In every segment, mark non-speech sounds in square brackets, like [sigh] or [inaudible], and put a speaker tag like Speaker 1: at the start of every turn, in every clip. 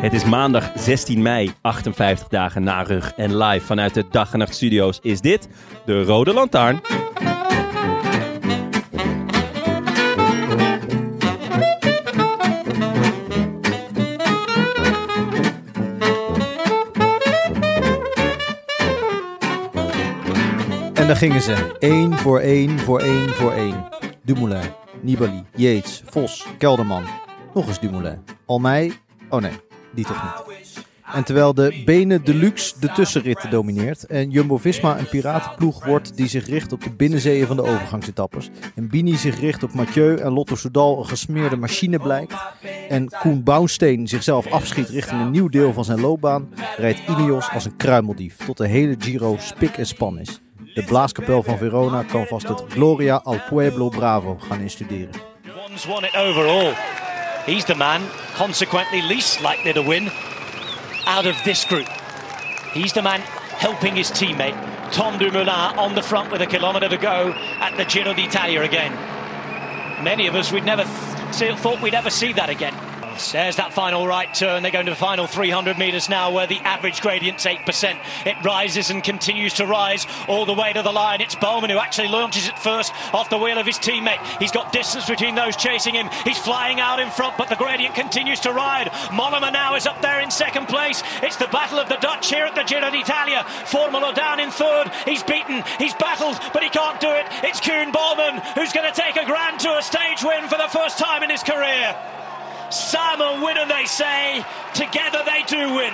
Speaker 1: Het is maandag 16 mei, 58 dagen na rug. En live vanuit de Dag en Nacht Studio's is dit de Rode Lantaarn.
Speaker 2: En daar gingen ze. Eén voor één voor één voor één. Dumoulin, Nibali, Yates, Vos, Kelderman. Nog eens Dumoulin. Almij. Oh nee, die toch niet. En terwijl de benen deluxe de tussenrit domineert en Jumbo-Visma een piratenploeg wordt die zich richt op de binnenzeeën van de overgangsetappes en Bini zich richt op Mathieu en Lotto Soudal een gesmeerde machine blijkt en Koen Bouwsteen zichzelf afschiet richting een nieuw deel van zijn loopbaan, rijdt Ineos als een kruimeldief tot de hele Giro spik en span is. De blaaskapel van Verona kan vast het Gloria al Pueblo Bravo gaan instuderen.
Speaker 3: One's won it overall. He's the man, consequently, least likely to win out of this group. He's the man helping his teammate, Tom Dumoulin, on the front with a kilometre to go at the Giro d'Italia again. Many of us, we'd never th- thought we'd ever see that again. There's that final right turn. They're going to the final 300 metres now, where the average gradient's 8%. It rises and continues to rise all the way to the line. It's Bowman who actually launches it first off the wheel of his teammate. He's got distance between those chasing him. He's flying out in front, but the gradient continues to ride. Mollema now is up there in second place. It's the battle of the Dutch here at the Giro d'Italia. Formolo down in third. He's beaten, he's battled, but he can't do it. It's Kuhn Bowman who's going to take a Grand Tour stage win for the first time in his career. Sam and winner, they say. Together they do win.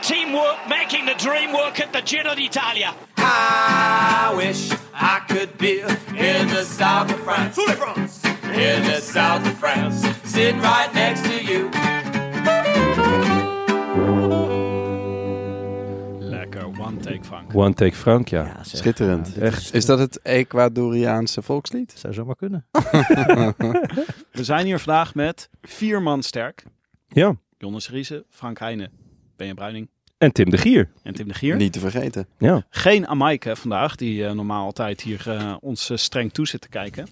Speaker 3: Teamwork making the dream work at the Giro d'Italia.
Speaker 4: I wish I could be in the south of France. In the south of France. Sitting right next to you.
Speaker 5: Lekker, one take Frank.
Speaker 1: One Take Frank, ja.
Speaker 6: Schitterend.
Speaker 1: Echt.
Speaker 6: Is dat het Ecuadoriaanse volkslied?
Speaker 2: Zou zomaar kunnen.
Speaker 5: We zijn hier vandaag met vier man sterk.
Speaker 1: Ja.
Speaker 5: Jonas Riese, Frank Heijnen, Benja Bruining
Speaker 1: En Tim de Gier.
Speaker 5: en Tim de Gier.
Speaker 6: Niet te vergeten.
Speaker 1: Ja.
Speaker 5: Geen Amaike vandaag, die eh, normaal altijd hier eh, ons eh, streng toe zit te kijken.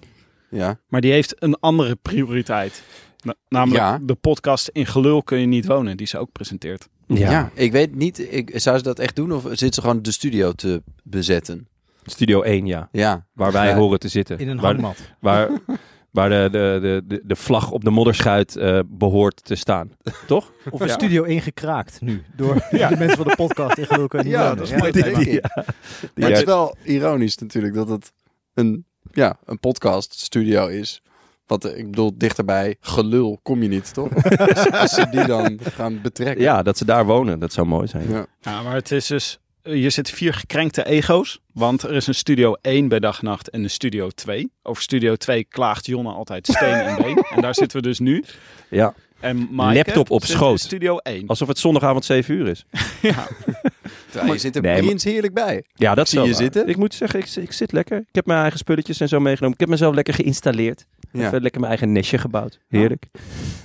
Speaker 6: Ja.
Speaker 5: Maar die heeft een andere prioriteit. Na- namelijk
Speaker 6: Ja.
Speaker 5: de podcast In Gelul kun je niet wonen, die ze ook presenteert.
Speaker 6: Ja. Ik weet niet, ik, zou ze dat echt doen of zit ze gewoon de studio te bezetten?
Speaker 1: Studio 1, ja.
Speaker 6: Ja.
Speaker 1: Waar wij
Speaker 6: Ja.
Speaker 1: horen te zitten.
Speaker 2: In een
Speaker 1: waar,
Speaker 2: hangmat.
Speaker 1: waar, waar de, de, de, de, de vlag op de modderschuit eh, behoort te staan. Toch?
Speaker 2: Of een Studio 1 gekraakt nu. Door de mensen van de podcast in Gelul kunnen
Speaker 6: Ja,
Speaker 2: wonen.
Speaker 6: dat is
Speaker 2: Ja.
Speaker 6: mooi.
Speaker 1: Die- die-
Speaker 6: Maar het is
Speaker 1: uit-
Speaker 6: wel ironisch natuurlijk dat het een, ja, een podcast studio is. Wat eh, ik bedoel, dichterbij gelul kom je
Speaker 1: [laughs]
Speaker 6: niet, toch? Als- Als ze die dan gaan betrekken.
Speaker 1: Ja, dat ze daar wonen. Dat zou mooi zijn.
Speaker 6: Ja.
Speaker 5: Ja, maar het is dus, eh, hier zitten vier gekrenkte ego's. Want er is een Studio 1 bij dag en nacht en een Studio 2. Over Studio 2 klaagt Jonne altijd steen en been. En daar zitten we dus nu.
Speaker 1: Ja.
Speaker 5: En Maaike
Speaker 1: Laptop op
Speaker 5: zit in
Speaker 1: schoot.
Speaker 5: Studio 1.
Speaker 1: Alsof het zondagavond 7 uur is.
Speaker 6: Terwijl je zit er
Speaker 1: Nee, maar-
Speaker 6: prins heerlijk bij.
Speaker 1: Ja, dat
Speaker 6: Zie
Speaker 1: is
Speaker 6: je
Speaker 1: wel waar.
Speaker 6: zitten?
Speaker 1: Ik moet zeggen, ik, ik zit lekker. Ik heb mijn eigen spulletjes en zo meegenomen. Ik heb mezelf lekker geïnstalleerd.
Speaker 6: Ja.
Speaker 1: Even lekker mijn eigen nestje gebouwd. Heerlijk.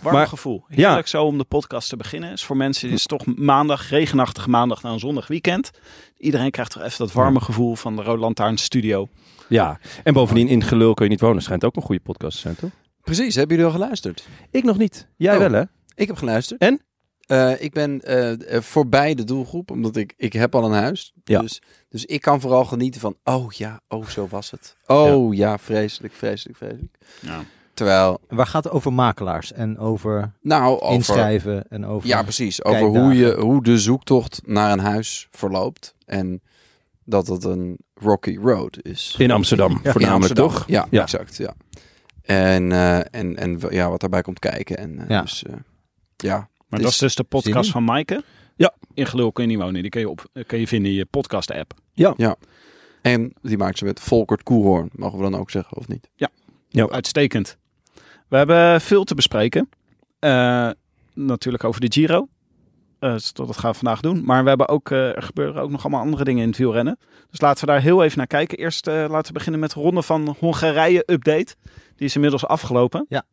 Speaker 5: Warm
Speaker 1: Maar-
Speaker 5: gevoel. Heerlijk zo om de podcast te beginnen. Is voor mensen is het toch maandag, regenachtig maandag na een zondag weekend. Iedereen krijgt toch even dat warme gevoel van de Roland Lantaarn Studio.
Speaker 1: Ja, en bovendien in Gelul kun je niet wonen. Schijnt ook een goede podcast te zijn, toch?
Speaker 6: Precies, hebben jullie al geluisterd?
Speaker 1: Ik nog niet. Jij
Speaker 6: Oh.
Speaker 1: wel, hè?
Speaker 6: Ik heb geluisterd.
Speaker 1: En?
Speaker 6: Eh, ik ben eh, eh, voorbij de doelgroep, omdat ik, ik heb al een huis.
Speaker 1: Ja.
Speaker 6: Dus, dus ik kan vooral genieten van, oh ja, oh zo was het. Oh ja, vreselijk, vreselijk, vreselijk.
Speaker 5: Ja.
Speaker 6: Terwijl,
Speaker 2: En Waar gaat het over makelaars en over,
Speaker 6: nou, over...
Speaker 2: inschrijven en over...
Speaker 6: Ja, precies. Over
Speaker 2: Kijkdagen.
Speaker 6: hoe, je, hoe de zoektocht naar een huis verloopt. En dat het een rocky road is.
Speaker 1: In [laughs] Amsterdam,
Speaker 6: In
Speaker 1: voornamelijk
Speaker 6: Amsterdam.
Speaker 1: toch?
Speaker 6: Ja,
Speaker 1: Ja.
Speaker 6: exact. Ja. En, eh, en, en w- ja, wat daarbij komt kijken. En, eh,
Speaker 2: Ja.
Speaker 6: Dus, eh, ja.
Speaker 5: Maar
Speaker 6: Dus-
Speaker 5: dat is dus de
Speaker 2: Zin in?
Speaker 5: podcast van Maaike.
Speaker 1: Ja.
Speaker 5: In Gelul kun je niet wonen. Die kun je, op, eh, kun je vinden in je podcast app.
Speaker 6: En die maakt ze met Volkert Koelhoorn, mogen we dan ook zeggen, of niet?
Speaker 5: Uitstekend. We hebben veel te bespreken. Eh, natuurlijk over de Giro. Eh, dus dat gaan we vandaag doen. Maar we hebben ook, eh, er gebeuren ook nog allemaal andere dingen in het wielrennen. Dus laten we daar heel even naar kijken. Eerst eh, laten we beginnen met de ronde van Hongarije update. Die is inmiddels afgelopen.
Speaker 2: Ja.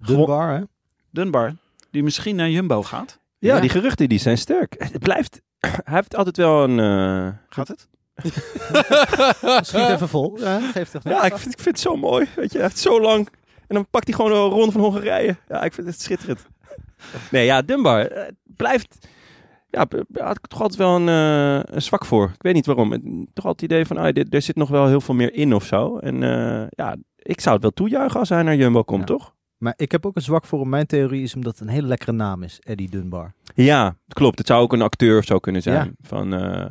Speaker 5: Gewo-
Speaker 2: Dunbar, hè?
Speaker 5: Dunbar, die misschien naar Jumbo gaat.
Speaker 1: Ja,
Speaker 2: Ja.
Speaker 1: die geruchten die zijn sterk. Het blijft... [clears throat] Hij heeft altijd wel een... eh,
Speaker 5: Gaat
Speaker 1: [laughs]
Speaker 5: het?
Speaker 2: Schiet even vol. Ja, geeft toch
Speaker 1: Ja, ik vind, ik vind het zo mooi. Weet je, hij heeft zo lang. En dan pakt hij gewoon een ronde van Hongarije. Ja, ik vind het schitterend. Nee, ja, Dunbar eh, blijft. Ja, b- b- had ik toch altijd wel een, eh, een zwak voor. Ik weet niet waarom. Het- Toch altijd het idee van, ah, dit, er zit nog wel heel veel meer in of zo. En eh, ja, ik zou het wel toejuichen als hij naar Jumbo komt,
Speaker 2: Ja.
Speaker 1: toch?
Speaker 2: Maar ik heb ook een zwak voor. hem. Mijn theorie is omdat het een hele lekkere naam is, Eddie Dunbar.
Speaker 1: Ja, klopt. Het zou ook een acteur of zo kunnen zijn.
Speaker 2: Ja.
Speaker 1: Van eh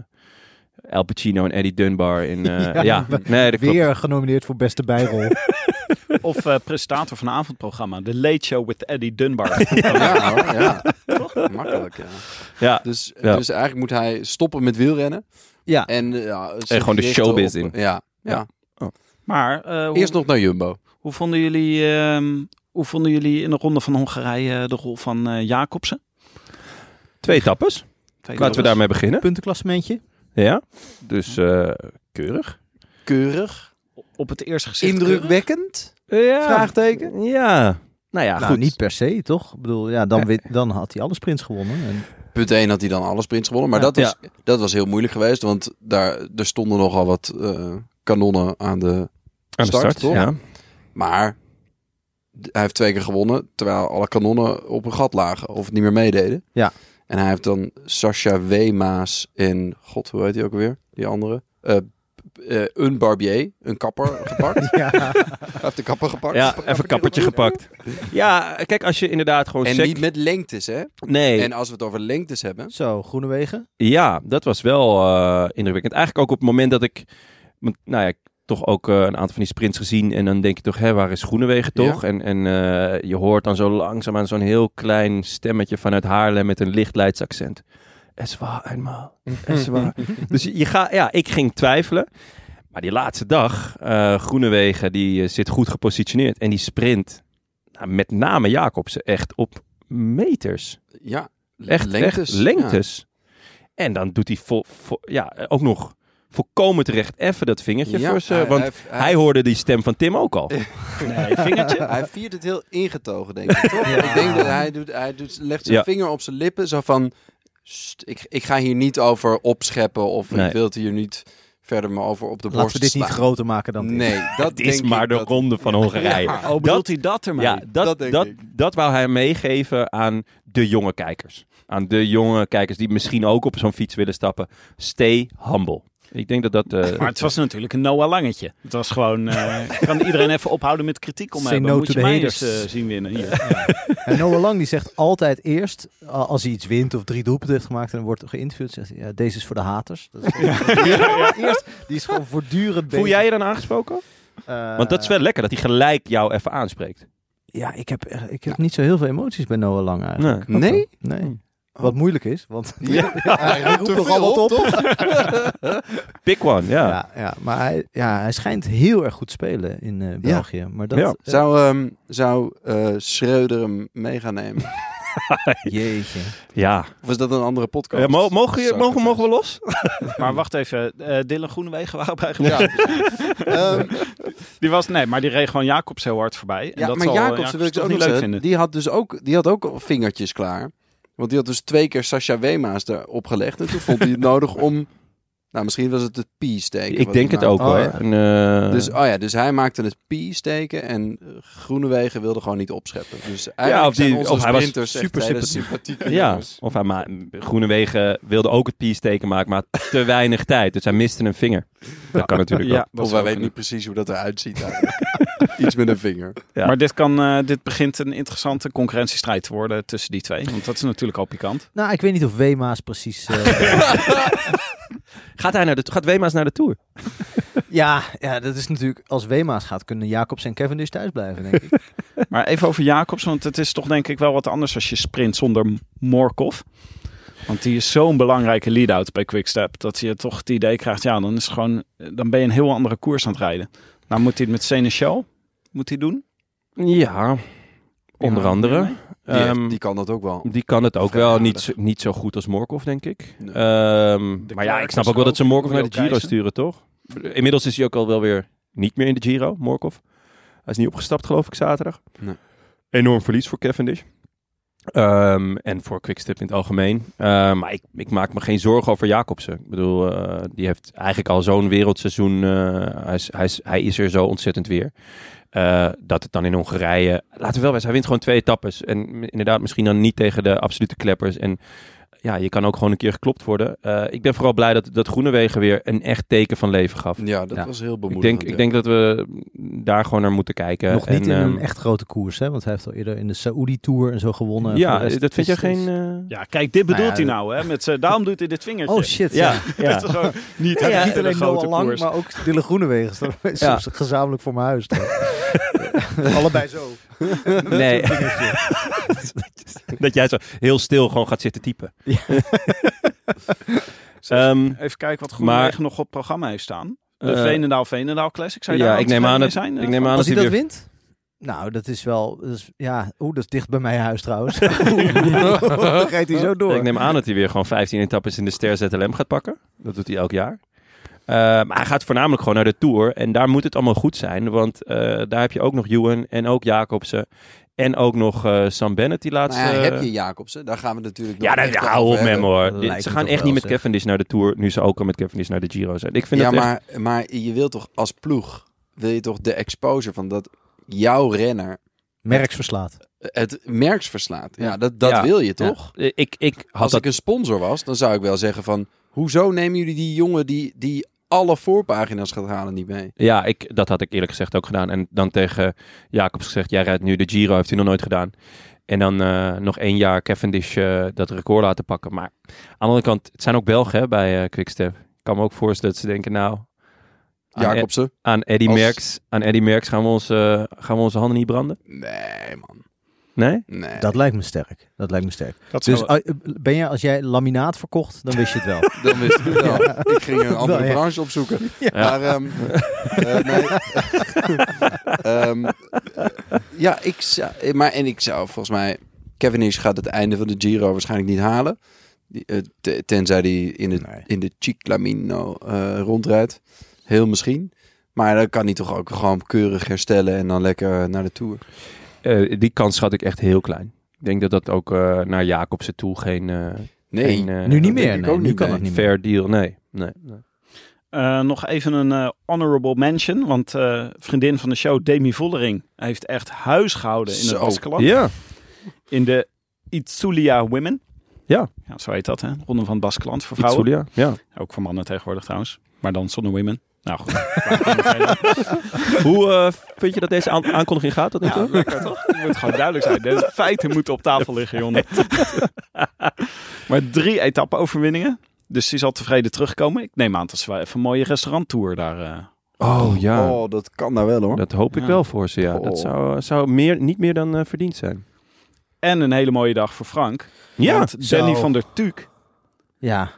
Speaker 1: Al Pacino en Eddie Dunbar. In, eh, [laughs]
Speaker 2: Ja,
Speaker 1: ja, nee, dat klopt.
Speaker 2: Weer genomineerd voor beste bijrol.
Speaker 5: Of eh, presentator van een avondprogramma. The Late Show with Eddie
Speaker 1: [laughs]
Speaker 5: Dunbar.
Speaker 6: Ja, hoor, ja. Toch? Makkelijk, ja.
Speaker 1: Ja.
Speaker 6: Dus,
Speaker 1: Ja.
Speaker 6: dus eigenlijk moet hij stoppen met wielrennen.
Speaker 2: Ja.
Speaker 6: En, eh, ja, zich
Speaker 1: En gewoon de
Speaker 6: richten
Speaker 1: showbiz
Speaker 6: op-
Speaker 1: in.
Speaker 6: Ja.
Speaker 5: Maar eh, hoe,
Speaker 6: Eerst nog naar Jumbo.
Speaker 5: hoe, vonden jullie, ehm, hoe vonden jullie in de ronde van Hongarije de rol van eh, Jacobsen?
Speaker 1: Twee tappes.
Speaker 5: Twee
Speaker 1: Laten we
Speaker 5: rondes.
Speaker 1: daarmee beginnen.
Speaker 2: Puntenklassementje.
Speaker 1: Ja, dus eh, keurig.
Speaker 6: Keurig.
Speaker 5: op het eerste gezicht.
Speaker 6: Indrukwekkend.
Speaker 1: Ja.
Speaker 6: Vraagteken.
Speaker 1: Ja. Nou ja,
Speaker 2: Nou,
Speaker 1: goed.
Speaker 2: niet per se, toch? Ik bedoel, ja, dan, win- dan had hij alle sprints gewonnen. En,
Speaker 6: Punt 1 had hij dan alle sprints gewonnen. Maar
Speaker 2: Ja.
Speaker 6: dat, was, dat was heel moeilijk geweest. Want daar, er stonden nogal wat eh, kanonnen aan de...
Speaker 1: Aan de start,
Speaker 6: Start, toch?
Speaker 1: ja.
Speaker 6: Maar d- hij heeft twee keer gewonnen. Terwijl alle kanonnen op een gat lagen. Of het niet meer meededen.
Speaker 2: Ja.
Speaker 6: En hij heeft dan Sascha Weemaas en... God, hoe heet hij ook weer? Die andere. Eh, eh, een barbier. Een kapper [laughs] gepakt. Hij heeft de kapper gepakt.
Speaker 1: Ja, even een kappertje gepakt. Ja, kijk, als je inderdaad gewoon
Speaker 6: En
Speaker 1: sec-
Speaker 6: niet met lengtes, hè?
Speaker 1: Nee,
Speaker 6: En als we het over lengtes hebben...
Speaker 2: zo, Groenewegen.
Speaker 1: ja, dat was wel eh, indrukwekkend. Eigenlijk ook op het moment dat ik... want, Nou ja, ik toch ook eh, een aantal van die sprints gezien. En dan denk je toch, hè, waar is Groenewegen toch? En, en eh, je hoort dan zo langzaamaan zo'n heel klein stemmetje vanuit Haarlem met een licht Leids accent. Es war eenmaal. Es war. dus je gaat, ja, ik ging twijfelen. Maar die laatste dag, eh Groenewegen, die eh, zit goed gepositioneerd. En die sprint, nou, met name Jacobsen, echt op meters.
Speaker 6: Ja,
Speaker 1: Echt lengtes. Echt, lengtes. En dan doet hij vol, vol- ja, ook nog volkomen terecht even dat vingertje
Speaker 6: Ja,
Speaker 1: voor ze.
Speaker 6: hij-
Speaker 1: want
Speaker 6: hij-
Speaker 1: hij,
Speaker 6: hij-
Speaker 1: hoorde die stem van Tim ook
Speaker 6: [laughs]
Speaker 1: al.
Speaker 5: Nee, vingertje.
Speaker 6: Hij viert het heel ingetogen, denk ik.
Speaker 1: [laughs]
Speaker 6: Toch? Ik denk dat hij, doet, hij doet, legt zijn
Speaker 1: Ja.
Speaker 6: vinger op zijn lippen. Zo van, "Sst, ik, ik ga hier niet over opscheppen. Of
Speaker 1: Nee.
Speaker 6: ik wil het hier niet verder maar over op de
Speaker 2: Laten we
Speaker 6: borst
Speaker 2: dit niet
Speaker 6: slaan."
Speaker 2: groter maken dan dit.
Speaker 6: Nee, dat
Speaker 1: [laughs] Het is
Speaker 6: denk
Speaker 1: maar
Speaker 6: ik
Speaker 1: de
Speaker 6: dat-
Speaker 1: ronde van Hongarije.
Speaker 6: [laughs] [laughs] Ja.
Speaker 5: Oh, bedoelt hij dat ermee?
Speaker 1: Ja, dat,
Speaker 6: dat
Speaker 1: dat,
Speaker 6: denk
Speaker 1: dat,
Speaker 6: ik.
Speaker 1: wou hij meegeven aan de jonge kijkers. Aan de jonge kijkers die misschien ook op zo'n fiets willen stappen. Stay humble. Ik denk dat dat... eh,
Speaker 5: Maar het was natuurlijk een Noah Langetje. Het was
Speaker 2: [laughs]
Speaker 5: gewoon, eh, kan iedereen even ophouden met kritiek om
Speaker 2: Say
Speaker 5: mij? Dan
Speaker 2: no
Speaker 5: moet
Speaker 2: to
Speaker 5: je
Speaker 2: the
Speaker 5: mij
Speaker 2: haters.
Speaker 5: eens eh, zien winnen hier.
Speaker 2: En Noah Lang die zegt altijd eerst, a- als hij iets wint of drie doelpunten heeft gemaakt en wordt geïnterviewd, zegt hij, ja, deze is voor de haters. Dat [laughs] is Eerst, die is gewoon voortdurend Eh,
Speaker 1: voel jij je dan aangesproken? Want dat is wel lekker dat hij gelijk jou even aanspreekt.
Speaker 2: Ja, ik heb, eh, ik heb niet zo heel veel emoties bij Noah Lang eigenlijk.
Speaker 1: Nee.
Speaker 6: Nee?
Speaker 2: Nee. Wat moeilijk is, want
Speaker 6: Ja,
Speaker 2: Oh. [laughs] hij roept
Speaker 6: te
Speaker 2: toch
Speaker 6: veel
Speaker 2: al wat
Speaker 6: op,
Speaker 2: op.
Speaker 1: Big one, ja.
Speaker 2: Ja, ja, maar hij, ja, hij schijnt heel erg goed te spelen in eh, België. Maar dat,
Speaker 1: Ja.
Speaker 2: eh,
Speaker 6: Zou, ehm zou eh, Schreuder hem mee gaan nemen?
Speaker 2: jeetje.
Speaker 1: ja.
Speaker 6: Of is dat een andere podcast?
Speaker 1: Ja, mo- mogen, je,
Speaker 6: Zou ik
Speaker 1: mogen,
Speaker 6: het
Speaker 1: mogen we los?
Speaker 5: [laughs] Maar wacht even, eh Dylan Groenewegen waren bij
Speaker 6: zeggen?
Speaker 5: gebleven.
Speaker 6: Ja. [laughs] Ehm,
Speaker 5: Die was, nee, maar die reed gewoon Jacobs heel hard voorbij. En
Speaker 6: Ja,
Speaker 5: dat
Speaker 6: maar
Speaker 5: zal eh,
Speaker 6: Jacobsen wil ik
Speaker 5: toch
Speaker 6: ook
Speaker 5: niet
Speaker 6: niet
Speaker 5: leuk
Speaker 6: zeggen.
Speaker 5: vinden.
Speaker 6: Die had dus ook, die had ook vingertjes klaar. Want die had dus twee keer Sascha Wema's erop gelegd. En toen
Speaker 5: [laughs]
Speaker 6: vond hij het nodig om... Nou, misschien was het het P-steken.
Speaker 1: Ik
Speaker 6: wat
Speaker 1: denk
Speaker 6: hij
Speaker 1: het ook
Speaker 2: Oh,
Speaker 1: hoor.
Speaker 2: ja.
Speaker 1: En, eh,
Speaker 6: Dus, oh ja, dus hij maakte het P-steken en eh, Groenewegen wilde gewoon niet opscheppen. Dus eigenlijk
Speaker 1: Ja, of die-
Speaker 6: zijn onze
Speaker 1: of hij was
Speaker 6: sprinters echt
Speaker 1: super
Speaker 6: hele
Speaker 1: sympathiek.
Speaker 6: sympathieke
Speaker 1: ja,
Speaker 6: jongens.
Speaker 1: of hij ma- Groenewegen wilde ook het peace-teken maken, maar te weinig tijd. Dus hij miste een vinger. Dat kan natuurlijk
Speaker 5: Ja,
Speaker 1: ook.
Speaker 5: dat
Speaker 6: Of
Speaker 5: zou
Speaker 6: wij weten
Speaker 5: kunnen. [laughs]
Speaker 6: niet precies hoe dat eruit ziet. eigenlijk. Iets met een vinger.
Speaker 1: Ja.
Speaker 5: Maar dit, kan, eh, dit begint een interessante concurrentiestrijd te worden tussen die twee. Want dat is natuurlijk al pikant.
Speaker 2: Nou, ik weet niet of Wema's precies... eh,
Speaker 1: [laughs] Gaat, hij naar de, gaat Wema's naar de Tour?
Speaker 2: ja, ja, dat is natuurlijk... Als Wema's gaat, kunnen Jacobs en Cavendish thuis blijven, denk ik.
Speaker 5: Maar even over Jacobs, want het is toch denk ik wel wat anders als je sprint zonder M- Morkov. Want die is zo'n belangrijke lead-out bij Quickstep. Dat je toch het idee krijgt, ja, dan, is het gewoon, eh, dan ben je een heel andere koers aan het rijden. Nou moet hij het met Seneschal moet hij doen.
Speaker 1: Ja, onder
Speaker 5: Ja, nee,
Speaker 1: andere.
Speaker 5: nee.
Speaker 6: Die, heeft-
Speaker 1: Ehm,
Speaker 6: die kan dat ook wel.
Speaker 1: Die kan het ook
Speaker 6: Vrij
Speaker 1: wel
Speaker 6: aardig.
Speaker 1: niet, zo- niet zo goed als Morkov, denk ik.
Speaker 6: Nee.
Speaker 1: Ehm, maar ja,
Speaker 5: Klerk
Speaker 1: ik snap
Speaker 5: is
Speaker 1: ook wel dat
Speaker 5: ook.
Speaker 1: ze Morkov naar de
Speaker 5: Wil
Speaker 1: Giro
Speaker 5: Keijzer.
Speaker 1: sturen, toch? Inmiddels is hij ook al wel weer niet meer in de Giro, Morkov. Hij is niet opgestapt, geloof ik, zaterdag.
Speaker 6: Nee.
Speaker 1: Enorm verlies voor Cavendish. Ehm, en voor Quickstep in het algemeen. Ehm, maar ik, ik maak me geen zorgen over Jacobsen. Ik bedoel, eh, die heeft eigenlijk al zo'n wereldseizoen. eh, hij, is, hij, is, hij is er zo ontzettend weer. Eh, dat het dan in Hongarije... Laten we wel wezen, hij wint gewoon twee etappes. En m- inderdaad, misschien dan niet tegen de absolute kleppers. En ja, je kan ook gewoon een keer geklopt worden. Eh, ik ben vooral blij dat, dat Groenewegen weer een echt teken van leven gaf.
Speaker 6: Ja, dat
Speaker 1: Ja.
Speaker 6: was heel
Speaker 1: ik,
Speaker 6: bemoedigend.
Speaker 1: denk, ik
Speaker 6: ja.
Speaker 1: denk dat we daar gewoon naar moeten kijken.
Speaker 2: Nog niet
Speaker 1: En,
Speaker 2: in een
Speaker 1: ehm,
Speaker 2: echt grote koers, hè? Want hij heeft al eerder in de Saoedi-tour en zo gewonnen.
Speaker 1: Ja,
Speaker 2: eh, Voor de rest
Speaker 1: dat vind
Speaker 2: is-
Speaker 1: je geen...
Speaker 2: is-
Speaker 1: eh,
Speaker 5: Ja, kijk, dit bedoelt
Speaker 2: Nou ja,
Speaker 5: hij nou. Hè? Met zijn, daarom doet hij dit vingertje.
Speaker 2: Oh shit, ja.
Speaker 5: [laughs]
Speaker 1: Ja, ja.
Speaker 5: Dat is gewoon niet,
Speaker 2: Ja,
Speaker 5: eh, ja,
Speaker 2: niet alleen Noah
Speaker 5: grote
Speaker 2: Lang,
Speaker 5: koers.
Speaker 2: maar ook Dille Groenewegen. staan wij
Speaker 1: Ja.
Speaker 2: soms gezamenlijk voor mijn huis. Allebei zo.
Speaker 5: [laughs]
Speaker 1: [laughs] Nee.
Speaker 2: [laughs]
Speaker 1: dat jij zo heel stil gewoon gaat zitten typen. [laughs] Ehm,
Speaker 5: Even kijken wat
Speaker 1: Maar-
Speaker 5: Groenwegen nog op programma heeft staan. De
Speaker 1: eh,
Speaker 5: Veenendaal-Veenendaal Classic. Zou je
Speaker 1: ja,
Speaker 5: daar
Speaker 1: ik neem aan
Speaker 5: tevreden
Speaker 1: dat-
Speaker 5: mee zijn? eh,
Speaker 1: ik neem aan
Speaker 2: Als
Speaker 1: dat
Speaker 2: hij
Speaker 1: hij
Speaker 2: dat
Speaker 1: weer...
Speaker 2: wint? Nou, dat is wel... Dat is, ja, oeh, dat is dicht bij mijn huis trouwens. Dan gaat hij zo door.
Speaker 1: Ik neem aan dat hij weer gewoon 15 etappes in de Ster ZLM gaat pakken. Dat doet hij elk jaar. Eh, maar hij gaat voornamelijk gewoon naar de Tour. En daar moet het allemaal goed zijn. Want eh, daar heb je ook nog Ewan en ook Jacobsen. En ook nog eh, Sam Bennett die
Speaker 5: Nou
Speaker 1: laatste...
Speaker 6: Maar Nou ja, heb je Jacobsen? Daar gaan we natuurlijk nog
Speaker 1: Eh, Ja, dat,
Speaker 6: echt
Speaker 1: ja,
Speaker 6: over
Speaker 1: hou op met
Speaker 6: hebben.
Speaker 1: me hoor.
Speaker 2: Lijkt
Speaker 1: Dit- Ze
Speaker 2: me
Speaker 1: gaan
Speaker 2: toch
Speaker 1: echt
Speaker 2: wel,
Speaker 1: niet met
Speaker 2: zeg.
Speaker 1: Cavendish naar de Tour. Nu ze ook al met Cavendish naar de Giro zijn. Ik vind
Speaker 6: Ja,
Speaker 1: het echt...
Speaker 6: maar, maar je wilt toch als ploeg, wil je toch de exposure van dat jouw renner
Speaker 2: Merks verslaat.
Speaker 6: het merks verslaat. Ja, dat, dat
Speaker 1: Ja.
Speaker 6: wil je toch?
Speaker 1: Ja, ik, ik had
Speaker 6: Als
Speaker 1: dat
Speaker 6: ik een sponsor was, dan zou ik wel zeggen van... Hoezo nemen jullie die jongen die, die alle voorpagina's gaat halen niet mee?
Speaker 1: Ja, ik, dat had ik eerlijk gezegd ook gedaan. En dan tegen Jacobs gezegd, jij rijdt nu de Giro, heeft hij nog nooit gedaan. En dan eh, nog één jaar Cavendish eh, dat record laten pakken. Maar aan de andere kant, het zijn ook Belgen hè, bij eh, Quickstep. Ik kan me ook voorstellen dat ze denken, nou, aan, Ed-
Speaker 6: Jacobsen?
Speaker 1: aan, Eddy
Speaker 6: Als-
Speaker 1: Merckx, aan Eddy Merckx gaan we, ons, eh, gaan we onze handen niet branden.
Speaker 6: Nee, man.
Speaker 1: Nee?
Speaker 6: Nee.
Speaker 2: Dat lijkt me sterk. Dat lijkt me sterk.
Speaker 5: Dat
Speaker 2: Dus
Speaker 5: zou-
Speaker 2: ah, ben jij, als jij laminaat verkocht, dan wist je het wel.
Speaker 6: Dan wist ik het wel. Ik ging een andere
Speaker 2: Nou, ja.
Speaker 6: branche opzoeken. Maar, ehm, eh, nee. [laughs] Ehm, ja, ik zou... Maar, en ik zou volgens mij... Kevin Hirsch gaat het einde van de Giro waarschijnlijk niet halen. Die, eh, te- tenzij die in de,
Speaker 2: Nee.
Speaker 6: in de Ciclamino eh, rondrijdt. Heel misschien. Maar dan kan hij toch ook gewoon keurig herstellen en dan lekker naar de Tour.
Speaker 1: Eh, die kans schat ik echt heel klein. Ik denk dat dat ook eh, naar Jacobsen toe geen... eh,
Speaker 6: Nee,
Speaker 1: geen, eh,
Speaker 2: nu niet
Speaker 6: denk
Speaker 2: meer.
Speaker 6: ik
Speaker 2: Nee,
Speaker 6: ook
Speaker 2: nu
Speaker 6: niet,
Speaker 2: kan
Speaker 6: nee.
Speaker 2: het niet meer.
Speaker 1: Fair deal, nee. nee. nee.
Speaker 5: Eh, nog even een eh, honorable mention. Want eh, vriendin van de show, Demi Vollering, heeft echt huis gehouden in
Speaker 6: Zo.
Speaker 5: het Baskeland.
Speaker 1: Ja,
Speaker 5: In de Itzulia Women.
Speaker 1: Ja.
Speaker 5: ja. Zo heet dat, hè? Ronde van het Baskeland voor vrouwen.
Speaker 1: Itzulia, ja.
Speaker 5: Ook voor mannen tegenwoordig trouwens. Maar dan zonder women. Nou goed.
Speaker 1: Hoe eh, vind je dat deze aan- aankondiging gaat tot nu toe?
Speaker 5: lekker toch? Het moet gewoon duidelijk zijn. De feiten moeten op tafel liggen, jongen. [laughs] maar drie etappe-overwinningen. Dus die zal tevreden terugkomen. Ik neem aan dat ze wel even een mooie restauranttour daar... eh,
Speaker 1: Oh ja,
Speaker 6: Oh, dat kan nou wel hoor.
Speaker 1: dat hoop ik
Speaker 5: Ja.
Speaker 1: wel voor ze. Ja.
Speaker 6: Oh.
Speaker 1: Dat zou, eh, zou meer, niet meer dan eh, verdiend zijn.
Speaker 5: En een hele mooie dag voor Frank. Want Danny
Speaker 2: Zo.
Speaker 5: van der Tuuk.
Speaker 2: Ja.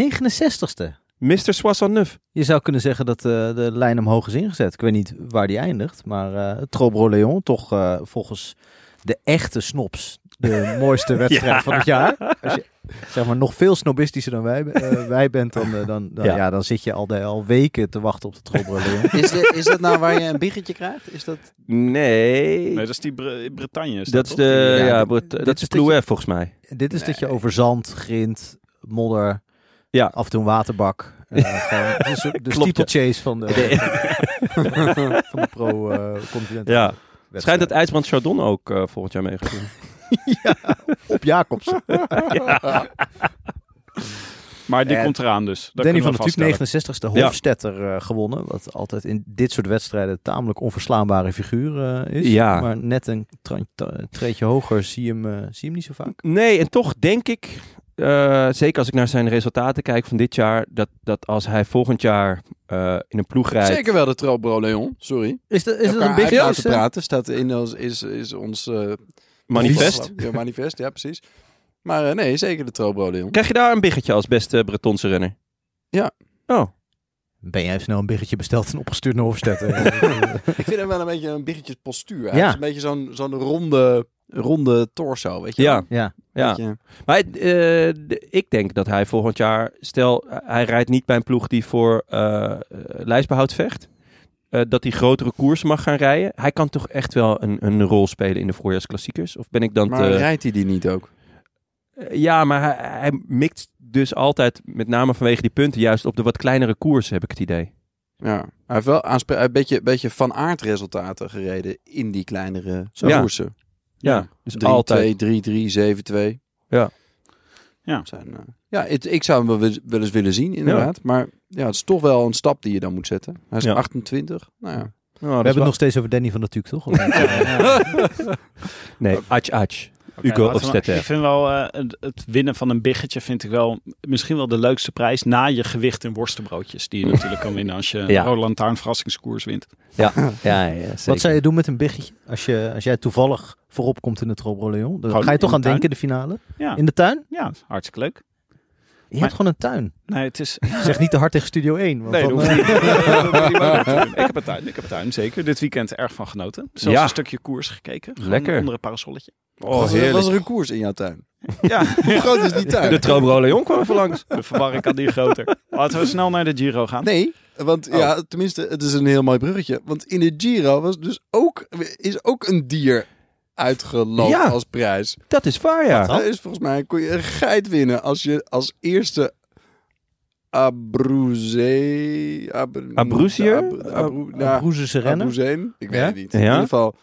Speaker 2: 69ste.
Speaker 1: Mr. Soissonneuve.
Speaker 2: Je zou kunnen zeggen dat eh, de lijn omhoog is ingezet. Ik weet niet waar die eindigt, maar eh Trobro Leon toch eh, volgens de echte snobs
Speaker 1: [laughs]
Speaker 2: de mooiste wedstrijd van het jaar. Als je zeg maar nog veel snobistischer dan
Speaker 1: [laughs]
Speaker 2: wij, eh, wij bent, dan, eh, dan, dan, ja.
Speaker 1: Ja.
Speaker 2: dan zit je al, de, al weken te wachten op de Trobro
Speaker 1: [laughs]
Speaker 2: Leon.
Speaker 6: Is, de- is dat nou waar je een biggetje krijgt? Is dat...
Speaker 1: Nee.
Speaker 5: Nee, dat is die Bre- Bretagne. is
Speaker 1: dat is
Speaker 5: toch?
Speaker 1: de,
Speaker 6: Ja,
Speaker 1: ja,
Speaker 6: dit-
Speaker 1: Brit-
Speaker 2: dit
Speaker 1: dat
Speaker 2: is
Speaker 1: is Plouet
Speaker 2: dat
Speaker 1: volgens mij.
Speaker 2: Dit is dat je over zand, grind, modder,
Speaker 1: Ja.
Speaker 2: af en toe een waterbak. eh, gewoon- het
Speaker 1: [laughs]
Speaker 2: is de
Speaker 1: Klopt, ja.
Speaker 2: steeplechase van de,
Speaker 1: [laughs]
Speaker 2: [laughs] van de eh, pro-continent.
Speaker 1: Ja. Schijnt dat IJsbrand Chardon ook eh, volgend jaar mee gaat doen.
Speaker 5: [laughs]
Speaker 2: op Jacobsen.
Speaker 5: Maar die
Speaker 2: En
Speaker 5: komt eraan dus. Dat
Speaker 2: Danny van
Speaker 5: kunnen
Speaker 2: de
Speaker 5: we
Speaker 2: Tuuk,
Speaker 5: vaststellen.
Speaker 2: 69ste
Speaker 1: Ja.
Speaker 2: Hofstetter eh, gewonnen. Wat altijd in dit soort wedstrijden tamelijk onverslaanbare figuur eh, is.
Speaker 1: Ja.
Speaker 2: Maar net een tra- tra- treetje hoger zie je hem, eh, zie je hem niet zo vaak.
Speaker 1: Nee, en toch denk ik, eh, zeker als ik naar zijn resultaten kijk van dit jaar, dat, dat als hij volgend jaar eh, in een ploeg rijdt.
Speaker 6: Zeker wel de Trobro Leon, sorry.
Speaker 2: Is dat, is dat
Speaker 6: Elkaar
Speaker 2: een big
Speaker 6: uit laten
Speaker 2: race, eh?
Speaker 6: praten staat in als, is, is ons... eh,
Speaker 1: Manifest.
Speaker 6: Ja, manifest, ja precies. Maar eh, nee, zeker de Trobro Leon.
Speaker 1: Krijg je daar een biggetje als beste Bretonse renner?
Speaker 6: Ja.
Speaker 1: Oh,
Speaker 2: Ben jij snel een biggetje besteld en opgestuurd naar [laughs] Hofstetter?
Speaker 6: Ik vind hem wel een beetje een biggetje postuur. Hij
Speaker 2: Ja.
Speaker 6: is een beetje zo'n zo'n ronde, ronde torso, weet je wel?
Speaker 1: ja.
Speaker 2: ja.
Speaker 1: ja.
Speaker 6: Beetje-
Speaker 1: Maar eh, de- ik denk dat hij volgend jaar, stel hij rijdt niet bij een ploeg die voor eh, eh, lijstbehoud vecht, eh, dat hij grotere koersen mag gaan rijden. Hij kan toch echt wel een, een rol spelen in de voorjaarsklassiekers? Of ben ik dan
Speaker 6: Maar
Speaker 1: te-
Speaker 6: rijdt hij die niet ook?
Speaker 1: Eh, Ja, maar hij, hij mikt dus altijd, met name vanwege die punten, juist op de wat kleinere koersen, heb ik het idee.
Speaker 6: Ja, hij heeft wel aanspre- een beetje, beetje van aard resultaten gereden in die kleinere
Speaker 1: Ja.
Speaker 6: koersen.
Speaker 1: Ja, dus altijd.
Speaker 6: 3, 3, 7, 2.
Speaker 1: Ja.
Speaker 5: Ja.
Speaker 6: Zijn, eh, ja het- ik zou hem wel, wis- wel eens willen zien, inderdaad. Maar ja, het is toch wel een stap die je dan moet zetten. Hij is
Speaker 1: Ja.
Speaker 6: 28. Nou ja.
Speaker 1: Oh,
Speaker 2: We
Speaker 1: dat is
Speaker 2: hebben het
Speaker 1: wel-
Speaker 2: nog steeds over Danny van de Tuuk, toch? Of
Speaker 1: [laughs]
Speaker 2: niet?
Speaker 1: Nee, Ach Ach.
Speaker 5: Oké,
Speaker 1: Hugo
Speaker 5: laten we-
Speaker 1: Hofstetter.
Speaker 5: Ik vind wel eh, het- het winnen van een biggetje vind ik wel misschien wel de leukste prijs na je gewicht in worstenbroodjes. Die je natuurlijk kan winnen als je
Speaker 1: Ja.
Speaker 5: een Rode Lantaarn verrassingskoers wint.
Speaker 1: Ja, ja, zeker.
Speaker 2: Wat zou je doen met een biggetje? Als, je, als jij toevallig voorop komt in de Trobro Leon. Dan
Speaker 5: Gewoon
Speaker 2: ga je
Speaker 5: in
Speaker 2: toch
Speaker 5: de
Speaker 2: aan
Speaker 5: tuin?
Speaker 2: denken, de finale?
Speaker 5: Ja,
Speaker 2: In de tuin?
Speaker 5: ja dat is hartstikke leuk.
Speaker 2: Je hebt gewoon een tuin.
Speaker 5: Nee, het is...
Speaker 2: Zeg niet te hard tegen Studio 1. Want
Speaker 5: Nee,
Speaker 2: dan,
Speaker 5: dat hoeft
Speaker 2: eh,
Speaker 5: niet. Dat moet je maar [laughs] doen. ik heb een tuin, ik heb een tuin, zeker. Dit weekend erg van genoten. Zelfs
Speaker 1: Ja.
Speaker 5: een stukje koers gekeken. Gewoon
Speaker 1: Lekker.
Speaker 5: Onder een parasolletje.
Speaker 1: Oh,
Speaker 6: was, er,
Speaker 1: heerlijk.
Speaker 6: was er een koers in jouw tuin?
Speaker 5: Ja,
Speaker 6: Hoe groot is die tuin?
Speaker 1: De Trobro Leon kwam even
Speaker 5: [laughs]
Speaker 1: langs.
Speaker 5: de verwarring kan niet groter. Laten we snel naar de Giro gaan.
Speaker 6: Nee, want
Speaker 1: Oh.
Speaker 6: ja, tenminste, het is een heel mooi bruggetje. Want in de Giro was dus ook, is ook een dier uitgeloofd
Speaker 1: Ja.
Speaker 6: als prijs.
Speaker 1: Dat is waar, ja.
Speaker 6: Er is volgens mij kon je een geit winnen als je als eerste Abruze... Abru-
Speaker 1: Abruzier?
Speaker 6: Abru- Abru-
Speaker 2: een
Speaker 6: nou,
Speaker 2: Broezerse renner.
Speaker 6: Abruzeen? Ik weet
Speaker 2: Ja?
Speaker 6: het niet.
Speaker 1: Ja?
Speaker 6: In ieder geval,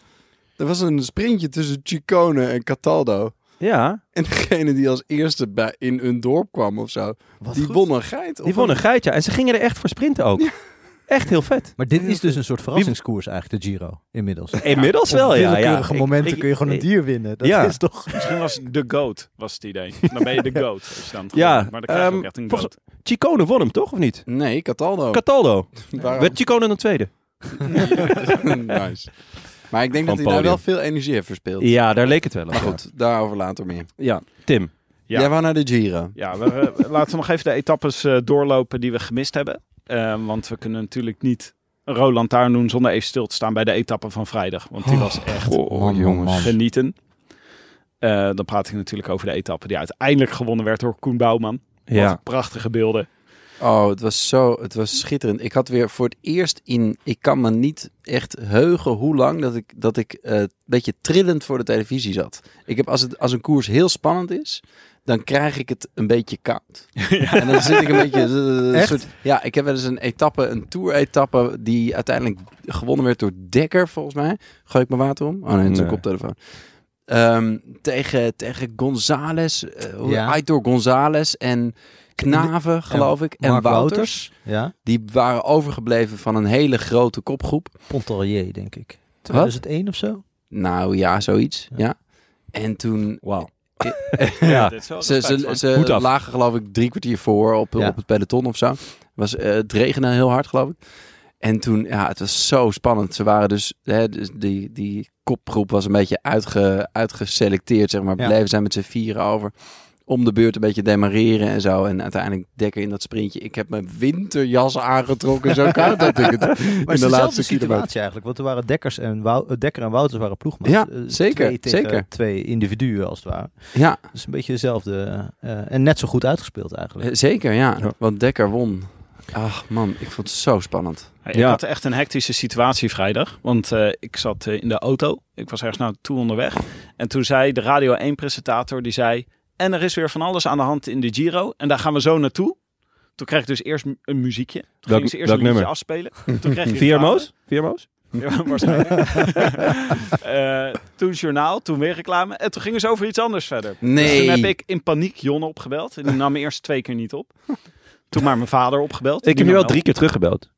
Speaker 6: er was een sprintje tussen Chicone en Cataldo.
Speaker 1: Ja,
Speaker 6: En degene die als eerste bij, in een dorp kwam of zo, die
Speaker 2: goed.
Speaker 6: won een geit. Of
Speaker 1: die won een geitje. En ze gingen er echt voor sprinten ook. Echt heel vet.
Speaker 2: Maar dit is dus een soort verrassingskoers eigenlijk, de Giro, inmiddels.
Speaker 1: Inmiddels wel,
Speaker 2: Op
Speaker 1: ja. ja.
Speaker 2: willekeurige momenten
Speaker 1: Ik-
Speaker 2: kun je gewoon een
Speaker 1: ik-
Speaker 2: dier winnen. Dat
Speaker 1: Ja.
Speaker 2: is toch...
Speaker 5: Misschien was de goat, was het idee. Dan ben je de goat. als [laughs] je dan het
Speaker 1: Ja,
Speaker 5: gewoon- maar dan krijg je
Speaker 1: ehm,
Speaker 5: ook echt een
Speaker 1: volgens-
Speaker 5: goat.
Speaker 1: Chicone won hem, toch? Of niet?
Speaker 6: Nee, Cataldo.
Speaker 1: Cataldo.
Speaker 6: Waarom?
Speaker 1: Werd Chicone dan tweede?
Speaker 6: [laughs] nice. Maar ik denk
Speaker 1: Van
Speaker 6: dat hij
Speaker 1: podium.
Speaker 6: daar wel veel energie heeft verspeeld.
Speaker 1: Ja, daar leek het wel op.
Speaker 6: Maar goed, daarover later meer.
Speaker 1: Ja, Tim.
Speaker 5: Ja.
Speaker 6: Jij wou naar de Giro.
Speaker 5: Ja, we, eh, laten we nog even de etappes eh, doorlopen die we gemist hebben. Eh, want we kunnen natuurlijk niet een Roland Taarn doen zonder even stil te staan bij de etappe van vrijdag. Want die was echt
Speaker 1: Oh, jongens.
Speaker 5: genieten. Eh, dan praat ik natuurlijk over de etappe die uiteindelijk gewonnen werd door Koen Bouwman.
Speaker 1: Ja.
Speaker 5: Wat prachtige beelden.
Speaker 6: Oh, het was zo, het was schitterend. Ik had weer voor het eerst in, ik kan me niet echt heugen hoe lang dat ik, dat ik eh, een beetje trillend voor de televisie zat. Ik heb, als, het, als een koers heel spannend is, dan krijg ik het een beetje
Speaker 2: [laughs]
Speaker 6: koud. En dan zit ik een beetje... eh,
Speaker 2: Echt?
Speaker 6: soort- ja, ik heb wel eens een etappe, een tour-etappe, die uiteindelijk gewonnen werd door Dekker, volgens mij. Gooi ik mijn water om? Oh nee, het is een
Speaker 1: Nee.
Speaker 6: koptelefoon. Ehm, tegen, tegen Gonzales, eh, hoe-
Speaker 2: Ja.
Speaker 6: Aitor Gonzales en Knaven, geloof ik. En
Speaker 2: Mark
Speaker 6: Wouters.
Speaker 2: Wouters. Ja,
Speaker 6: Die waren overgebleven van een hele grote kopgroep.
Speaker 2: Pontarlier, denk ik. 2001 of zo?
Speaker 6: Nou ja, zoiets. Ja. En toen...
Speaker 1: Wauw.
Speaker 5: [laughs] Ja,
Speaker 1: Ja.
Speaker 5: dit is wel
Speaker 6: Ze,
Speaker 5: respect
Speaker 6: ze,
Speaker 5: voor.
Speaker 6: ze
Speaker 1: Hoed af.
Speaker 6: lagen geloof ik drie kwartier voor op,
Speaker 2: Ja.
Speaker 6: op het peloton of zo. Was, eh, het regende heel hard geloof ik. En toen, ja, het was zo spannend. Ze waren dus, hè, dus die, die kopgroep was een beetje uitge, uitgeselecteerd, zeg maar.
Speaker 2: Ja.
Speaker 6: Bleven zijn met z'n vieren over. Om de beurt een beetje demareren en zo. En uiteindelijk dekker in dat sprintje. Ik heb mijn winterjas aangetrokken. Zo koud had
Speaker 2: [laughs]
Speaker 6: ik het. in
Speaker 2: Maar het
Speaker 6: de
Speaker 2: is
Speaker 6: laatste
Speaker 2: dezelfde
Speaker 6: kilometer.
Speaker 2: situatie eigenlijk. Want er waren Dekkers en, Wou- eh, Dekker en Wouters waren ploegmaats.
Speaker 6: Ja,
Speaker 2: Eh,
Speaker 6: zeker,
Speaker 2: Twee tegen
Speaker 6: zeker.
Speaker 2: twee individuen, als het ware.
Speaker 6: Ja,
Speaker 2: Dus een beetje dezelfde. eh, en net zo goed uitgespeeld eigenlijk.
Speaker 6: eh, zeker ja.
Speaker 1: Ja.
Speaker 6: Want Dekker won. Ach man, ik vond het zo spannend.
Speaker 5: Hey,
Speaker 1: Ja.
Speaker 5: Ik had echt een hectische situatie vrijdag. Want eh, ik zat eh, in de auto. Ik was ergens naartoe onderweg. En toen zei de Radio 1-presentator, die zei... En er is weer van alles aan de hand in de Giro. En daar gaan we zo naartoe. Toen kreeg ik dus eerst m- een muziekje. Toen
Speaker 1: Welk-
Speaker 5: ging ze eerst
Speaker 1: welk
Speaker 5: een liedje
Speaker 1: nummer? [laughs]
Speaker 5: afspelen. Toen kreeg je
Speaker 1: Viermoos? Viermoos?
Speaker 5: Ja, waarschijnlijk. Eh, toen journaal, toen weer reclame. En toen gingen ze over iets anders verder. Dus
Speaker 6: Nee.
Speaker 5: toen heb ik in paniek Jonne opgebeld. En die nam me eerst twee keer niet op. Toen maar mijn vader opgebeld.
Speaker 1: Ik
Speaker 5: Die
Speaker 1: heb nu
Speaker 5: nam
Speaker 1: wel drie keer teruggebeld.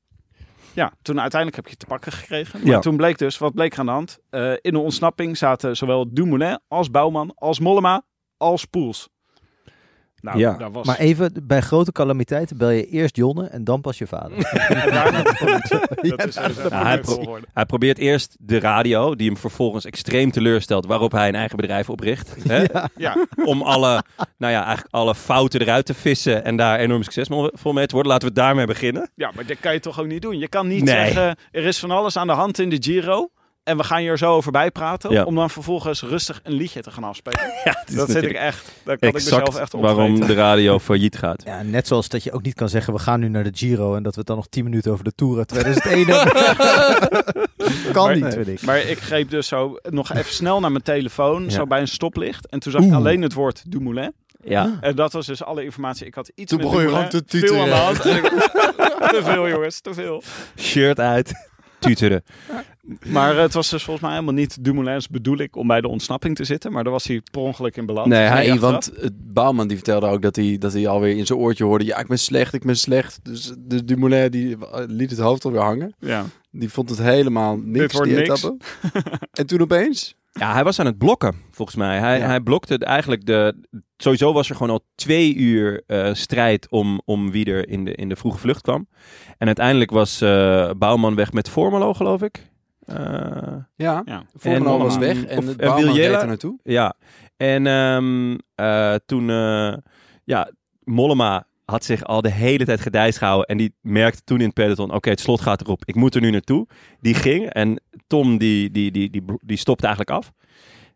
Speaker 5: Ja, toen uiteindelijk heb je te pakken gekregen. Maar
Speaker 1: Ja.
Speaker 5: toen bleek dus, wat bleek er aan de hand? Eh, in de ontsnapping zaten zowel Dumoulin als Bouwman, als Mollema, als Poels. Nou,
Speaker 1: Ja,
Speaker 5: daar was...
Speaker 2: Maar even, bij grote calamiteiten bel je eerst Jonne en dan pas je vader.
Speaker 5: en daarna de [laughs] politie. Dat is eh,
Speaker 1: Nou, hij pro-
Speaker 5: geworden.
Speaker 1: Hij probeert eerst de radio, die hem vervolgens extreem teleurstelt, waarop hij een eigen bedrijf opricht. Hè?
Speaker 5: Ja,
Speaker 1: Om alle, nou ja, eigenlijk alle fouten eruit te vissen en daar enorm succesvol mee te worden. Laten we daarmee beginnen.
Speaker 5: ja, maar dat kan je toch ook niet doen? Je kan niet
Speaker 1: Nee.
Speaker 5: zeggen, er is van alles aan de hand in de Giro... en we gaan hier zo over bijpraten...
Speaker 1: Ja.
Speaker 5: om dan vervolgens rustig een liedje te gaan afspelen.
Speaker 1: [laughs] Ja, het is
Speaker 5: dat zit ik
Speaker 1: natuurlijk
Speaker 5: echt... Daar kan ik
Speaker 1: exact
Speaker 5: mezelf echt op
Speaker 1: waarom de radio failliet gaat.
Speaker 2: Ja, net zoals dat je ook niet kan zeggen, we gaan nu naar de Giro en dat we het dan nog 10 minuten over de Tour uit 2001 hebben. kan
Speaker 5: Maar-
Speaker 2: niet, vind ik.
Speaker 5: Maar ik greep dus zo nog even snel naar mijn telefoon,
Speaker 1: Ja.
Speaker 5: zo bij een stoplicht. En toen zag ik alleen het woord Dumoulin.
Speaker 1: Ja,
Speaker 5: En dat was dus alle informatie. Ik had iets
Speaker 6: Toen
Speaker 5: met
Speaker 6: begon je
Speaker 5: Dumoulin.
Speaker 6: gewoon te tuteren.
Speaker 5: Veel
Speaker 6: [laughs]
Speaker 5: aan de hand. En ik- [laughs] te veel jongens, te veel.
Speaker 1: shirt uit, tuteren.
Speaker 5: Maar het was dus volgens mij helemaal niet Dumoulin's bedoeling om bij de ontsnapping te zitten. Maar daar was hij per ongeluk in beland.
Speaker 6: Nee,
Speaker 5: Dus
Speaker 6: hij,
Speaker 5: achteraf-
Speaker 6: want het Bouwman die vertelde ook dat hij, dat hij alweer in zijn oortje hoorde... ja, ik ben slecht, ik ben slecht. Dus de Dumoulin die eh, liet het hoofd alweer hangen.
Speaker 5: Ja.
Speaker 6: Die vond het helemaal niks,
Speaker 5: Dit wordt
Speaker 6: die
Speaker 5: niks. [laughs]
Speaker 6: etappe. en toen opeens...
Speaker 1: Ja, hij was aan het blokken, volgens mij. Hij,
Speaker 6: Ja.
Speaker 1: hij blokte eigenlijk de... Sowieso was er gewoon al twee uur eh, strijd om, om wie er in de, in de vroege vlucht kwam. En uiteindelijk was eh, Bouwman weg met Formelo, geloof ik. Eh,
Speaker 6: Ja,
Speaker 5: Ja.
Speaker 6: Formelo
Speaker 1: En-
Speaker 6: was weg
Speaker 5: Of-
Speaker 6: en het
Speaker 1: en
Speaker 6: Bouwman reed
Speaker 1: Wiljela?
Speaker 6: er naartoe.
Speaker 1: ja. En ehm, eh, toen... eh, ja, Mollema had zich al de hele tijd gedijs gehouden. En die merkte toen in het peloton... Oké, het slot gaat erop. Ik moet er nu naartoe. Die ging. En Tom, die, die, die, die, die stopte eigenlijk af.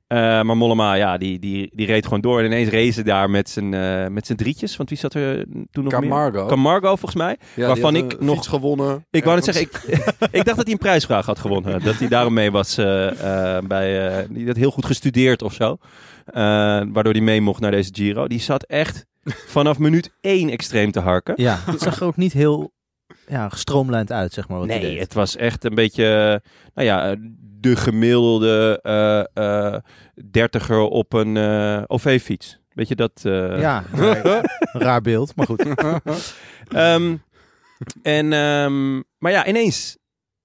Speaker 1: Eh, maar Mollema, ja, die, die, die reed gewoon door. En ineens racen daar met zijn, eh, met zijn drietjes. Want wie zat er eh, toen nog meer?
Speaker 6: Camargo.
Speaker 1: Camargo, volgens mij.
Speaker 6: Ja, die
Speaker 1: waarvan
Speaker 6: had
Speaker 1: ik
Speaker 6: een
Speaker 1: nog-
Speaker 6: fiets gewonnen.
Speaker 1: Ik wou net zeggen, ik, [laughs] ik dacht dat hij een prijsvraag had gewonnen. Dat hij daarom mee was eh, eh, bij... eh, die had heel goed gestudeerd of zo. Eh, waardoor hij mee mocht naar deze Giro. Die zat echt vanaf minuut één extreem te harken.
Speaker 2: Ja, het zag er ook niet heel ja, gestroomlijnd uit, zeg maar. Wat hij
Speaker 1: Nee,
Speaker 2: deed.
Speaker 1: het was echt een beetje, eh, nou ja, de gemiddelde eh, eh, dertiger op een eh, OV-fiets. Weet je dat? eh?
Speaker 2: Ja, maar- raar beeld, maar goed.
Speaker 1: Ehm, en, ehm, maar ja, ineens,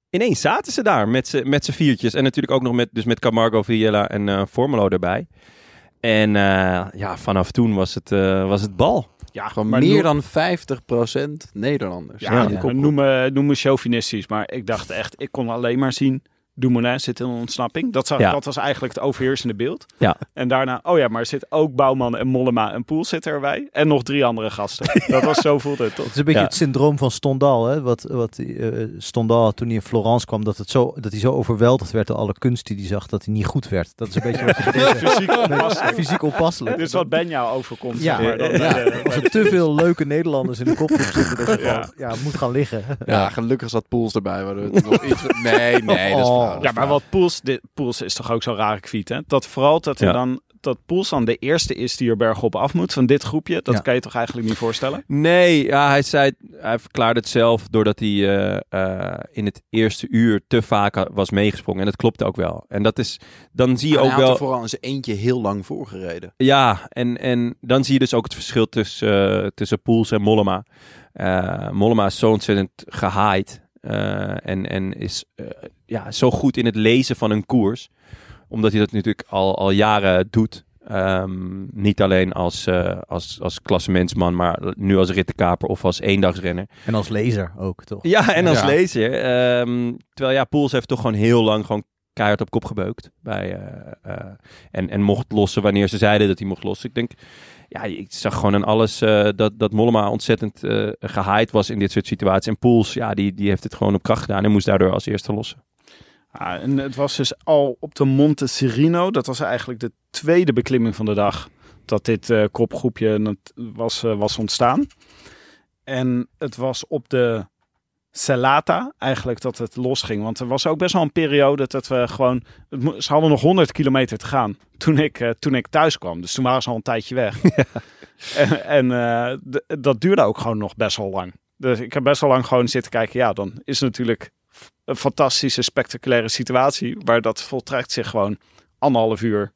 Speaker 1: ineens zaten ze daar met z'n met z'n viertjes. En natuurlijk ook nog met, dus met Camargo, Viella en eh Formelo erbij. En eh, ja, vanaf toen was het, eh, was het bal.
Speaker 5: ja,
Speaker 6: Gewoon
Speaker 5: maar
Speaker 6: meer
Speaker 5: noem-
Speaker 6: dan 50% Nederlanders.
Speaker 5: Ja,
Speaker 2: ja.
Speaker 5: maar Noem, me, noem me chauvinistisch. Maar ik dacht echt, ik kon alleen maar zien... Dumoulin zit in een ontsnapping. Dat, zag,
Speaker 1: Ja.
Speaker 5: dat was eigenlijk het overheersende beeld.
Speaker 1: Ja.
Speaker 5: En daarna, oh ja, maar er zit ook Bouwman en Mollema en Poel zitten erbij. En nog drie andere gasten.
Speaker 2: [laughs]
Speaker 5: Dat was zo voelt het
Speaker 2: Het
Speaker 5: toch?
Speaker 2: is een beetje
Speaker 1: Ja.
Speaker 2: het syndroom van Stendhal. Hè? Wat, wat eh, Stendhal had toen hij in Florence kwam, dat, het zo, dat hij zo overweldigd werd door alle kunst die hij zag, dat hij niet goed werd. Dat is een beetje wat je deze-
Speaker 5: [laughs] Fysiek onpasselijk.
Speaker 2: fysiek onpasselijk.
Speaker 5: Dit is wat Ben jou overkomt.
Speaker 2: Ja.
Speaker 5: zeg maar, dan,
Speaker 2: Ja.
Speaker 5: eh,
Speaker 2: Als er te veel leuke Nederlanders in de kopgroep zitten, dat je
Speaker 5: Ja.
Speaker 2: gewoon, ja, moet gaan liggen.
Speaker 6: Ja, gelukkig zat Pools erbij. waardoor het nog iets... Nee, nee, dat is
Speaker 2: Oh.
Speaker 6: flauw, dat is
Speaker 5: Ja, maar
Speaker 6: flauw.
Speaker 5: wat Poels, dit, Poels is toch ook zo'n rare kwiet, hè? Dat vooral dat hij
Speaker 1: Ja.
Speaker 5: dan dat Poels dan de eerste is die er bergop af moet van dit groepje. Dat
Speaker 2: Ja.
Speaker 5: kan je toch eigenlijk niet voorstellen?
Speaker 1: Nee, ja, hij, zei, hij verklaarde het zelf doordat hij eh, eh, in het eerste uur te vaak ha- was meegesprongen. En dat klopte ook wel. En dat is, dan zie je
Speaker 6: En
Speaker 1: ook
Speaker 6: Ah, hij had
Speaker 1: wel.
Speaker 6: er vooral in zijn eentje heel lang voor gereden.
Speaker 1: Ja, en, en dan zie je dus ook het verschil tussen, eh, tussen Poels en Mollema. Eh, Mollema is zo ontzettend gehaaid. eh, en, en is eh, ja, zo goed in het lezen van een koers. Omdat hij dat natuurlijk al, al jaren doet. Ehm, niet alleen als, eh als, als klassementsman, maar nu als rittenkaper of als eendagsrenner.
Speaker 2: En als lezer ook, toch?
Speaker 1: Ja, en als
Speaker 6: Ja.
Speaker 1: lezer. ehm, terwijl ja, Poels heeft toch gewoon heel lang gewoon keihard op kop gebeukt. Bij, eh, eh, en, en mocht lossen wanneer ze zeiden dat hij mocht lossen. Ik denk, ja, ik zag gewoon aan alles eh, dat, dat Mollema ontzettend eh gehaaid was in dit soort situaties. En Poels, ja, die, die heeft het gewoon op kracht gedaan en moest daardoor als eerste lossen.
Speaker 5: Ja, en het was dus al op de Monte Serino. Dat was eigenlijk de tweede beklimming van de dag. Dat dit eh, kopgroepje nat- was, eh, was ontstaan. En het was op de Celata eigenlijk dat het losging. Want er was ook best wel een periode dat we gewoon... het mo- Ze hadden nog 100 kilometer te gaan toen ik, eh, toen ik thuis kwam. Dus toen waren ze al een tijdje weg. En, en eh, d- dat duurde ook gewoon nog best wel lang. Dus ik heb best wel lang gewoon zitten kijken. Ja, dan is natuurlijk f- een fantastische, spectaculaire situatie. Maar dat voltrekt zich gewoon anderhalf uur.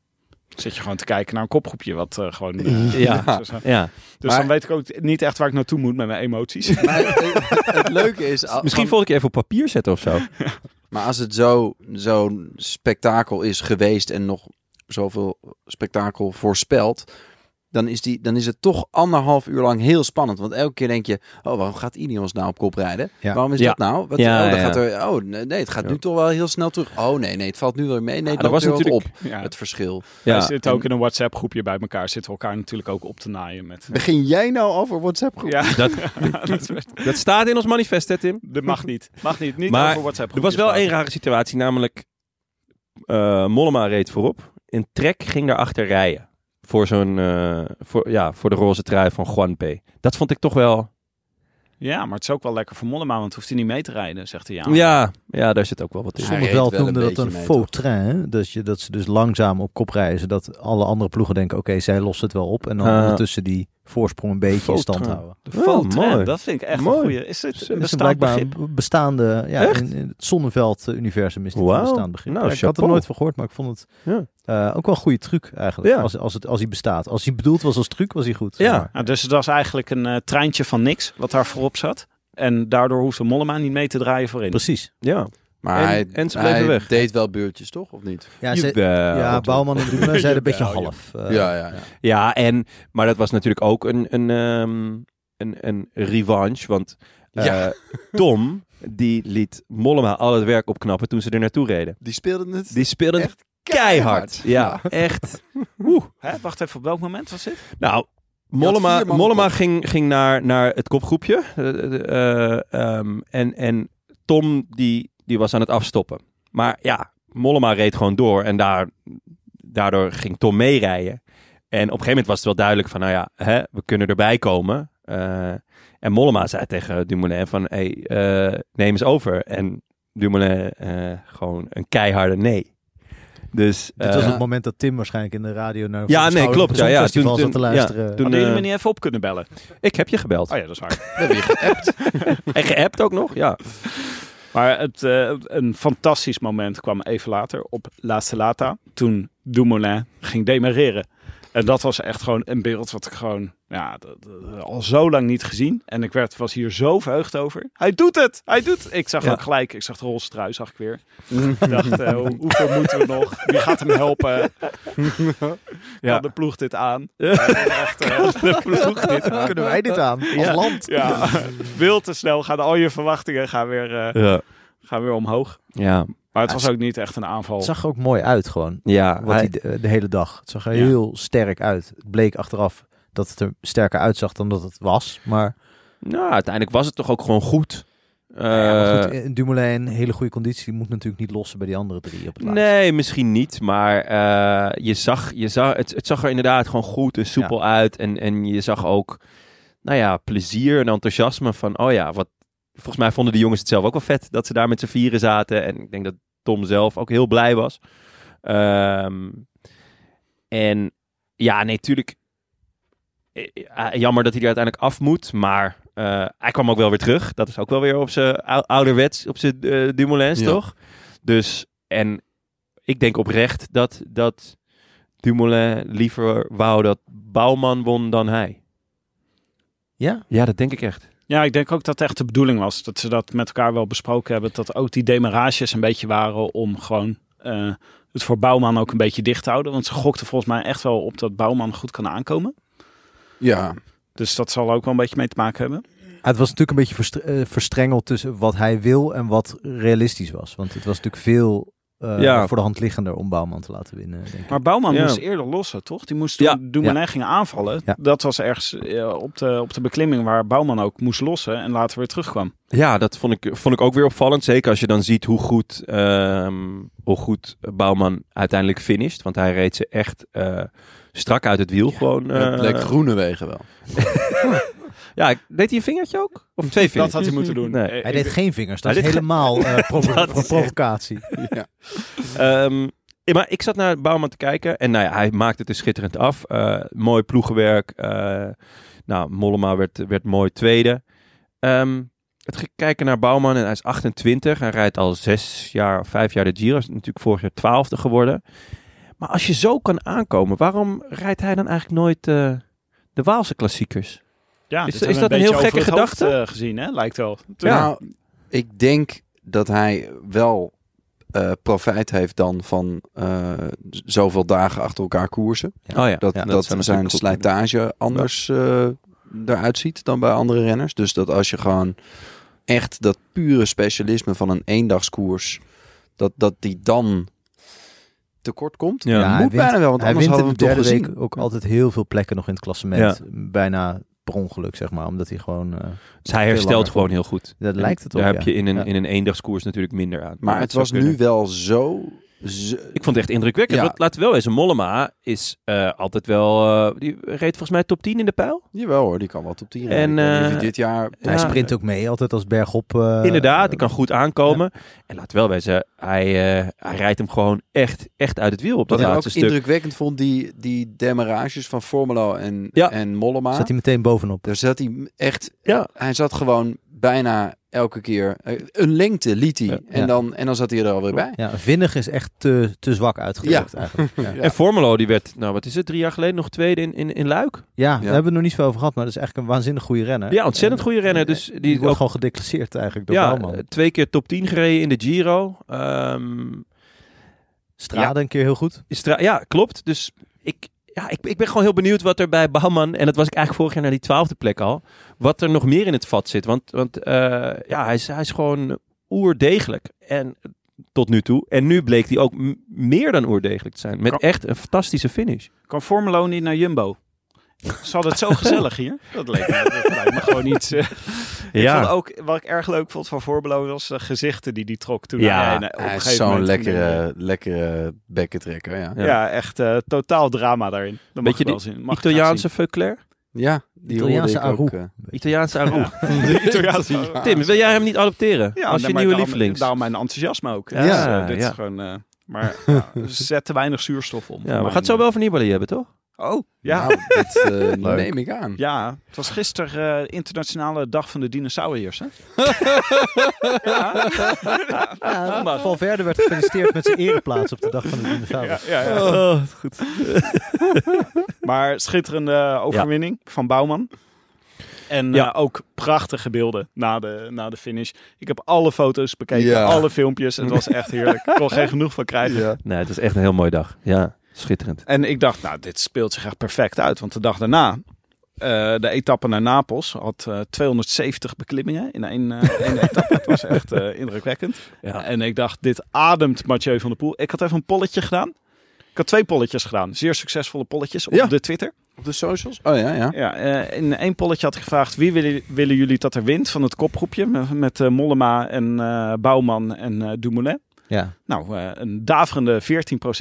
Speaker 5: Zit je gewoon te kijken naar een kopgroepje. Wat eh, gewoon. eh, [laughs]
Speaker 1: Ja.
Speaker 5: zo is, hè.
Speaker 1: Ja.
Speaker 5: Dus
Speaker 6: Maar-
Speaker 5: dan weet ik ook niet echt waar ik naartoe moet met mijn
Speaker 1: [laughs]
Speaker 5: emoties.
Speaker 6: Maar het, het leuke is... al-
Speaker 1: Misschien
Speaker 6: van-
Speaker 1: volgende keer even op papier zetten
Speaker 5: [laughs]
Speaker 1: of zo.
Speaker 6: Maar als het zo- zo'n spektakel is geweest en nog zoveel spektakel voorspelt, dan is, die, dan is het toch anderhalf uur lang heel spannend. Want elke keer denk je, oh, waarom gaat Ineos nou op kop rijden?
Speaker 2: Ja.
Speaker 6: Waarom is
Speaker 1: Ja.
Speaker 6: dat nou? Wat,
Speaker 1: Ja,
Speaker 6: oh, dan
Speaker 1: ja,
Speaker 6: gaat er, oh, nee, nee, het gaat nu
Speaker 1: Ja.
Speaker 6: toch wel heel snel terug. Oh, nee, nee, het valt nu weer mee. Nee,
Speaker 1: Ah, dat
Speaker 6: het loopt
Speaker 1: was
Speaker 6: weer wat
Speaker 1: natuurlijk-
Speaker 6: op,
Speaker 5: Ja.
Speaker 6: het verschil.
Speaker 5: Ja.
Speaker 1: Ja.
Speaker 5: zitten ook in een WhatsApp-groepje bij elkaar. Zitten we elkaar natuurlijk ook op te naaien met...
Speaker 2: Begin jij nou over WhatsApp groep?
Speaker 5: Ja,
Speaker 1: Dat,
Speaker 5: dat is best-
Speaker 1: dat staat in ons manifest, hè, Tim?
Speaker 5: dat mag niet. Mag niet. Niet
Speaker 1: Maar
Speaker 5: over WhatsApp
Speaker 1: Er was wel één rare situatie, namelijk eh, Mollema reed voorop. En Trek ging daarachter rijden. Voor, zo'n, eh, voor, ja, voor de roze trui van Juan P. Dat vond ik toch wel...
Speaker 5: Ja, maar het is ook wel lekker voor Mollema, want hoeft hij niet mee te rijden, zegt hij. Ja,
Speaker 1: Ja, ja daar zit ook wel wat in.
Speaker 6: Hij
Speaker 2: Sommige
Speaker 6: reed
Speaker 2: wel
Speaker 6: wel een
Speaker 2: noemden dat
Speaker 6: beetje
Speaker 2: een
Speaker 6: mee,
Speaker 2: faux train. hè? Dat, je, dat ze dus langzaam op kop rijden. Zodat alle andere ploegen denken, oké, zij lost het wel op. En dan
Speaker 1: Ah.
Speaker 2: ondertussen die voorsprong een beetje in
Speaker 1: Faux
Speaker 2: stand
Speaker 1: train.
Speaker 2: houden.
Speaker 5: De
Speaker 1: Oh,
Speaker 5: foto,
Speaker 1: mooi.
Speaker 5: dat vind ik echt
Speaker 1: Mooi.
Speaker 5: een goeie. Is het
Speaker 2: Dat
Speaker 5: een
Speaker 2: is een
Speaker 5: bestaand
Speaker 2: blijkbaar
Speaker 5: begrip?
Speaker 2: een bestaande... Ja,
Speaker 1: Echt?
Speaker 2: in, in het Zonneveld-universum is dit
Speaker 1: Wauw.
Speaker 2: een bestaand begrip.
Speaker 1: Nou,
Speaker 2: Ja, ik had er
Speaker 1: chapeau.
Speaker 2: nooit van gehoord, maar ik vond het
Speaker 1: Ja.
Speaker 2: eh, ook wel een goede truc eigenlijk.
Speaker 1: Ja.
Speaker 2: Als, als, het, als hij bestaat. Als hij bedoeld was als truc, was hij goed. zeg
Speaker 1: Ja.
Speaker 2: maar.
Speaker 5: Nou, dus het was eigenlijk een eh, treintje van niks, wat daar voorop zat. En daardoor hoefde Mollema niet mee te draaien voorin.
Speaker 2: Precies.
Speaker 1: Ja.
Speaker 6: Maar
Speaker 1: En-
Speaker 6: hij,
Speaker 1: en ze bleven
Speaker 6: hij
Speaker 1: weg.
Speaker 6: deed wel buurtjes, toch? Of niet?
Speaker 2: Ja, ze,
Speaker 1: Jawel.
Speaker 2: ja Bouwman en [laughs] Doemler zeiden een beetje half. eh,
Speaker 6: ja, ja, ja.
Speaker 1: Ja, en, maar dat was natuurlijk ook een, een, ehm, een, een revanche. Want eh,
Speaker 6: Ja.
Speaker 1: Tom, die liet Mollema al het werk opknappen toen ze er naartoe reden.
Speaker 6: Die speelde het
Speaker 1: Die speelden het
Speaker 6: Echt
Speaker 1: keihard. Ja, echt. Oeh.
Speaker 5: Hè, wacht even, op welk moment was dit?
Speaker 1: Nou,
Speaker 6: had
Speaker 1: Mollema,
Speaker 6: vier man
Speaker 1: Mollema
Speaker 6: op.
Speaker 1: ging, ging naar, naar het kopgroepje. Eh, eh, eh, ehm, en, en Tom die, die was aan het afstoppen. Maar ja, Mollema reed gewoon door. En daar, daardoor ging Tom meerijden. En op een gegeven moment was het wel duidelijk van... Nou ja, hè, we kunnen erbij komen. Eh, en Mollema zei tegen Dumoulin van... Hey, eh, neem eens over. En Dumoulin eh, gewoon een keiharde nee. Dus,
Speaker 2: Dit was
Speaker 1: eh,
Speaker 2: het moment dat Tim waarschijnlijk in de radio naar
Speaker 1: Ja, nee, klopt. Ja, ja.
Speaker 2: festival
Speaker 1: Toen-
Speaker 2: zat te
Speaker 1: toen-
Speaker 2: luisteren.
Speaker 1: ja, toen-
Speaker 5: Toen Hadden jullie
Speaker 1: eh,
Speaker 5: me niet even op kunnen bellen?
Speaker 1: ik heb je gebeld.
Speaker 5: Oh ja, dat is waar.
Speaker 1: En geappt ook nog, ja.
Speaker 5: Maar het, eh, een fantastisch moment kwam even later op La Salata. Toen Dumoulin ging demareren. En dat was echt gewoon een beeld wat ik gewoon ja, d- d- al zo lang niet gezien. En ik werd, was hier zo verheugd over. Hij doet het! Hij doet het! Ik zag
Speaker 1: Ja.
Speaker 5: ook gelijk, ik zag de roze trui, zag ik weer. ik dacht, eh, hoe- hoeveel moeten we nog? Wie gaat hem helpen?
Speaker 1: Ja.
Speaker 5: Kan de ploeg dit aan? Echt, eh, de ploeg dit
Speaker 2: [laughs]
Speaker 5: aan.
Speaker 2: Kunnen wij dit aan? Als land?
Speaker 5: Ja, veel te snel gaan al je verwachtingen gaan weer, eh,
Speaker 1: Ja,
Speaker 5: gaan weer omhoog.
Speaker 1: ja.
Speaker 5: Maar het was ook niet echt een aanval.
Speaker 2: Het zag er ook mooi uit gewoon.
Speaker 1: ja
Speaker 2: Wat hij de, de hele dag. Het zag er
Speaker 5: Ja.
Speaker 2: heel sterk uit. Het bleek achteraf dat het er sterker uitzag dan dat het was. Maar,
Speaker 1: nou, uiteindelijk was het toch ook gewoon goed.
Speaker 2: ja, maar goed,
Speaker 1: Eh,
Speaker 2: eh, Dumoulin, een hele goede conditie, moet natuurlijk niet lossen bij die andere drie op het laatst.
Speaker 1: nee, misschien niet. Maar eh, je zag, je zag, het, het zag er inderdaad gewoon goed en soepel uit. En, en je zag ook, nou ja, plezier en enthousiasme van, oh ja, wat... Volgens mij vonden de jongens het zelf ook wel vet dat ze daar met z'n vieren zaten. En ik denk dat Tom zelf ook heel blij was. Ehm, en ja, nee, tuurlijk. eh, eh, Jammer dat hij er uiteindelijk af moet. Maar eh, hij kwam ook wel weer terug. Dat is ook wel weer op zijn ou- ouderwets, op zijn eh Dumoulins,
Speaker 6: Ja.
Speaker 1: toch? Dus, en ik denk oprecht dat, dat Dumoulin liever wou dat Bouwman won dan hij.
Speaker 2: Ja?
Speaker 1: Ja, dat denk ik echt.
Speaker 5: Ja, ik denk ook dat het echt de bedoeling was. Dat ze dat met elkaar wel besproken hebben. Dat ook die demarages een beetje waren om gewoon eh, het voor Bouwman ook een beetje dicht te houden. Want ze gokten volgens mij echt wel op dat Bouwman goed kan aankomen.
Speaker 6: Ja,
Speaker 5: Dus dat zal ook wel een beetje mee te maken hebben.
Speaker 2: Ah, het was natuurlijk een beetje verstre- eh, verstrengeld tussen wat hij wil en wat realistisch was. Want het was natuurlijk veel eh,
Speaker 1: Ja.
Speaker 2: voor de hand liggender om Bouwman te laten winnen, denk ik.
Speaker 5: Maar Bouwman
Speaker 1: Ja.
Speaker 5: moest eerder lossen, toch? Die moest
Speaker 1: Ja.
Speaker 5: toen Dumoulin ging aanvallen.
Speaker 2: Ja.
Speaker 5: Dat was ergens eh, op, de, op de beklimming waar Bouwman ook moest lossen en later weer terugkwam.
Speaker 1: Ja, dat vond ik, vond ik ook weer opvallend. Zeker als je dan ziet hoe goed, ehm, hoe goed Bouwman uiteindelijk finisht. Want hij reed ze echt eh, strak uit het wiel. gewoon, eh,
Speaker 6: het leek groene wegen wel.
Speaker 1: Ja, ik- deed hij een vingertje ook? Of twee
Speaker 5: Dat
Speaker 1: vingers?
Speaker 5: had hij moeten doen.
Speaker 1: Nee.
Speaker 5: Eh,
Speaker 2: Hij
Speaker 5: ik-
Speaker 2: deed geen vingers. Dat
Speaker 1: Hij
Speaker 2: is
Speaker 1: deed-
Speaker 2: helemaal
Speaker 1: [laughs]
Speaker 2: eh, provo-
Speaker 1: Dat is Oh echt- [laughs]
Speaker 2: provocatie.
Speaker 1: Ehm, ja, maar ik zat naar Bouwman te kijken. En nou ja, hij maakte het dus schitterend af. Eh, mooi ploegenwerk. Eh, nou, Mollema werd, werd mooi tweede. Ehm, het ging kijken naar Bouwman en hij is 28. Hij rijdt al zes jaar, vijf jaar de Giro. Hij is natuurlijk vorig jaar twaalfde geworden. Maar als je zo kan aankomen, waarom rijdt hij dan eigenlijk nooit eh, de Waalse klassiekers?
Speaker 5: Ja, dus
Speaker 1: Is-
Speaker 5: hebben
Speaker 1: is
Speaker 5: we
Speaker 1: dat een
Speaker 5: beetje
Speaker 1: heel gekke
Speaker 5: over het hoofd,
Speaker 1: gedachte?
Speaker 5: eh, gezien, hè? Lijkt wel.
Speaker 1: Ja.
Speaker 6: Nou, ik denk dat hij wel eh, profijt heeft dan van eh, z- zoveel dagen achter elkaar koersen.
Speaker 1: oh ja,
Speaker 6: Dat,
Speaker 1: ja,
Speaker 6: dat,
Speaker 1: zou
Speaker 6: zijn
Speaker 1: natuurlijk goed kunnen.
Speaker 6: slijtage anders eh eruit ziet dan bij andere renners. Dus dat als je gewoon echt dat pure specialisme van een eendagskoers, dat, dat die dan tekort komt.
Speaker 1: Ja.
Speaker 6: moet
Speaker 2: hij wint-
Speaker 6: bijna wel, want
Speaker 2: hij
Speaker 6: anders
Speaker 2: wint in
Speaker 6: hadden
Speaker 2: de
Speaker 6: we hem
Speaker 2: derde
Speaker 6: toch gezien.
Speaker 2: week ook altijd heel veel plekken nog in het klassement. Bijna per ongeluk, zeg maar. Omdat hij gewoon... eh,
Speaker 1: Dus hij
Speaker 2: veel
Speaker 1: herstelt
Speaker 2: langer
Speaker 1: gewoon heel goed.
Speaker 2: dat
Speaker 1: En
Speaker 2: lijkt het op,
Speaker 1: Daar
Speaker 2: ja.
Speaker 1: heb je in een,
Speaker 2: Ja.
Speaker 1: in een eendagskoers natuurlijk minder aan.
Speaker 6: Maar het
Speaker 1: zou
Speaker 6: was nu
Speaker 1: kunnen.
Speaker 6: wel zo... zo-
Speaker 1: Ik vond het echt indrukwekkend.
Speaker 6: Ja.
Speaker 1: Want laten we wel eens, Mollema is eh, altijd wel... eh, die reed volgens mij top 10 in de pijl.
Speaker 6: Jawel hoor, die kan wat op 10
Speaker 1: En, eh,
Speaker 6: dit jaar...
Speaker 1: Ja.
Speaker 2: Hij sprint ook mee altijd als bergop. eh,
Speaker 1: Inderdaad, die kan goed aankomen. En laten we wel wezen, hij, eh, hij rijdt hem gewoon echt, echt uit het wiel op dat
Speaker 6: Wat ik ook
Speaker 1: laatste stuk.
Speaker 6: indrukwekkend vond, die, die demarages van Formelo en,
Speaker 1: Ja.
Speaker 6: en Mollema.
Speaker 2: Zat hij meteen bovenop.
Speaker 6: Daar zat hij echt...
Speaker 1: Ja.
Speaker 6: Hij zat gewoon bijna elke keer... eh, Een lengte liet hij.
Speaker 1: Ja.
Speaker 6: En,
Speaker 2: Ja.
Speaker 6: Dan, en dan zat hij er alweer bij.
Speaker 2: Ja, Vinnig is echt te, te zwak uitgedrukt eigenlijk. Ja, ja.
Speaker 6: Ja.
Speaker 1: En Formelo, die werd, nou wat is het, drie jaar geleden nog tweede in, in, in Luik.
Speaker 6: [laughs]
Speaker 2: daar hebben we het nog niet veel over gehad, maar dat is eigenlijk een waanzinnig goede renner.
Speaker 1: Ja, ontzettend goede renner.
Speaker 2: en-
Speaker 1: Dus die,
Speaker 2: Die, wordt
Speaker 1: ook-
Speaker 2: gewoon gedeclasseerd eigenlijk door
Speaker 1: ja,
Speaker 2: Bouwman.
Speaker 1: eh, twee keer top 10 gereden in de Giro. Ehm,
Speaker 2: Strade een keer heel goed.
Speaker 1: is tra- ja, klopt. Dus ik, ja, ik, ik ben gewoon heel benieuwd wat er bij Bouwman, en dat was ik eigenlijk vorig jaar naar die twaalfde plek al, wat er nog meer in het vat zit. Want, want eh, ja, hij is, hij is gewoon oerdegelijk. En tot nu toe. En nu bleek hij ook m- meer dan oerdegelijk te zijn. Met
Speaker 5: Kan-
Speaker 1: echt een fantastische finish.
Speaker 5: Kan Formelo niet naar Jumbo? Ze hadden [laughs] het zo gezellig hier. Dat leek me, dat lijkt me gewoon iets... eh. Ik vond ook, wat ik erg leuk vond van Formelo was de gezichten die die trok toen.
Speaker 1: Ja,
Speaker 5: hij, eh, op een
Speaker 6: Hij is
Speaker 5: gegeven
Speaker 6: zo'n
Speaker 5: moment-
Speaker 6: lekkere, lekkere bekkentrekker, ja.
Speaker 1: Ja.
Speaker 5: Ja, echt eh, totaal drama daarin. Dat mag
Speaker 1: Beetje
Speaker 5: je wel
Speaker 1: die
Speaker 5: zien. Mag ik graag
Speaker 1: Italiaanse Veuclair.
Speaker 6: Ja, die
Speaker 2: Italiaanse
Speaker 6: hoorde ik ook.
Speaker 2: Aru.
Speaker 6: eh.
Speaker 1: Italiaanse Aru.
Speaker 5: zien. De [laughs] Italiaanse...
Speaker 1: Tim, wil jij hem niet adopteren?
Speaker 5: Ja,
Speaker 1: als je
Speaker 5: nee, maar
Speaker 1: nieuwe
Speaker 5: daarom-
Speaker 1: lievelings.
Speaker 5: Daarom mijn enthousiasme ook.
Speaker 1: Ja,
Speaker 5: Ja, dit
Speaker 1: ja.
Speaker 5: is gewoon... eh,
Speaker 1: [laughs]
Speaker 5: maar ja, zet te weinig zuurstof om.
Speaker 1: Ja, we gaan het zo wel van Nibali hebben, toch?
Speaker 5: Oh, ja.
Speaker 6: Nou, dat
Speaker 1: [laughs]
Speaker 6: eh, neem ik aan.
Speaker 5: Ja, het was gisteren eh, internationale dag van de dinosauriërs. Hè?
Speaker 2: Ja, Valverde werd gefeliciteerd met zijn ereplaats op de dag van de dinosaurus.
Speaker 5: ja, ja. [laughs] Maar schitterende overwinning van Bouwman. En
Speaker 1: Ja.
Speaker 5: eh, ook prachtige beelden na de, na de finish. Ik heb alle foto's bekeken,
Speaker 6: Ja.
Speaker 5: alle filmpjes. Het was echt heerlijk. Ik kon geen genoeg van krijgen.
Speaker 1: Nee, het is echt een heel mooie dag. Ja, schitterend.
Speaker 5: En ik dacht, nou, dit speelt zich echt perfect uit. Want de dag daarna, eh, de etappe naar Napels, had eh, 270 beklimmingen in één, eh, één etappe. Het was echt eh, indrukwekkend.
Speaker 1: Ja.
Speaker 5: En ik dacht, dit ademt Mathieu van der Poel. Ik had even een polletje gedaan. Ik had twee polletjes gedaan. Zeer succesvolle polletjes op
Speaker 6: Ja.
Speaker 5: de Twitter.
Speaker 6: Op de socials? Oh ja, ja.
Speaker 5: Ja, eh, in één polletje had ik gevraagd, wie willen, willen jullie dat er wint van het kopgroepje? Met, met eh, Mollema en eh, Bouwman en eh Dumoulin.
Speaker 2: Ja.
Speaker 5: Nou, eh, een daverende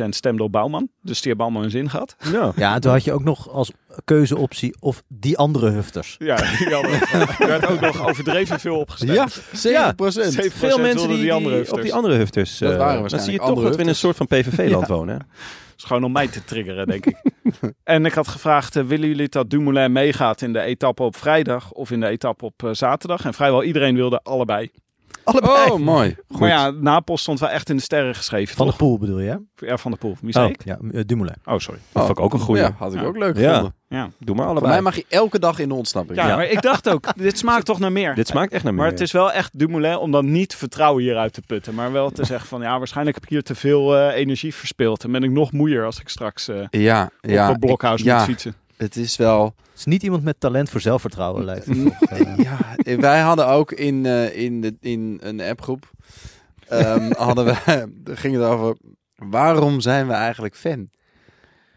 Speaker 5: 14% stemde op Bouwman. Dus die hebben allemaal hun zin gehad.
Speaker 2: ja, en toen had je ook nog als keuzeoptie of die andere hufters.
Speaker 5: Ja, [laughs] jammer. er werd ook nog overdreven veel opgestemd.
Speaker 6: Ja, 7 procent.
Speaker 5: 7%
Speaker 1: Veel mensen
Speaker 5: wilden
Speaker 1: die, die
Speaker 5: hufters.
Speaker 1: op die andere
Speaker 5: dus,
Speaker 1: hufters...
Speaker 6: Dat
Speaker 1: eh,
Speaker 6: waren
Speaker 1: Dan zie je
Speaker 6: waarschijnlijk
Speaker 1: toch
Speaker 6: andere
Speaker 1: dat we in een soort van PVV-land wonen. hè?
Speaker 5: Dat is gewoon om mij te triggeren, denk ik. [laughs] en ik had gevraagd, eh, willen jullie dat Dumoulin meegaat in de etappe op vrijdag of in de etappe op eh, zaterdag? En vrijwel iedereen wilde allebei.
Speaker 6: Allebei. Oh, mooi.
Speaker 5: Maar ja, Napels stond wel echt in de sterren geschreven,
Speaker 2: Van de
Speaker 5: toch?
Speaker 2: Poel bedoel je, hè?
Speaker 5: ja, van de Poel. Wie zei
Speaker 1: Oh.
Speaker 5: ik?
Speaker 2: Ja, eh, Dumoulin.
Speaker 5: Oh, sorry.
Speaker 1: Dat vond ik ook een goede.
Speaker 6: Ja, had ik
Speaker 5: Ja.
Speaker 6: ook leuk
Speaker 1: Ja.
Speaker 6: gevonden.
Speaker 1: Doe maar
Speaker 6: Voor
Speaker 1: allebei.
Speaker 6: mij mag je elke dag in de ontsnapping.
Speaker 5: Ja, maar ik dacht ook, [laughs] dit smaakt toch naar meer.
Speaker 1: Dit smaakt echt naar meer.
Speaker 5: maar het is wel echt Dumoulin om dan niet vertrouwen hieruit te putten. Maar wel te zeggen van, ja, waarschijnlijk heb ik hier te veel eh, energie verspild. En ben ik nog moeier als ik straks eh,
Speaker 6: Ja, ja.
Speaker 5: op een blokhuis
Speaker 6: ik- ja.
Speaker 5: moet fietsen.
Speaker 6: Het is wel...
Speaker 2: Het is niet iemand met talent voor zelfvertrouwen, lijkt het. toch, eh.
Speaker 6: Ja, [laughs] wij hadden ook in, eh, in, de, in een appgroep.
Speaker 5: [laughs]
Speaker 6: ehm hadden wij, ging het over. Waarom zijn we eigenlijk fan?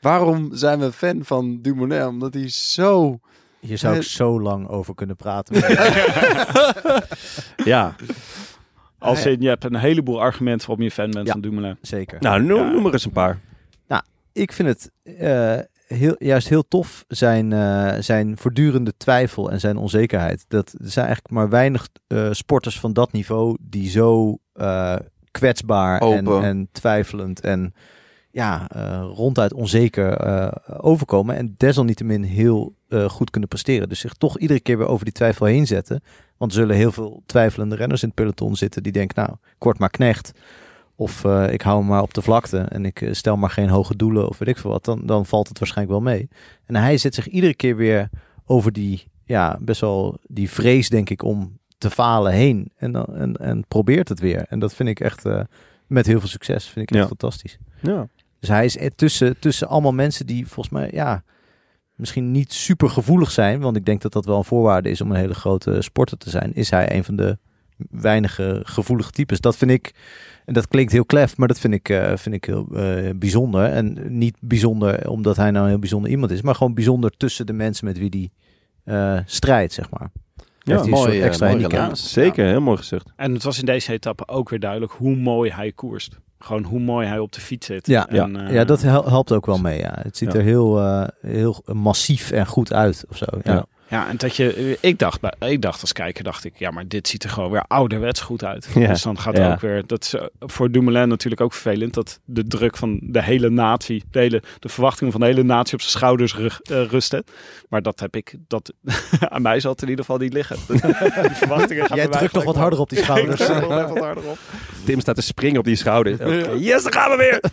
Speaker 6: Waarom zijn we fan van Dumoulin? Omdat hij zo.
Speaker 2: Hier zou ik
Speaker 6: Eh.
Speaker 2: zo lang over kunnen praten.
Speaker 1: Ja,
Speaker 5: [laughs] Als in, je hebt een heleboel argumenten waarom je fan bent
Speaker 2: Ja.
Speaker 5: van Dumoulin.
Speaker 2: [laughs] Zeker.
Speaker 1: nou noem,
Speaker 5: Ja.
Speaker 1: noem er eens een paar.
Speaker 2: Nou, ik vind het eh, heel, juist heel tof zijn, eh, zijn voortdurende twijfel en zijn onzekerheid. Dat er zijn eigenlijk maar weinig eh, sporters van dat niveau die zo eh, kwetsbaar en,
Speaker 6: Open.
Speaker 2: en twijfelend en ja, eh, ronduit onzeker eh, overkomen. En desalniettemin heel eh, goed kunnen presteren. Dus zich toch iedere keer weer over die twijfel heen zetten. Want er zullen heel veel twijfelende renners in het peloton zitten die denken, nou, kort maar knecht. Of eh, ik hou hem maar op de vlakte en ik eh, stel maar geen hoge doelen of weet ik veel wat. Dan, dan valt het waarschijnlijk wel mee. En hij zet zich iedere keer weer over die, ja, best wel die vrees denk ik om te falen heen. En, dan, en, en probeert het weer. En dat vind ik echt, eh, met heel veel succes, vind ik echt
Speaker 1: Ja.
Speaker 2: fantastisch.
Speaker 1: Ja.
Speaker 2: Dus hij is er tussen, tussen allemaal mensen die volgens mij, ja, misschien niet super gevoelig zijn. Want ik denk dat dat wel een voorwaarde is om een hele grote sporter te zijn. Is hij een van de weinige gevoelige types. Dat vind ik, en dat klinkt heel klef, maar dat vind ik, eh, vind ik heel eh, bijzonder. En niet bijzonder omdat hij nou een heel bijzonder iemand is, maar gewoon bijzonder tussen de mensen met wie die eh, strijdt, zeg maar.
Speaker 1: Ja,
Speaker 2: Heeft hij een
Speaker 6: mooi,
Speaker 2: soort
Speaker 6: eh,
Speaker 2: extra
Speaker 6: mooi
Speaker 2: handicap.
Speaker 6: gedaan.
Speaker 1: Zeker, heel mooi gezegd.
Speaker 5: En het was in deze etappe ook weer duidelijk hoe mooi hij koerst. Gewoon hoe mooi hij op de fiets zit.
Speaker 2: Ja.
Speaker 5: En, eh,
Speaker 2: Ja, dat hel- helpt ook wel mee. Ja. Het ziet
Speaker 1: Ja.
Speaker 2: er heel, eh, heel massief en goed uit of zo.
Speaker 1: Ja.
Speaker 2: ja.
Speaker 5: Ja, en dat je, eh, ik dacht, bij- ik dacht als kijker, dacht ik, ja, maar dit ziet er gewoon weer ouderwets goed uit.
Speaker 1: Ja,
Speaker 5: Dus dan gaat
Speaker 1: ja.
Speaker 5: ook weer, dat is eh, voor Dumoulin natuurlijk ook vervelend, dat de druk van de hele natie, de, hele, de verwachtingen van de hele natie op zijn schouders rug, eh, rusten. Maar dat heb ik, dat, [laughs] aan mij zal het in ieder geval niet liggen. [laughs] Die verwachtingen gaan
Speaker 2: Jij
Speaker 5: bij mij
Speaker 2: drukt nog wat
Speaker 5: gelijk
Speaker 2: harder op die
Speaker 5: omhoog. [laughs] Ik
Speaker 6: [laughs]
Speaker 2: schouders.
Speaker 5: druk nog wel wat harder op.
Speaker 1: Tim staat te springen op die
Speaker 5: [laughs]
Speaker 1: schouders. Oké, Yes, daar gaan we weer!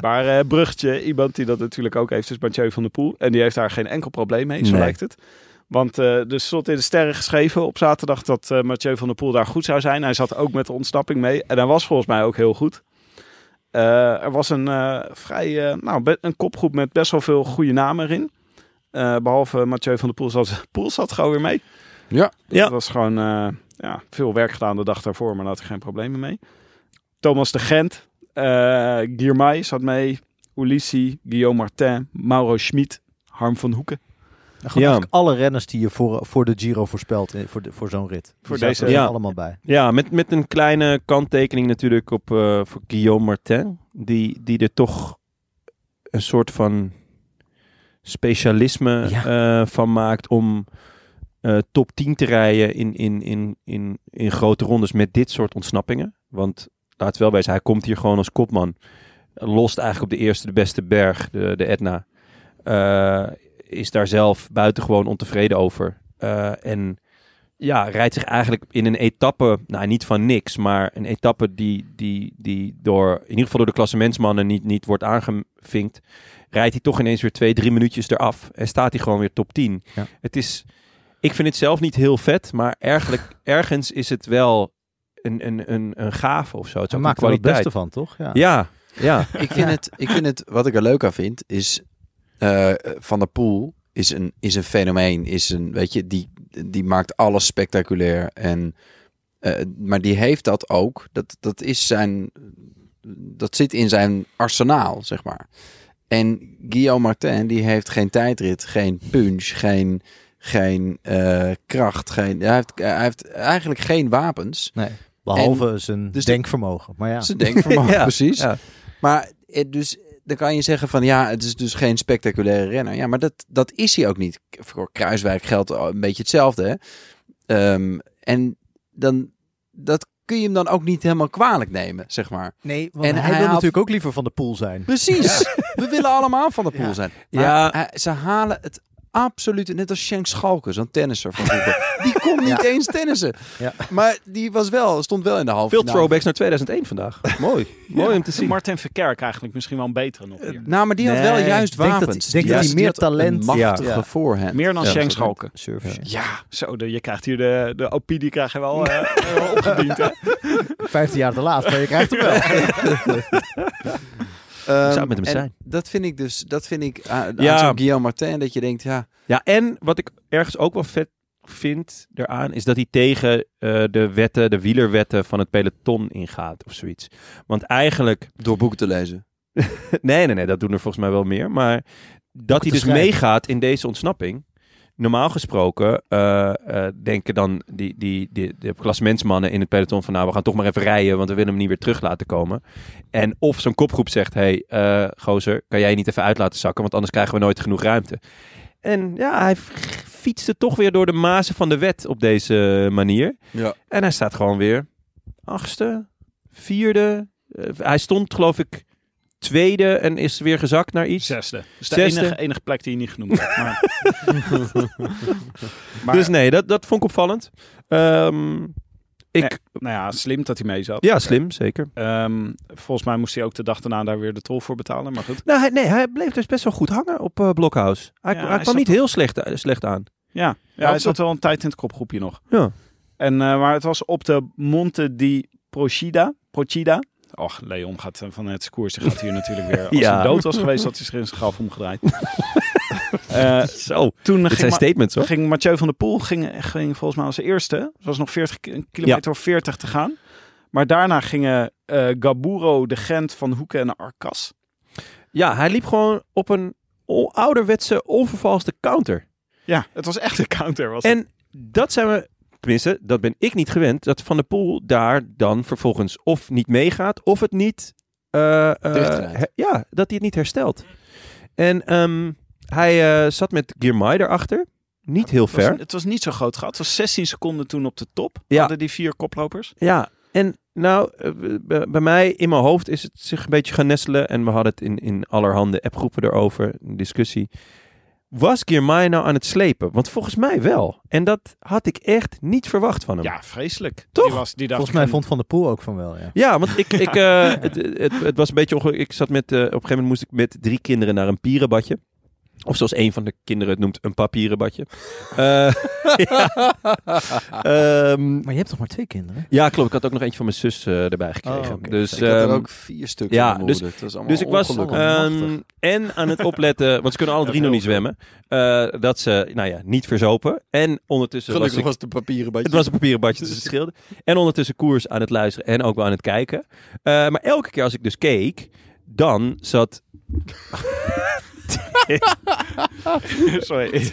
Speaker 5: Maar eh Brugtje, iemand die dat natuurlijk ook heeft, is Mathieu van der Poel. En die heeft daar geen enkel probleem mee, zo
Speaker 2: Nee.
Speaker 5: lijkt het. Want eh dus stond in de sterren geschreven op zaterdag dat eh Mathieu van der Poel daar goed zou zijn. Hij zat ook met de ontsnapping mee. En hij was volgens mij ook heel goed. Eh, er was een eh, vrij, eh, nou, be- een kopgroep met best wel veel goede namen erin. Eh, behalve Mathieu van der Poel zat, [laughs] Poel zat gewoon weer mee.
Speaker 6: Ja.
Speaker 1: Ja.
Speaker 5: Het was gewoon eh, ja, veel werk gedaan de dag daarvoor, maar daar had ik geen problemen mee. Thomas de Gent, eh Guillemay zat mee, Ulissi, Guillaume Martin, Mauro Schmid, Harm van Hoeken.
Speaker 2: Gewoon
Speaker 1: Ja.
Speaker 2: eigenlijk alle renners die je voor, voor de Giro voorspelt, eh, voor, de, voor zo'n rit. Die
Speaker 5: Voor
Speaker 2: zaten
Speaker 5: deze-
Speaker 2: er
Speaker 1: Ja.
Speaker 2: allemaal bij.
Speaker 1: Ja, met, met een kleine kanttekening natuurlijk op, eh, voor Guillaume Martin. Die, die er toch een soort van specialisme eh, van maakt om eh, top 10 te rijden in, in, in, in, in grote rondes met dit soort ontsnappingen. Want laat wel wezen, hij komt hier gewoon als kopman. Lost eigenlijk op de eerste de beste berg, de, de Etna. Eh, is daar zelf buitengewoon ontevreden over. Eh, en ja, rijdt zich eigenlijk in een etappe, nou niet van niks, maar een etappe die, die, die door, in ieder geval door de klassementsmannen niet, niet wordt aangevinkt, rijdt hij toch ineens weer twee, drie minuutjes eraf en staat hij gewoon weer top 10.
Speaker 2: Ja.
Speaker 1: Het is, ik vind het zelf niet heel vet, maar eigenlijk, ergens is het wel een, een, een, een gave of zo. Het is
Speaker 2: Ze
Speaker 1: ook een
Speaker 2: maakten er het
Speaker 1: kwaliteit.
Speaker 2: beste van, toch? Ja.
Speaker 1: Ja, ja.
Speaker 6: Ik vind, het, ik vind het, wat ik er leuk aan vind, is eh, Van der Poel is een, is een fenomeen. Is een, weet je, die, die maakt alles spectaculair. En, eh, maar die heeft dat ook. Dat, dat, is zijn, dat zit in zijn arsenaal, zeg maar. En Guillaume Martin, die heeft geen tijdrit, geen punch, geen, geen eh, kracht. Geen, hij, heeft, hij heeft eigenlijk geen wapens.
Speaker 2: Nee, behalve zijn
Speaker 6: dus-
Speaker 2: denkvermogen. Maar ja,
Speaker 6: Ze denkt
Speaker 1: [laughs]
Speaker 6: van
Speaker 1: Ja,
Speaker 6: precies.
Speaker 1: ja.
Speaker 6: Maar eh, dus dan kan je zeggen van ja, het is dus geen spectaculaire renner. Ja, maar dat, dat is hij ook niet. Voor Kruiswijk geldt een beetje hetzelfde. Hè? Ehm, en dan dat kun je hem dan ook niet helemaal kwalijk nemen, zeg maar.
Speaker 2: nee, want
Speaker 6: en
Speaker 2: hij,
Speaker 6: hij
Speaker 2: wil
Speaker 6: haalt-
Speaker 2: natuurlijk ook liever van de pool zijn.
Speaker 6: Precies. We willen allemaal van de pool zijn. Maar
Speaker 1: Ja.
Speaker 6: hij- ze halen het absoluut net als Shank Schalke, zo'n tennisser van vroeger. Die
Speaker 1: [laughs]
Speaker 6: kon niet eens tennissen.
Speaker 2: Ja.
Speaker 6: Maar die was wel, stond wel in de halve
Speaker 1: Veel
Speaker 6: finale.
Speaker 1: throwbacks naar 2001 vandaag. Mooi, mooi om te zien. Eh,
Speaker 5: Martin Verkerk eigenlijk misschien wel een betere nog hier.
Speaker 6: Nou, maar die had
Speaker 2: Nee,
Speaker 6: wel juist
Speaker 2: ik denk dat
Speaker 6: wapens.
Speaker 2: hij- ik denk dat hij
Speaker 6: had-
Speaker 2: meer
Speaker 6: had een
Speaker 2: talent-
Speaker 6: machtige
Speaker 2: Ja.
Speaker 6: voorhand.
Speaker 5: Meer dan
Speaker 6: Ja,
Speaker 5: Shanks
Speaker 6: dat is-
Speaker 5: Schalken.
Speaker 2: Service.
Speaker 5: Ja, zo, de, je krijgt hier de, de opinie krijg je
Speaker 1: [laughs]
Speaker 5: wel eh, wel opgediend. Hè?
Speaker 2: [laughs] 15 jaar te laat, maar je krijgt hem wel.
Speaker 6: Ehm,
Speaker 1: zou het met hem
Speaker 6: en
Speaker 1: zijn?
Speaker 6: Dat vind ik dus, dat vind ik ah, aan
Speaker 1: Ja.
Speaker 6: zo'n Guillaume Martin, dat je denkt, ja,
Speaker 1: [laughs] Ja, en wat ik ergens ook wel vet vind daaraan, is dat hij tegen eh, de wetten, de wielerwetten van het peloton ingaat of zoiets. Want eigenlijk,
Speaker 6: door boeken te lezen.
Speaker 1: [laughs] nee, nee, nee, dat doen er volgens mij wel meer. Maar dat hij dus
Speaker 2: schrijven.
Speaker 1: meegaat in deze ontsnapping. Normaal gesproken eh, eh, denken dan die, die, die, de klassementsmannen in het peloton van... nou, we gaan toch maar even rijden, want we willen hem niet weer terug laten komen. En of zo'n kopgroep zegt, hé, hey, eh, gozer, kan jij je niet even uit laten zakken... want anders krijgen we nooit genoeg ruimte. En ja, hij fietste toch weer door de mazen van de wet op deze manier.
Speaker 6: Ja.
Speaker 1: En hij staat gewoon weer achtste, vierde. Eh, hij stond geloof ik tweede en is weer gezakt naar iets.
Speaker 5: Zesde. Dus de
Speaker 1: Zesde.
Speaker 5: enige, enige plek die je niet genoemd hebt. Maar,
Speaker 1: [laughs]
Speaker 5: [laughs] maar
Speaker 1: Dus nee, dat, dat vond ik opvallend. Ehm, ik,
Speaker 5: nou ja, slim dat hij mee zat.
Speaker 1: Ja, slim, zeker.
Speaker 5: Ehm, volgens mij moest hij ook de dag daarna daar weer de tol voor betalen. Maar goed.
Speaker 1: Nou, hij, nee, hij bleef dus best wel goed hangen op eh, Blokhouse. Hij,
Speaker 5: Ja,
Speaker 1: hij
Speaker 5: hij
Speaker 1: kwam
Speaker 5: zat-
Speaker 1: niet heel slecht, eh, slecht aan.
Speaker 5: Ja, ja hij zat wel een tijd in het kopgroepje nog.
Speaker 1: Ja.
Speaker 5: En, eh, maar het was op de Monte di Procida. Procida. Och, Leon gaat eh, van het koers. Die gaat hier natuurlijk
Speaker 1: [laughs]
Speaker 5: weer. Als
Speaker 1: Ja.
Speaker 5: hij dood was geweest, had hij zich in zijn graf omgedraaid.
Speaker 1: [laughs]
Speaker 5: Eh,
Speaker 1: Zo,
Speaker 5: toen
Speaker 1: dit
Speaker 5: ging,
Speaker 1: zijn
Speaker 5: Ma-
Speaker 1: statements hoor.
Speaker 5: ging Mathieu van der Poel ging, ging volgens mij als eerste. Het was nog 40, ki- kilometer of 40 te gaan. Maar daarna gingen eh Gaburo, De Gent, Van Hoeken en Arcas.
Speaker 1: Ja, hij liep gewoon op een o- ouderwetse, onvervalste counter.
Speaker 5: Ja, het was echt een counter. Was het.
Speaker 1: En dat zijn we, tenminste, dat ben ik niet gewend, dat Van der Poel daar dan vervolgens of niet meegaat, of het niet... eh, eh,
Speaker 6: Terugdraait.
Speaker 1: he- ja, dat hij het niet herstelt. En ehm, hij eh, zat met Girmay erachter, niet heel
Speaker 5: Het was-
Speaker 1: ver.
Speaker 5: Het was niet zo groot gehad. Het was 16 seconden toen op de top.
Speaker 1: Ja.
Speaker 5: Hadden die vier koplopers.
Speaker 1: Ja, en nou, eh, b- b- bij mij in mijn hoofd is het zich een beetje gaan nestelen. En we hadden het in, in allerhande appgroepen erover, een discussie. Was Girmay nou aan het slepen? Want volgens mij wel. En dat had ik echt niet verwacht van hem.
Speaker 5: Ja, vreselijk.
Speaker 1: Toch?
Speaker 5: Die was, die dacht
Speaker 2: Volgens mij
Speaker 5: ik-
Speaker 2: vond Van der Poel ook van wel, ja.
Speaker 1: Ja, want ik, ik,
Speaker 6: [laughs]
Speaker 1: eh, het, het, het was een beetje onge- Ik zat met, eh, op een gegeven moment moest ik met drie kinderen naar een pierenbadje. Of zoals een van de kinderen het noemt, een papierenbadje. Eh, [laughs] ja. Ehm,
Speaker 2: Maar je hebt toch maar twee kinderen?
Speaker 1: ja, klopt. Ik had ook nog eentje van mijn zus eh, erbij gekregen.
Speaker 2: Oh, oké.
Speaker 1: dus,
Speaker 6: Ik had er
Speaker 1: ehm,
Speaker 6: ook vier stukken
Speaker 1: ja,
Speaker 6: ja, dus, dat is allemaal
Speaker 1: Dus ik was
Speaker 6: ongelukken.
Speaker 1: ehm,
Speaker 2: Machtig.
Speaker 1: en aan het opletten, want ze kunnen
Speaker 6: [laughs]
Speaker 1: alle drie nog niet zwemmen, eh, dat ze, nou ja, niet verzopen. En ondertussen was
Speaker 6: Gelukkig
Speaker 1: ik,
Speaker 6: was de papieren bij
Speaker 1: het was een papieren badje, dus het scheelde. En ondertussen koers aan het luisteren en ook wel aan het kijken. Eh, maar elke keer als ik dus keek, dan zat...
Speaker 5: [laughs]
Speaker 1: [laughs]
Speaker 5: Sorry.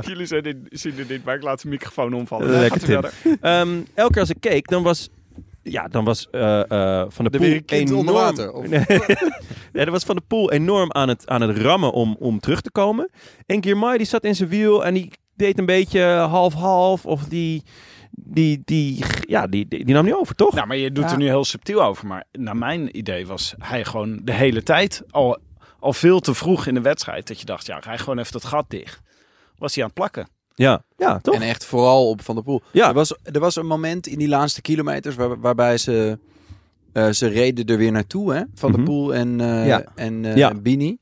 Speaker 5: Jullie zijn dit, zien dit niet, maar ik laat de microfoon omvallen.
Speaker 1: Lekker,
Speaker 5: Gaat u
Speaker 1: Tim.
Speaker 5: verder.
Speaker 1: ehm, elke keer als ik keek, dan was... Ja, dan was eh, eh, Van de
Speaker 6: De
Speaker 1: Poel
Speaker 6: weer een kind onder
Speaker 1: enorm- [laughs]
Speaker 6: water, of-
Speaker 1: Nee, nee, dat was Van de Poel enorm aan het, aan het rammen om, om terug te komen. En Girmay die zat in zijn wiel en die deed een beetje half-half. Of die, die, die, ja, die, die, die nam niet over, toch?
Speaker 5: Nou, maar je doet er nu heel subtiel over. Maar naar mijn idee was hij gewoon de hele tijd al, al veel te vroeg in de wedstrijd. Dat je dacht, ja, rij gewoon even dat gat dicht. Was hij aan het plakken.
Speaker 1: ja, ja, toch?
Speaker 6: En echt vooral op Van der Poel.
Speaker 1: Ja.
Speaker 6: Er, was, er was een moment in die laatste kilometers waar, waarbij ze, eh, ze reden er weer naartoe. Hè? Van
Speaker 1: Mhm.
Speaker 6: der Poel en, eh,
Speaker 2: Ja.
Speaker 6: en, eh,
Speaker 1: Ja.
Speaker 6: Bini.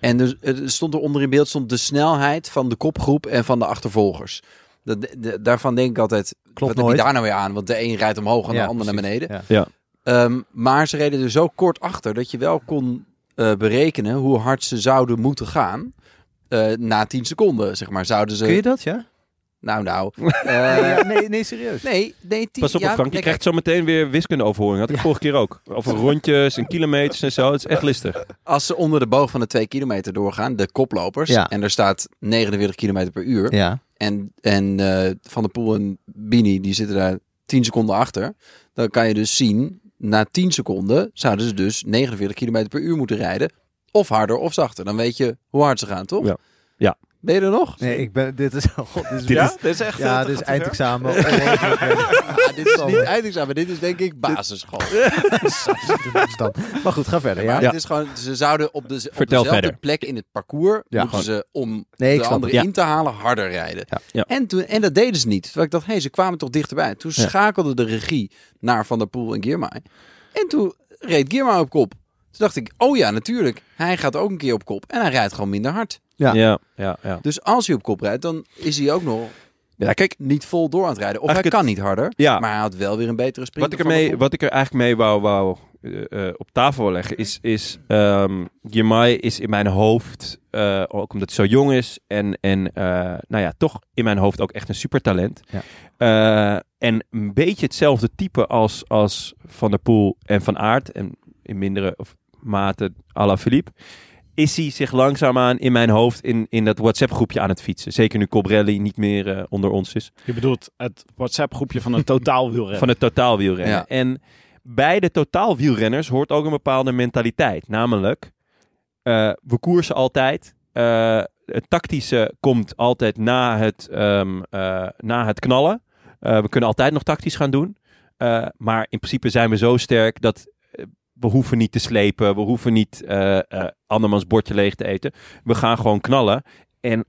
Speaker 6: En dus, er stond er onder in beeld stond de snelheid van de kopgroep en van de achtervolgers. Dat, de- daarvan denk ik altijd, wat heb
Speaker 2: nooit.
Speaker 6: je daar nou weer aan? Want de een rijdt omhoog en
Speaker 2: Ja,
Speaker 6: de ander naar beneden.
Speaker 2: Ja.
Speaker 1: Ja.
Speaker 6: Ehm, maar ze reden er zo kort achter dat je wel kon eh, berekenen hoe hard ze zouden moeten gaan. eh, na 10 seconden, zeg maar, zouden ze...
Speaker 2: Kun je dat, ja? [laughs]
Speaker 6: Nou, nou. Eh,
Speaker 2: nee, nee, serieus.
Speaker 6: nee, nee, tien,
Speaker 1: Pas op,
Speaker 6: ja,
Speaker 1: Frank, je
Speaker 6: nee,
Speaker 1: krijgt zo meteen weer wiskunde overhoring. Had ik vorige keer ook. Over rondjes en kilometers en zo. Het is echt listig.
Speaker 6: Als ze onder de boog van de twee kilometer doorgaan, de koplopers,
Speaker 2: Ja.
Speaker 6: en er staat 49 kilometer per uur,
Speaker 2: Ja.
Speaker 6: en, en eh, Van der Poel en Bini, die zitten daar 10 seconden achter, dan kan je dus zien, na 10 seconden zouden ze dus 49 kilometer per uur moeten rijden, of harder of zachter. Dan weet je hoe hard ze gaan, toch?
Speaker 1: Ja. Ja.
Speaker 6: Ben je er nog?
Speaker 2: Nee, ik ben... Dit is... oh, God, dit is
Speaker 5: ja, dit is echt... eh,
Speaker 2: Ja,
Speaker 5: dat
Speaker 2: dit is
Speaker 5: gaat te ver.
Speaker 2: eindexamen. Oh, Ongelooflijk.
Speaker 6: [laughs] Ah, dit is niet eindexamen, dit is denk ik basisschool.
Speaker 2: Dan. Maar goed, ga verder. Ja.
Speaker 6: Maar het is gewoon, ze zouden op, de, op
Speaker 1: Vertel
Speaker 6: dezelfde
Speaker 1: verder.
Speaker 6: plek in het parcours,
Speaker 2: Ja,
Speaker 6: moeten ze om
Speaker 2: Nee, ik
Speaker 6: de
Speaker 2: snap
Speaker 6: andere
Speaker 1: het. Ja.
Speaker 6: in te halen harder rijden.
Speaker 2: Ja.
Speaker 1: Ja.
Speaker 6: En, toen, en dat deden ze niet. Terwijl ik dacht, hé, hey, ze kwamen toch dichterbij. Toen schakelde de regie naar Van der Poel en Giermaai. En toen reed Giermaai op kop. Toen dacht ik, oh ja, natuurlijk. Hij gaat ook een keer op kop. En hij rijdt gewoon minder hard.
Speaker 2: Ja.
Speaker 1: ja, ja. ja.
Speaker 6: Dus als hij op kop rijdt, dan is hij ook nog
Speaker 1: Ja, kijk,
Speaker 6: niet vol door aan het rijden. Of hij
Speaker 1: Eigenlijk
Speaker 6: kan niet harder.
Speaker 1: Ja.
Speaker 6: Maar hij had wel weer een betere sprint.
Speaker 1: Wat ik,
Speaker 6: dan Van der
Speaker 1: ermee,
Speaker 6: Poel.
Speaker 1: wat ik er eigenlijk mee wou, wou eh, eh, op tafel wil leggen, is, is ehm Girmay is in mijn hoofd, eh, ook omdat hij zo jong is en, en eh, nou ja, toch in mijn hoofd ook echt een supertalent.
Speaker 2: Ja.
Speaker 1: Eh, en een beetje hetzelfde type als, als Van der Poel en Van Aert en in mindere of mate à la Philippe. Is hij zich langzaamaan in mijn hoofd in, in dat WhatsApp-groepje aan het fietsen? Zeker nu Cobrelli niet meer eh, onder ons is
Speaker 5: Je bedoelt het WhatsApp-groepje van
Speaker 1: [laughs]
Speaker 5: een totaal wielrennen.
Speaker 1: van het totaalwielrennen.
Speaker 6: Ja.
Speaker 1: En bij de totaalwielrenners hoort ook een bepaalde mentaliteit. Namelijk, eh, we koersen altijd. Eh, het tactische komt altijd na het, ehm, eh, na het knallen. Eh, we kunnen altijd nog tactisch gaan doen. Eh, maar in principe zijn we zo sterk dat eh, We hoeven niet te slepen. We hoeven niet eh, eh, andermans bordje leeg te eten. We gaan gewoon knallen. En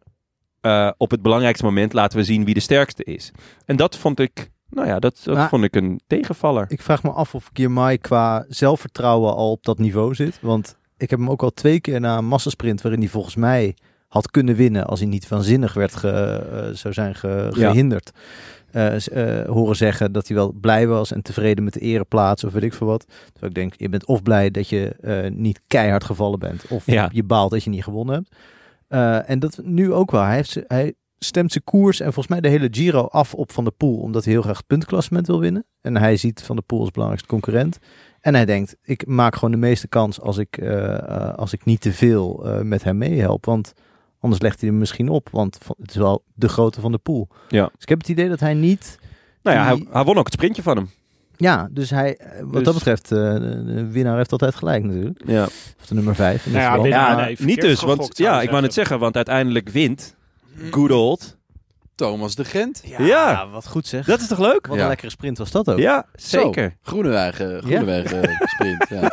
Speaker 1: eh, op het belangrijkste moment laten we zien wie de sterkste is. En dat vond ik, nou ja, dat, dat
Speaker 2: Maar-
Speaker 1: vond ik een tegenvaller.
Speaker 2: Ik vraag me af of Girmay qua zelfvertrouwen al op dat niveau zit. Want ik heb hem ook al twee keer na een massasprint waarin hij volgens mij had kunnen winnen als hij niet waanzinnig werd ge, eh, zou zijn ge-
Speaker 1: Ja.
Speaker 2: gehinderd. eh, s- eh, horen zeggen dat hij wel blij was en tevreden met de ereplaats of weet ik veel wat. Terwijl ik denk, je bent of blij dat je eh, niet keihard gevallen bent of
Speaker 1: Ja.
Speaker 2: je baalt dat je niet gewonnen hebt. Eh, en dat nu ook wel. Hij, heeft, z- hij stemt zijn koers en volgens mij de hele Giro af op Van der Poel. Omdat hij heel graag het puntklassement wil winnen. En hij ziet Van der Poel als belangrijkste concurrent. En hij denkt, ik maak gewoon de meeste kans als ik, eh, eh, als ik niet te veel eh, met hem meehelp. Want anders legt hij hem misschien op. Want van- het is wel de grootte van de Poel.
Speaker 1: Ja.
Speaker 2: Dus ik heb het idee dat hij niet...
Speaker 1: nou ja, hij,
Speaker 2: die-
Speaker 1: hij won ook het sprintje van hem.
Speaker 2: Ja, dus hij, eh, wat
Speaker 1: Dus-
Speaker 2: dat betreft, eh, de de winnaar heeft altijd gelijk natuurlijk.
Speaker 1: Ja.
Speaker 2: Of de nummer vijf. in dit
Speaker 5: Nou ja,
Speaker 2: geval.
Speaker 5: winnaar-
Speaker 1: Ja,
Speaker 5: Ah, nee,
Speaker 1: niet
Speaker 5: verkeerd
Speaker 1: dus. Want
Speaker 5: gegokt, zou
Speaker 1: ja,
Speaker 5: ik
Speaker 1: ik wou net zeggen, want uiteindelijk wint Good Old.
Speaker 6: Thomas de Gent.
Speaker 1: Ja,
Speaker 2: Ja, wat goed zeg.
Speaker 1: dat is toch leuk?
Speaker 2: Wat
Speaker 6: Ja.
Speaker 2: een lekkere sprint was dat ook.
Speaker 1: Ja, zeker.
Speaker 6: Zo, Groenewegen, Groenewegen sprint.
Speaker 1: [laughs]
Speaker 6: Ja.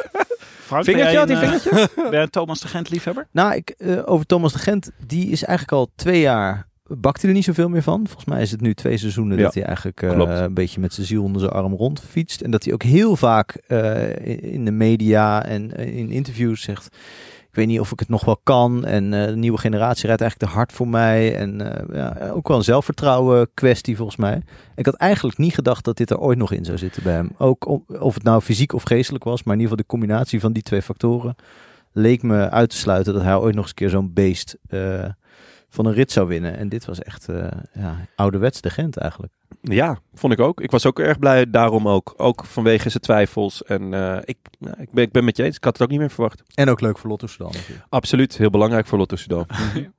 Speaker 5: Frank, ben
Speaker 1: Vingertje
Speaker 5: jij
Speaker 1: had hij
Speaker 5: een, eh,
Speaker 1: vingertje?
Speaker 5: ben jij een Thomas de Gent liefhebber?
Speaker 2: Nou, ik, eh, over Thomas de Gent, die is eigenlijk al twee jaar. Bakt hij er niet zoveel meer van? Volgens mij is het nu twee seizoenen
Speaker 1: Ja,
Speaker 2: dat hij eigenlijk eh,
Speaker 1: klopt.
Speaker 2: een beetje met zijn ziel onder zijn arm rondfietst. En dat hij ook heel vaak eh, in de media en eh, in interviews zegt: Ik weet niet of ik het nog wel kan. En eh, de nieuwe generatie rijdt eigenlijk te hard voor mij. En eh, ja, ook wel een zelfvertrouwen kwestie volgens mij. Ik had eigenlijk niet gedacht dat dit er ooit nog in zou zitten bij hem. Ook om- of het nou fysiek of geestelijk was, maar in ieder geval de combinatie van die twee factoren leek me uit te sluiten dat hij ooit nog eens een keer zo'n beest eh, van een rit zou winnen. En dit was echt eh ja, ouderwets de Gent eigenlijk.
Speaker 1: Ja, vond ik ook. Ik was ook erg blij daarom ook. Ook vanwege zijn twijfels. En eh, ik, nou, ik, ben, ik ben met je eens. Ik had het ook niet meer verwacht.
Speaker 2: En ook leuk voor Lotto Soudal natuurlijk.
Speaker 1: Absoluut. Heel belangrijk voor Lotto Soudal.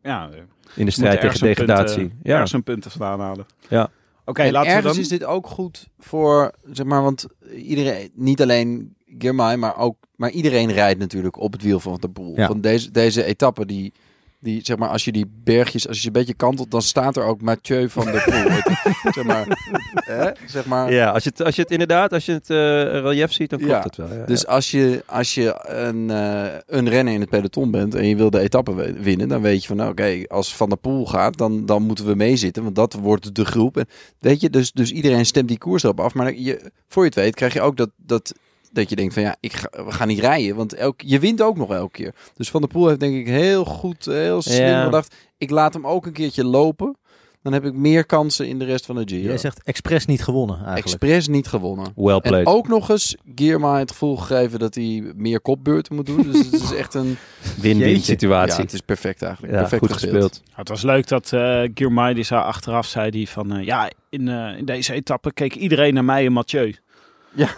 Speaker 5: Ja, eh,
Speaker 1: In de strijd
Speaker 5: moet ergens
Speaker 1: tegen
Speaker 5: een punt,
Speaker 1: degradatie.
Speaker 5: eh,
Speaker 1: ja.
Speaker 5: Ergens een punten vandaan halen.
Speaker 1: Ja.
Speaker 5: Oké,
Speaker 6: En
Speaker 5: laten we
Speaker 6: ergens
Speaker 5: dan...
Speaker 6: is dit ook goed voor, zeg maar, want iedereen, niet alleen Girmay, maar ook, maar iedereen rijdt natuurlijk op het wiel van de boel.
Speaker 2: Ja.
Speaker 6: Van deze, deze etappe, die, die, zeg maar, als je die bergjes, als je ze een beetje kantelt, dan staat er ook Mathieu van der
Speaker 5: [laughs]
Speaker 6: Poel. zeg maar, hè? zeg maar.
Speaker 1: ja, als je het, als je het inderdaad, als je het eh, relief ziet, dan klopt
Speaker 6: Ja,
Speaker 1: het wel. Ja,
Speaker 6: Dus als je, als je een, eh, een renner in het peloton bent en je wil de etappe we- winnen, dan weet je van, nou, oké, als Van der Poel gaat, dan, dan moeten we meezitten, want dat wordt de groep. En, weet je, dus, dus iedereen stemt die koers erop af, maar je, voor je het weet krijg je ook dat, dat, dat je denkt van, ja, ik ga, we gaan niet rijden, want elk, je wint ook nog elke keer. Dus Van der Poel heeft denk ik heel goed, heel slim
Speaker 1: Ja.
Speaker 6: gedacht, ik laat hem ook een keertje lopen, dan heb ik meer kansen in de rest van de Giro.
Speaker 2: Jij zegt expres niet gewonnen eigenlijk.
Speaker 6: Expres niet gewonnen.
Speaker 1: Well
Speaker 6: En oh,
Speaker 1: played.
Speaker 6: ook nog eens Gierma het gevoel gegeven dat hij meer kopbeurten moet doen. Dus het is echt een...
Speaker 1: Win-win
Speaker 2: Jeetje.
Speaker 6: Ja,
Speaker 1: situatie.
Speaker 6: het is perfect eigenlijk.
Speaker 1: Ja,
Speaker 6: perfect
Speaker 1: goed gespeeld.
Speaker 5: Nou, het was leuk dat eh Girmay die zei achteraf zei die van eh, ja, in, eh, in deze etappe keek iedereen naar mij en Mathieu.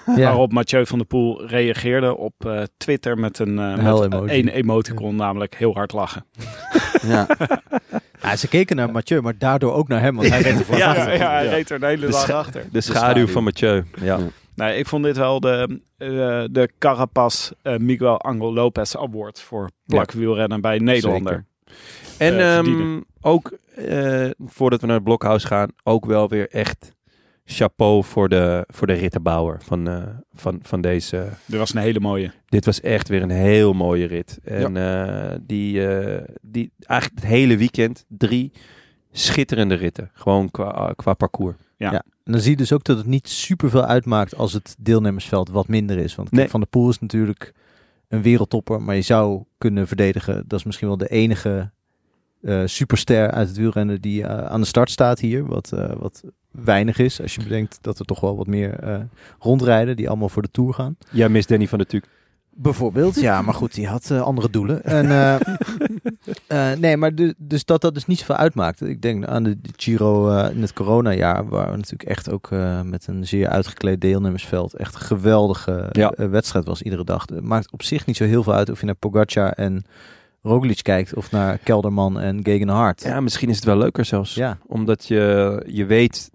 Speaker 5: Waarop Mathieu van der Poel reageerde op eh, Twitter met een eh met
Speaker 2: huilemoji.
Speaker 5: één emoticon, namelijk heel hard lachen.
Speaker 6: Ja.
Speaker 2: Ja, ze keken naar Mathieu, maar daardoor ook naar hem, want
Speaker 5: [laughs]
Speaker 2: hij reed ervoor.
Speaker 5: Ja,
Speaker 2: ja.
Speaker 5: ja, hij reed er de hele dag
Speaker 1: scha-
Speaker 5: achter.
Speaker 1: De schaduw van Mathieu. Ja.
Speaker 5: Dus, [laughs] Nee, ik vond dit wel de, eh, de Carapaz eh, Miguel Angel Lopez Award voor plakwielrennen bij een Nederlander.
Speaker 1: En
Speaker 5: eh,
Speaker 1: ehm,
Speaker 5: verdienen.
Speaker 1: ook, eh, voordat we naar het blokhuis gaan, ook wel weer echt chapeau voor de, voor de rittenbouwer van, eh, van, van deze.
Speaker 5: Dit was een hele mooie.
Speaker 1: Dit was echt weer een heel mooie rit. En eh, die, eh, die, eigenlijk het hele weekend drie schitterende ritten. Gewoon qua, eh, qua parcours.
Speaker 2: En dan zie je dus ook dat het niet superveel uitmaakt als het deelnemersveld wat minder is. Want kijk,
Speaker 1: Nee.
Speaker 2: Van der Poel is natuurlijk een wereldtopper, maar je zou kunnen verdedigen. Dat is misschien wel de enige eh, superster uit het wielrennen die eh, aan de start staat hier. Wat, eh, wat weinig is als je bedenkt dat er toch wel wat meer eh, rondrijden die allemaal voor de Tour gaan.
Speaker 1: Jij mist Danny van der Tuuk.
Speaker 2: Bijvoorbeeld, ja, maar goed, die had eh, andere doelen. En,
Speaker 1: [laughs]
Speaker 2: eh, eh, nee, maar du- dus dat dat dus niet zoveel uitmaakt. Ik denk aan de de Giro eh, in het coronajaar, waar we natuurlijk echt ook eh, met een zeer uitgekleed deelnemersveld echt een geweldige
Speaker 1: Ja.
Speaker 2: eh, wedstrijd was iedere dag. Het maakt op zich niet zo heel veel uit of je naar Pogacar en Roglic kijkt of naar Kelderman en Gegenhardt.
Speaker 1: Ja, misschien is het wel leuker zelfs.
Speaker 2: Ja.
Speaker 1: Omdat je, je weet,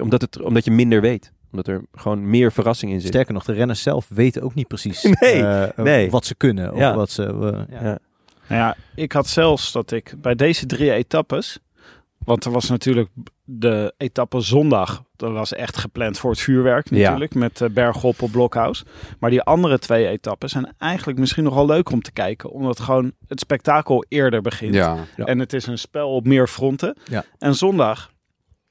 Speaker 1: omdat, het, omdat je minder weet. Omdat er gewoon meer verrassing in zit.
Speaker 2: Sterker nog, de renners zelf weten ook niet
Speaker 1: [laughs]
Speaker 2: precies
Speaker 1: Nee,
Speaker 2: eh,
Speaker 1: nee.
Speaker 2: wat ze kunnen of
Speaker 1: Ja.
Speaker 2: wat ze... eh,
Speaker 1: Ja.
Speaker 5: Nou ja, ik had zelfs dat ik bij deze drie etappes Want er was natuurlijk de etappe zondag. Dat was echt gepland voor het vuurwerk
Speaker 1: Ja.
Speaker 5: natuurlijk. Met eh Berghoppel, Blokhuis. Maar die andere twee etappes zijn eigenlijk misschien nogal leuk om te kijken. Omdat gewoon het spektakel eerder begint.
Speaker 6: Ja.
Speaker 1: Ja.
Speaker 5: En het is een spel op meer fronten.
Speaker 2: Ja.
Speaker 5: En zondag...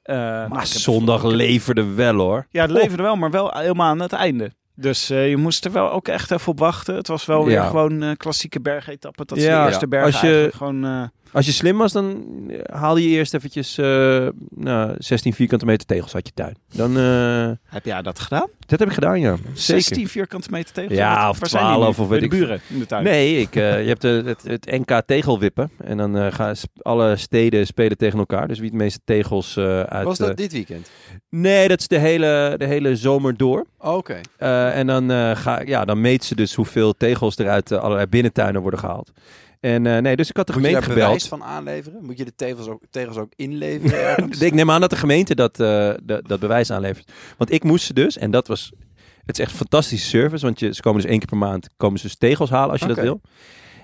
Speaker 5: eh, nou,
Speaker 1: Maar
Speaker 5: ik heb-
Speaker 1: zondag leverde wel hoor.
Speaker 5: Ja, het leverde wel, maar wel helemaal aan het einde. Dus eh, je moest er wel ook echt even op wachten. Het was wel weer
Speaker 1: Ja.
Speaker 5: gewoon eh, klassieke bergetappen. Dat is
Speaker 1: Ja,
Speaker 5: de eerste
Speaker 1: ja.
Speaker 5: berg
Speaker 1: Als je-
Speaker 5: eigenlijk gewoon... eh,
Speaker 1: Als je slim was, dan eh, haalde je eerst eventjes eh, nou, 16 vierkante meter tegels uit je tuin. Dan, eh,
Speaker 5: Heb jij dat gedaan?
Speaker 1: dat heb ik gedaan, ja. Zeker.
Speaker 5: 16 vierkante meter tegen.
Speaker 1: Ja,
Speaker 5: Waar
Speaker 1: of
Speaker 5: zijn die nu?
Speaker 1: 12 of
Speaker 5: Bij
Speaker 1: weet
Speaker 5: de
Speaker 1: ik
Speaker 5: buren in de tuin.
Speaker 1: Nee, ik, eh, je hebt de, het, het NK tegelwippen. En dan eh, gaan sp- alle steden spelen tegen elkaar. Dus wie het meeste tegels eh, uit...
Speaker 6: Was dat
Speaker 1: eh,
Speaker 6: dit weekend?
Speaker 1: nee, dat is de hele, de hele zomer door.
Speaker 6: Oké.
Speaker 1: Eh, en dan, eh, ga, ja, dan meet ze dus hoeveel tegels er uit eh, allerlei binnentuinen worden gehaald. En eh, nee, dus ik had de
Speaker 6: Moet je
Speaker 1: gemeente
Speaker 6: daar bewijs
Speaker 1: gebeld.
Speaker 6: van aanleveren? Moet je de tegels ook, tegels ook
Speaker 1: [laughs]
Speaker 6: inleveren ergens?
Speaker 1: Ik neem aan dat de gemeente dat, eh, dat, dat bewijs aanlevert. Want ik moest ze dus, en dat was... Het is echt een fantastische service, want je, ze komen dus één keer per maand komen ze dus tegels halen als je
Speaker 6: Oké.
Speaker 1: dat wil.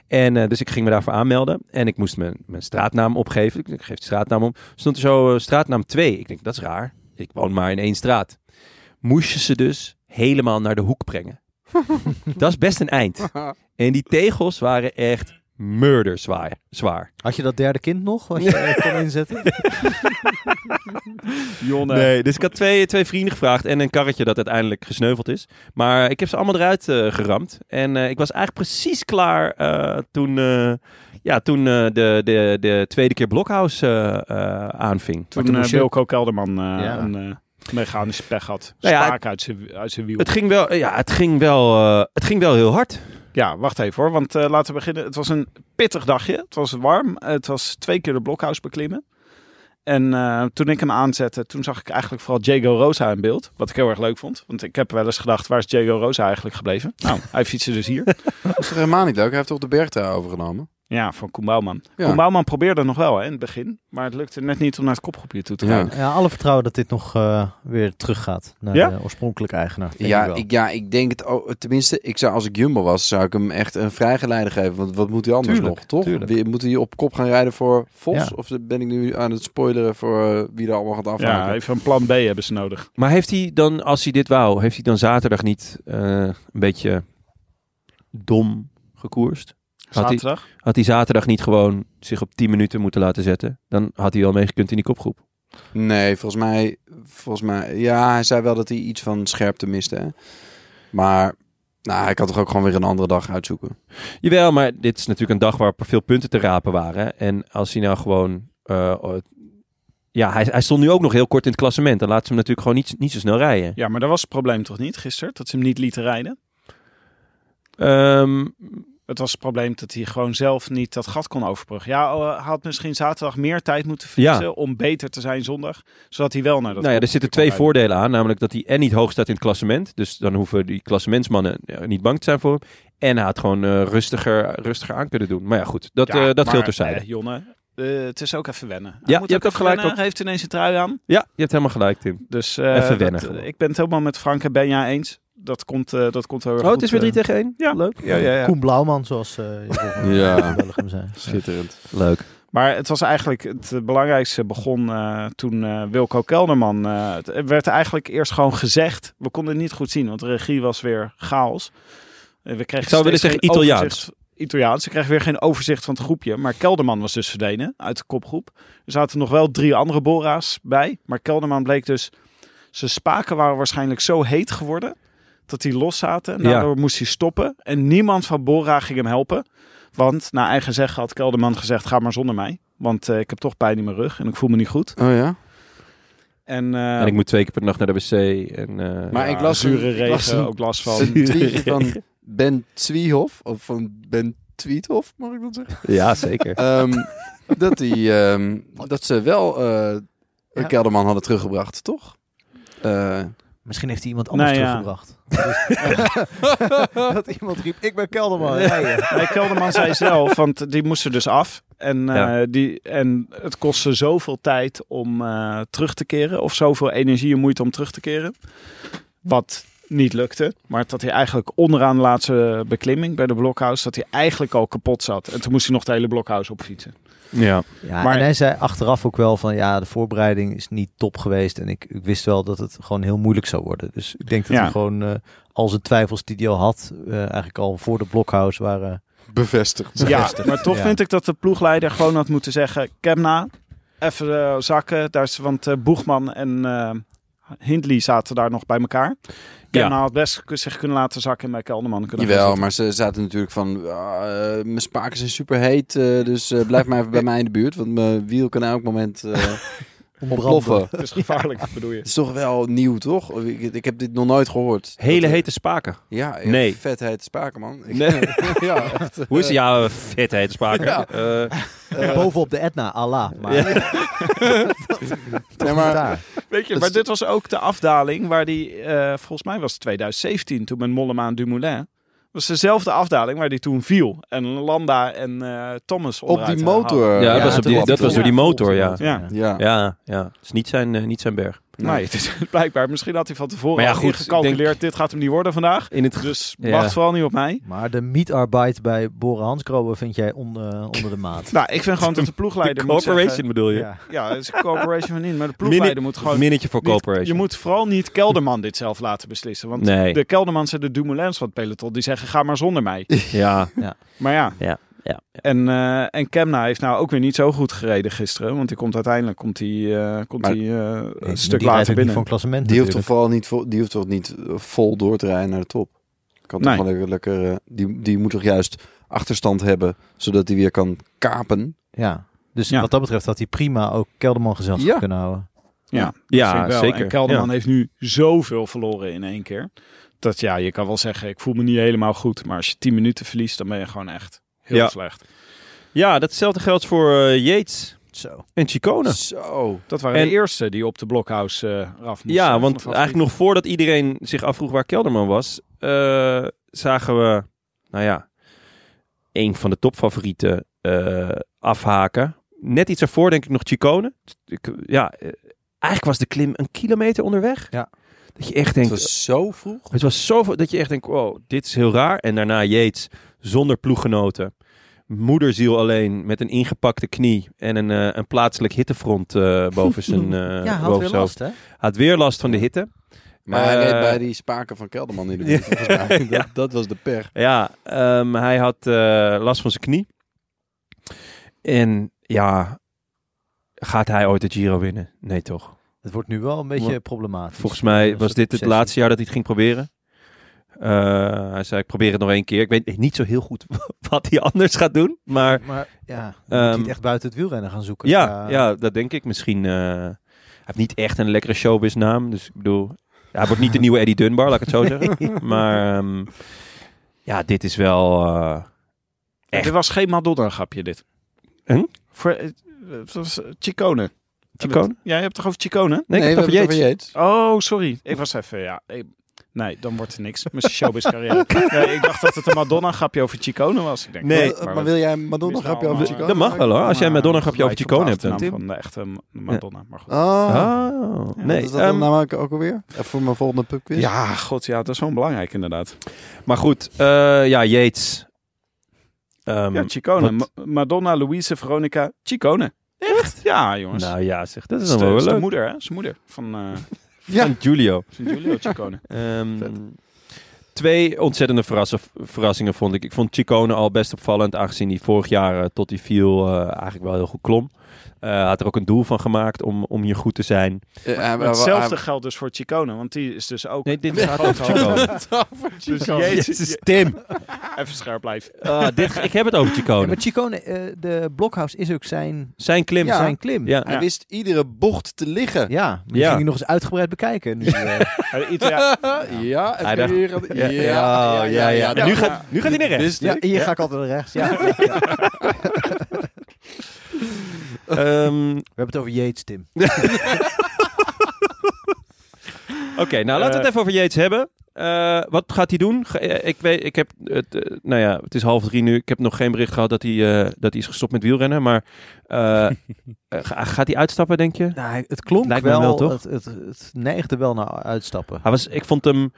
Speaker 1: En eh, dus ik ging me daarvoor aanmelden en ik moest mijn, mijn straatnaam opgeven. Ik, ik geef de straatnaam om. Stond er zo eh, straatnaam 2. Ik denk, dat is raar. Ik woon maar in één straat. Moest je ze dus helemaal naar de hoek
Speaker 6: [laughs]
Speaker 1: brengen. dat is best een eind. En die tegels waren echt murderzwaar. Zwaar.
Speaker 2: Had je dat derde kind nog, wat je eh,
Speaker 1: [laughs]
Speaker 2: kon inzetten?
Speaker 5: Jonne.
Speaker 1: Nee, dus ik had twee, twee vrienden gevraagd en een karretje dat uiteindelijk gesneuveld is. Maar ik heb ze allemaal eruit eh, geramd. En eh, ik was eigenlijk precies klaar eh, toen, eh, ja, toen eh, de, de, de tweede keer Blokhuis eh, eh, aanving.
Speaker 5: Toen
Speaker 2: toen
Speaker 5: eh,
Speaker 2: moest je-
Speaker 5: Wilco Kelderman eh,
Speaker 2: Ja.
Speaker 5: een eh, mechanische pech had.
Speaker 1: Nou ja,
Speaker 5: Spaak uit zijn uit zijn wiel.
Speaker 1: Het ging wel, ja, het ging wel, eh, het ging wel heel hard.
Speaker 5: Ja, wacht even hoor. Want eh, laten we beginnen. Het was een pittig dagje. Het was warm. Het was twee keer de blokhuis beklimmen. En eh, toen ik hem aanzette, toen zag ik eigenlijk vooral Diego Rosa in beeld. Wat ik heel erg leuk vond. Want ik heb wel eens gedacht, waar is Diego Rosa eigenlijk gebleven? Nou, hij fietste dus hier.
Speaker 6: Dat is toch helemaal niet leuk? Hij heeft toch de bergtrui overgenomen?
Speaker 5: Ja, van Koen Bouwman.
Speaker 6: Ja.
Speaker 5: Koen Bouwman probeerde nog wel hè, in het begin. Maar het lukte net niet om naar het kopgroepje toe te
Speaker 6: Ja.
Speaker 5: gaan.
Speaker 2: Ja, alle vertrouwen dat dit nog eh, weer teruggaat naar
Speaker 5: Ja?
Speaker 2: de oorspronkelijke eigenaar. denk
Speaker 6: Ja
Speaker 2: wel.
Speaker 6: ik, ja, ik denk het. ook- tenminste, ik zou, als ik Jumbo was, zou ik hem echt een vrijgeleide geven. Want wat moet hij anders
Speaker 2: Tuurlijk,
Speaker 6: nog, toch?
Speaker 2: tuurlijk.
Speaker 6: Wie- Moet hij op kop gaan rijden voor Vos?
Speaker 2: Ja.
Speaker 6: Of ben ik nu aan het spoileren voor eh, wie er allemaal gaat afhaken?
Speaker 5: Ja, even een plan B hebben ze nodig.
Speaker 1: Maar heeft hij dan, als hij dit wou, heeft hij dan zaterdag niet eh, een beetje dom gekoerst? Had hij,
Speaker 5: Zaterdag.
Speaker 1: had hij zaterdag niet gewoon zich op 10 minuten moeten laten zetten? Dan had hij wel meegekund in die kopgroep.
Speaker 6: Nee, volgens mij, volgens mij... Ja, hij zei wel dat hij iets van scherpte miste. Hè? Maar nou, hij kan toch ook gewoon weer een andere dag uitzoeken.
Speaker 1: Jawel, maar dit is natuurlijk een dag waar veel punten te rapen waren. En als hij nou gewoon... eh, o- ja, hij, hij stond nu ook nog heel kort in het klassement. Dan laat ze hem natuurlijk gewoon niet, niet zo snel rijden.
Speaker 5: Ja, maar dat was het probleem toch niet gisteren? Dat ze hem niet lieten rijden?
Speaker 1: Ehm,
Speaker 5: Het was het probleem dat hij gewoon zelf niet dat gat kon overbruggen. Ja, eh, hij had misschien zaterdag meer tijd moeten fietsen
Speaker 1: Ja.
Speaker 5: om beter te zijn zondag. Zodat hij wel naar dat
Speaker 1: nou ja, er
Speaker 5: kopgroepje
Speaker 1: zitten
Speaker 5: kon
Speaker 1: twee
Speaker 5: rijden.
Speaker 1: voordelen aan. Namelijk dat hij en niet hoog staat in het klassement. Dus dan hoeven die klassementsmannen eh, niet bang te zijn voor hem. En hij had gewoon eh, rustiger, rustiger aan kunnen doen. Maar ja, goed. Dat,
Speaker 5: Ja,
Speaker 1: eh, dat
Speaker 5: maar,
Speaker 1: geldt terzijde.
Speaker 5: eh, Jonne, eh, het is ook even wennen. Hij
Speaker 1: Ja,
Speaker 5: moet
Speaker 1: je hebt
Speaker 5: ook
Speaker 1: ook gelijk,
Speaker 5: Wennen.
Speaker 1: want-
Speaker 5: Hij heeft ineens een trui aan.
Speaker 1: Ja, je hebt helemaal gelijk, Tim.
Speaker 5: Dus eh,
Speaker 1: Even wennen
Speaker 5: dat-
Speaker 1: gewoon.
Speaker 5: ik ben het helemaal met Frank en Benja eens. Dat komt, eh, dat komt wel heel
Speaker 1: Oh, het is weer 3
Speaker 5: drie
Speaker 1: tegen 1? Ja, leuk.
Speaker 5: Ja, ja, ja.
Speaker 2: Koen Blauwman, zoals [laughs] eh je
Speaker 6: Ja.
Speaker 2: Belgium zei.
Speaker 5: [laughs]
Speaker 6: Schitterend.
Speaker 1: Leuk.
Speaker 5: Maar het was eigenlijk het eh, belangrijkste begon eh, toen eh, Wilco Kelderman. eh, het er werd eigenlijk eerst gewoon gezegd. We konden het niet goed zien, want de regie was weer chaos. Eh, We kregen
Speaker 1: Ik zou willen
Speaker 5: steeds
Speaker 1: zeggen
Speaker 5: geen
Speaker 1: Italiaans.
Speaker 5: overzicht- Italiaans. Ik kreeg weer geen overzicht van het groepje. Maar Kelderman was dus verdwenen uit de kopgroep. Er zaten nog wel drie andere Bora's bij. Maar Kelderman bleek dus. Zijn spaken waren waarschijnlijk zo heet geworden. dat die los zaten. En
Speaker 1: Ja.
Speaker 5: daardoor moest hij stoppen. En niemand van Bora ging hem helpen. Want naar eigen zeggen had Kelderman gezegd: ga maar zonder mij. Want eh, ik heb toch pijn in mijn rug en ik voel me niet goed.
Speaker 6: Oh ja?
Speaker 5: En, eh
Speaker 1: En ik moet twee keer per nacht naar de wc. En, eh,
Speaker 6: Maar ik las
Speaker 5: zure
Speaker 6: een- ik
Speaker 5: regen,
Speaker 6: las een-
Speaker 5: ook last
Speaker 6: [laughs]
Speaker 5: van.
Speaker 6: Een tweetje van [laughs] Ben Zwiehof. Of van Ben Tweethof, mag ik dat zeggen?
Speaker 1: [laughs] Ja,
Speaker 5: [laughs]
Speaker 1: zeker.
Speaker 6: [laughs] Ehm, dat, die, ehm, dat ze wel eh,
Speaker 2: Ja.
Speaker 6: Kelderman hadden teruggebracht, toch? Eh,
Speaker 2: Misschien heeft hij iemand anders
Speaker 5: Nou ja.
Speaker 2: teruggebracht. [laughs] dat iemand riep, ik ben Kelderman.
Speaker 5: Nee, Kelderman zei zelf, want die moesten dus af. En, eh,
Speaker 1: Ja.
Speaker 5: die, en het kostte zoveel tijd om eh, terug te keren. Of zoveel energie en moeite om terug te keren. Wat niet lukte. Maar dat hij eigenlijk onderaan de laatste beklimming bij de blokhuis... dat hij eigenlijk al kapot zat. En toen moest hij nog de hele blokhuis opfietsen.
Speaker 1: Ja.
Speaker 2: [laughs] Ja,
Speaker 5: Maar-
Speaker 2: en hij zei achteraf ook wel van ja, de voorbereiding is niet top geweest. En ik, ik wist wel dat het gewoon heel moeilijk zou worden. Dus ik denk dat
Speaker 5: Ja.
Speaker 2: hij gewoon eh, al zijn twijfels die hij al had, eh, eigenlijk al voor de blockhouse waren.
Speaker 6: Bevestigd.
Speaker 5: Ja, maar toch
Speaker 2: ja.
Speaker 5: vind ik dat de ploegleider gewoon had moeten zeggen... Kemna, even eh, zakken. Daar is, want eh, Boegman en eh Hindley zaten daar nog bij elkaar. Kemna had best k- zich kunnen laten zakken en bij Kelderman kunnen
Speaker 6: Jawel,
Speaker 5: gaan
Speaker 6: maar ze zaten natuurlijk van... ah, eh, mijn spaken zijn superheet, eh, dus eh, blijf maar even [laughs] bij mij in de buurt. Want mijn wiel kan elk moment eh ontploffen.
Speaker 5: zitten. Het is gevaarlijk, bedoel je.
Speaker 6: Het is toch wel nieuw, toch? Ik, ik heb dit nog nooit gehoord.
Speaker 1: Hele
Speaker 6: Dat-
Speaker 1: hete spaken.
Speaker 6: Ja,
Speaker 1: Nee.
Speaker 6: vet heet spaken, man. Ik-
Speaker 1: Nee.
Speaker 6: [laughs] ja, echt.
Speaker 1: Hoe is het? Ja, eh, vet hete spaken.
Speaker 6: Ja.
Speaker 1: Eh,
Speaker 2: Bovenop de Etna, Allah. Maar
Speaker 1: Ja.
Speaker 6: Nee,
Speaker 2: maar,
Speaker 6: maar,
Speaker 2: daar.
Speaker 5: Weet je,
Speaker 6: Dat
Speaker 5: maar
Speaker 6: is-
Speaker 5: dit was ook de afdaling waar die, eh, volgens mij was het 2017, toen met Mollema en Dumoulin. was dezelfde afdaling waar die toen viel. En Landa en eh, Thomas
Speaker 6: op
Speaker 5: onderuit
Speaker 6: die
Speaker 5: haalde.
Speaker 6: motor.
Speaker 1: ja, dat, was op die,
Speaker 6: toen-
Speaker 1: dat was door die motor, ja.
Speaker 5: Ja.
Speaker 6: Ja.
Speaker 1: Ja, ja. Het is niet zijn, eh, niet zijn berg.
Speaker 5: Nee, het is [laughs] blijkbaar. Misschien had hij van tevoren
Speaker 1: Maar ja,
Speaker 5: al
Speaker 1: goed,
Speaker 5: ingecalculeerd,
Speaker 1: ik denk-
Speaker 5: dit gaat hem niet worden vandaag.
Speaker 1: In het
Speaker 5: Dus
Speaker 1: Ja.
Speaker 5: wacht vooral niet op mij.
Speaker 2: maar de mietarbeid bij Boren Hansgrohe vind jij on-
Speaker 1: [laughs]
Speaker 2: eh, onder de maat.
Speaker 5: Nou, ik vind gewoon dat [laughs] de ploegleider moet
Speaker 1: corporation
Speaker 5: zeggen-
Speaker 1: bedoel je?
Speaker 2: Ja.
Speaker 5: ja, dat is een corporation van in. Maar de ploegleider moet gewoon...
Speaker 1: Minnetje voor
Speaker 5: niet-
Speaker 1: corporation.
Speaker 5: je moet vooral niet Kelderman dit zelf laten beslissen. Want
Speaker 1: Nee.
Speaker 5: de Keldermans en de Dumoulin's van het peloton, die zeggen ga maar zonder mij.
Speaker 1: Ja,
Speaker 5: Maar ja.
Speaker 1: Ja, ja,
Speaker 5: En, eh, en Kemna heeft nou ook weer niet zo goed gereden gisteren. Want die komt uiteindelijk komt die, eh, komt
Speaker 6: Maar-
Speaker 5: die, eh,
Speaker 2: Nee,
Speaker 5: een
Speaker 2: die
Speaker 5: stuk
Speaker 2: rijdt ook
Speaker 5: later
Speaker 2: niet
Speaker 5: binnen.
Speaker 2: Van klassement
Speaker 6: Die hoeft toch
Speaker 2: natuurlijk.
Speaker 6: vooral niet, vo- die hoeft toch niet eh, vol door te rijden naar de top. Kan toch
Speaker 5: Nee.
Speaker 6: wel lekker, lekker eh, die, die moet toch juist achterstand hebben, zodat hij weer kan kapen.
Speaker 2: Ja. Dus
Speaker 5: Ja.
Speaker 2: wat dat betreft had hij prima ook Kelderman gezelschap
Speaker 6: Ja.
Speaker 2: kunnen houden.
Speaker 5: Ja,
Speaker 1: Ja,
Speaker 5: vind ik wel.
Speaker 1: zeker.
Speaker 5: En Kelderman
Speaker 1: Ja.
Speaker 5: heeft nu zoveel verloren in één keer. Dat ja, je kan wel zeggen, ik voel me niet helemaal goed. Maar als je 10 minuten verliest, dan ben je gewoon echt heel
Speaker 1: Ja.
Speaker 5: slecht.
Speaker 1: ja datzelfde geldt voor eh, Yates
Speaker 2: Zo.
Speaker 1: en Chicone.
Speaker 6: Zo.
Speaker 5: Dat waren
Speaker 1: En-
Speaker 5: de eerste die op de blokhouse eh af moesten.
Speaker 1: Ja,
Speaker 5: Vanaf
Speaker 1: want
Speaker 5: afvliegen.
Speaker 1: eigenlijk nog voordat iedereen zich afvroeg waar Kelderman was, eh, zagen we, nou ja, een van de topfavorieten eh, afhaken. Net iets ervoor denk ik nog Chicone. Ik- Ja, eh, eigenlijk was de klim een kilometer onderweg.
Speaker 2: Ja.
Speaker 1: Dat je echt
Speaker 6: Het
Speaker 1: denkt,
Speaker 6: was zo vroeg.
Speaker 1: Het was zoveel dat je echt denkt, wow, dit is heel raar. En daarna Yates zonder ploeggenoten. Moederziel alleen met een ingepakte knie en een, eh, een plaatselijk hittefront eh,
Speaker 2: [laughs]
Speaker 1: boven zijn eh
Speaker 2: ja, had
Speaker 1: boven
Speaker 2: weer
Speaker 1: zijn hoofd.
Speaker 2: last, hè?
Speaker 1: Had weer last van de hitte.
Speaker 6: Maar hij
Speaker 1: Eh,
Speaker 6: reed bij die spaken van Kelderman in
Speaker 1: [laughs]
Speaker 6: de buurt, volgens mij. Dat, dat was de per.
Speaker 1: Ja, ehm, hij had eh, last van zijn knie. En ja, gaat hij ooit de Giro winnen? Nee toch?
Speaker 2: Het wordt nu wel een beetje
Speaker 1: Maar-
Speaker 2: problematisch.
Speaker 1: Volgens mij
Speaker 2: Een
Speaker 1: was
Speaker 2: soort
Speaker 1: dit het
Speaker 2: obsessie.
Speaker 1: laatste jaar dat hij het ging proberen. Eh, hij zei, ik probeer het nog één keer. Ik weet niet zo heel goed [laughs] wat hij anders gaat doen. Maar
Speaker 2: Maar ja, je
Speaker 1: Ehm,
Speaker 2: moet niet echt buiten het wielrennen gaan zoeken. Eh,
Speaker 1: Ja,
Speaker 2: [laughs]
Speaker 1: ja, dat denk ik misschien. eh, hij heeft niet echt een lekkere showbiz naam. Dus ik bedoel, hij wordt niet de nieuwe Eddie Dunbar, laat ik [laughs] het zo zeggen. Maar ehm, ja, dit is wel... eh, echt.
Speaker 5: Dit was geen Madonna-grapje, dit.
Speaker 1: Hm?
Speaker 5: Voor, eh, het was eh, Chicone.
Speaker 1: Chicone?
Speaker 5: Ja, je hebt toch over Chicone?
Speaker 1: Nee, ik heb het over Yates.
Speaker 5: Oh, sorry. Ik was even, ja. ik- nee, dan wordt het niks. Mijn showbiz
Speaker 1: [laughs]
Speaker 5: carrière. nee, ik dacht dat het een Madonna-grapje over Chicone was. Ik denk,
Speaker 1: Nee,
Speaker 5: wat?
Speaker 6: maar, maar wil jij Madonna
Speaker 5: Mis nou
Speaker 6: grapje over
Speaker 5: allemaal,
Speaker 6: Chico?
Speaker 5: eh,
Speaker 1: Dat mag wel hoor, als jij Madonna een grapje over
Speaker 5: Lijkt op de
Speaker 1: Chicone hebt. dan.
Speaker 5: achternaam van de echte Madonna. Maar goed.
Speaker 6: Oh,
Speaker 1: Oh, nee.
Speaker 6: nee. Is dat
Speaker 1: ehm,
Speaker 6: dan namelijk ook alweer? Even voor mijn volgende
Speaker 1: Ah,
Speaker 6: pubquiz.
Speaker 5: Ja, god, ja, dat is wel belangrijk inderdaad.
Speaker 1: maar goed, eh, ja, Yates. Ehm,
Speaker 5: ja, Chicone.
Speaker 1: wat-
Speaker 5: Ma- Madonna, Louise, Veronica, Chicone. Echt? Ja, jongens.
Speaker 1: nou ja, zeg, dat is
Speaker 5: Is
Speaker 1: dan
Speaker 5: de,
Speaker 1: wel
Speaker 5: is de
Speaker 1: leuk.
Speaker 5: moeder, hè? Zijn moeder van, eh
Speaker 6: Ja.
Speaker 1: Van Julio.
Speaker 5: van
Speaker 1: [laughs]
Speaker 5: Giulio Ciccone.
Speaker 1: Ehm,
Speaker 6: Vet.
Speaker 1: twee ontzettende verrassen- verrassingen vond ik. Ik vond Chicone al best opvallend, aangezien hij vorig jaar eh, tot hij viel eh, eigenlijk wel heel goed klom. Eh had er ook een doel van gemaakt om, om hier goed te zijn.
Speaker 6: Eh, hij-
Speaker 5: Maar
Speaker 6: hij-
Speaker 5: hetzelfde
Speaker 6: hij-
Speaker 5: geldt dus voor Ciccone, want die is dus ook...
Speaker 1: Nee, dit gaat over [laughs] Chicone.
Speaker 5: dus jezus, je-
Speaker 1: Tim.
Speaker 5: even scherp blijven.
Speaker 1: Ah, dit, ik heb het over
Speaker 2: Ja,
Speaker 1: Chicone.
Speaker 2: maar Chicone, eh, de Blokhouse is ook zijn,
Speaker 1: Zijn klim.
Speaker 6: Ja.
Speaker 2: zijn klim.
Speaker 1: Ja.
Speaker 6: Hij wist iedere bocht te liggen.
Speaker 2: Ja, maar die
Speaker 1: Ja.
Speaker 2: ging je nog eens uitgebreid
Speaker 1: [laughs]
Speaker 2: bekijken. Nu, eh.
Speaker 5: Eh, Italia-
Speaker 6: Ja,
Speaker 1: Hij dacht-
Speaker 6: even hier. Ja,
Speaker 1: ja, ja, ja.
Speaker 6: dat
Speaker 1: Nu gaat, nu gaat hij naar
Speaker 5: Dus
Speaker 1: rechts.
Speaker 6: wist
Speaker 2: ja,
Speaker 6: ik.
Speaker 2: hier ga ik altijd naar rechts. Ja. We hebben
Speaker 1: Ehm,
Speaker 2: het over Yates, Tim.
Speaker 1: Oké, nou laten we het
Speaker 5: Eh,
Speaker 1: even over Yates hebben. Eh, wat gaat hij doen? Ge- eh, ik weet, ik heb, het, eh, nou ja, het is half drie nu. Ik heb nog geen bericht gehad dat hij, eh, dat hij is gestopt met wielrennen. Maar
Speaker 5: [laughs]
Speaker 1: eh, eh, ga- gaat hij uitstappen, denk je?
Speaker 2: Nou, het klonk
Speaker 1: Lijkt me
Speaker 2: wel,
Speaker 1: wel, toch?
Speaker 2: Het, het, het neigde wel naar uitstappen.
Speaker 1: Hij was, ik vond hem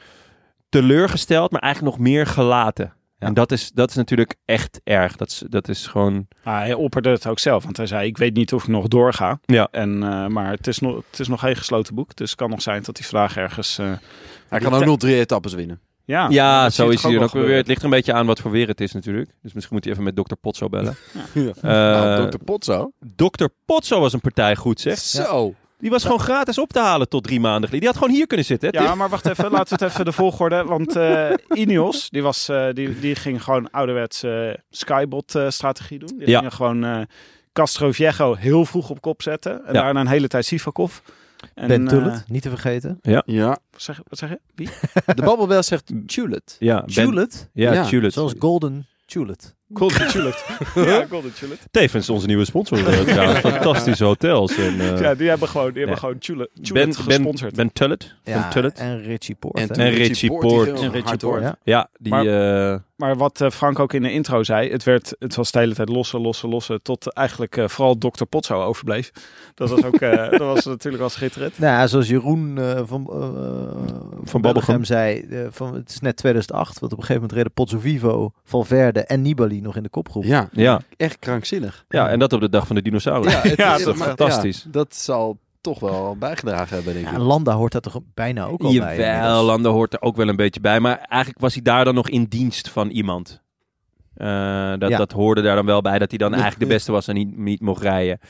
Speaker 1: teleurgesteld, maar eigenlijk nog meer gelaten.
Speaker 5: Ja.
Speaker 1: En dat is, dat is natuurlijk echt erg. Dat is, dat is gewoon...
Speaker 5: Ah, hij opperde het ook zelf, want hij zei: Ik weet niet of ik nog doorga.
Speaker 1: Ja.
Speaker 5: En, eh, maar het is, nog, het is nog geen gesloten boek, dus het kan nog zijn dat die vraag ergens. eh,
Speaker 6: Hij kan ook nog drie etappes winnen.
Speaker 5: ja,
Speaker 1: ja,
Speaker 5: Ah, dat
Speaker 1: zo
Speaker 5: zie je
Speaker 1: is
Speaker 5: toch
Speaker 1: hij dan ook weer.
Speaker 5: wel
Speaker 1: weer.
Speaker 5: gebeuren.
Speaker 1: Het ligt er een beetje aan wat voor weer het is natuurlijk. Dus misschien moet hij even met dokter Potso bellen.
Speaker 5: [laughs]
Speaker 1: Eh,
Speaker 6: nou, Dr. Potso.
Speaker 1: Dokter Potso was een partij goed, zeg.
Speaker 6: Zo.
Speaker 1: Die was gewoon gratis op te halen tot drie maanden geleden. Die had gewoon hier kunnen zitten. hè,
Speaker 5: Ja,
Speaker 1: Tim?
Speaker 5: maar wacht even, laten we het even de volgorde. Want eh Ineos, die, was, eh, die, die ging gewoon ouderwets eh, Skybot-strategie doen. Die
Speaker 1: Ja.
Speaker 5: gingen gewoon eh, Castro Viejo heel vroeg op kop zetten. En
Speaker 1: Ja.
Speaker 5: daarna een hele tijd Sivakov. En,
Speaker 2: Ben Tullet,
Speaker 5: eh,
Speaker 2: niet te vergeten.
Speaker 6: Ja.
Speaker 5: wat, zeg, wat zeg je? Wie?
Speaker 6: De babbelbel zegt Tulet.
Speaker 1: Ja, ben,
Speaker 2: Tullet,
Speaker 1: ja,
Speaker 6: Ja,
Speaker 1: Tulip.
Speaker 2: zoals Golden Tullet.
Speaker 5: Golden
Speaker 1: [laughs]
Speaker 5: Tullet. ja, Golden Tullet.
Speaker 1: Tevens onze nieuwe sponsor. eh, trouwens. Fantastische hotels. En, eh,
Speaker 5: Ja, die hebben gewoon, die hebben
Speaker 1: Ja.
Speaker 5: gewoon Tullet, Tullet
Speaker 1: ben, ben,
Speaker 5: gesponsord.
Speaker 1: ben Tullet. Ben Tullet.
Speaker 2: en Richie Poort.
Speaker 6: En
Speaker 2: hè?
Speaker 1: En Richie Poort.
Speaker 6: die ging
Speaker 1: En
Speaker 6: hard
Speaker 1: Richie
Speaker 6: door.
Speaker 2: Poort, ja.
Speaker 1: Ja, die...
Speaker 5: Maar-
Speaker 1: eh,
Speaker 5: Maar wat eh, Frank ook in de intro zei, het, werd, het was de hele tijd lossen, lossen, lossen. Tot eigenlijk eh, vooral Dr. Potso overbleef. Dat was, ook, eh, dat was natuurlijk wel schitterend.
Speaker 2: Nou ja, zoals Jeroen eh, van, eh, van,
Speaker 1: Babbelgem.
Speaker 2: zei, eh, van, het is net 2008, want op een gegeven moment reden Pozzo Vivo, Valverde en Nibali nog in de kopgroep.
Speaker 6: Ja,
Speaker 1: ja.
Speaker 6: echt krankzinnig.
Speaker 1: ja, en dat op de dag van de dinosaurus. [laughs]
Speaker 6: het
Speaker 5: Ja,
Speaker 6: is-
Speaker 5: toch
Speaker 6: maar-
Speaker 1: fantastisch.
Speaker 6: ja, dat zal toch wel bijgedragen hebben, denk ik.
Speaker 2: Ja, Landa hoort daar toch bijna ook al bij.
Speaker 1: Jawel,
Speaker 2: inmiddels.
Speaker 1: Landa hoort er ook wel een beetje bij. Maar eigenlijk was hij daar dan nog in dienst van iemand. Eh, dat,
Speaker 2: Ja.
Speaker 1: dat hoorde daar dan wel bij. Dat hij dan eigenlijk de beste was en niet, niet mocht rijden.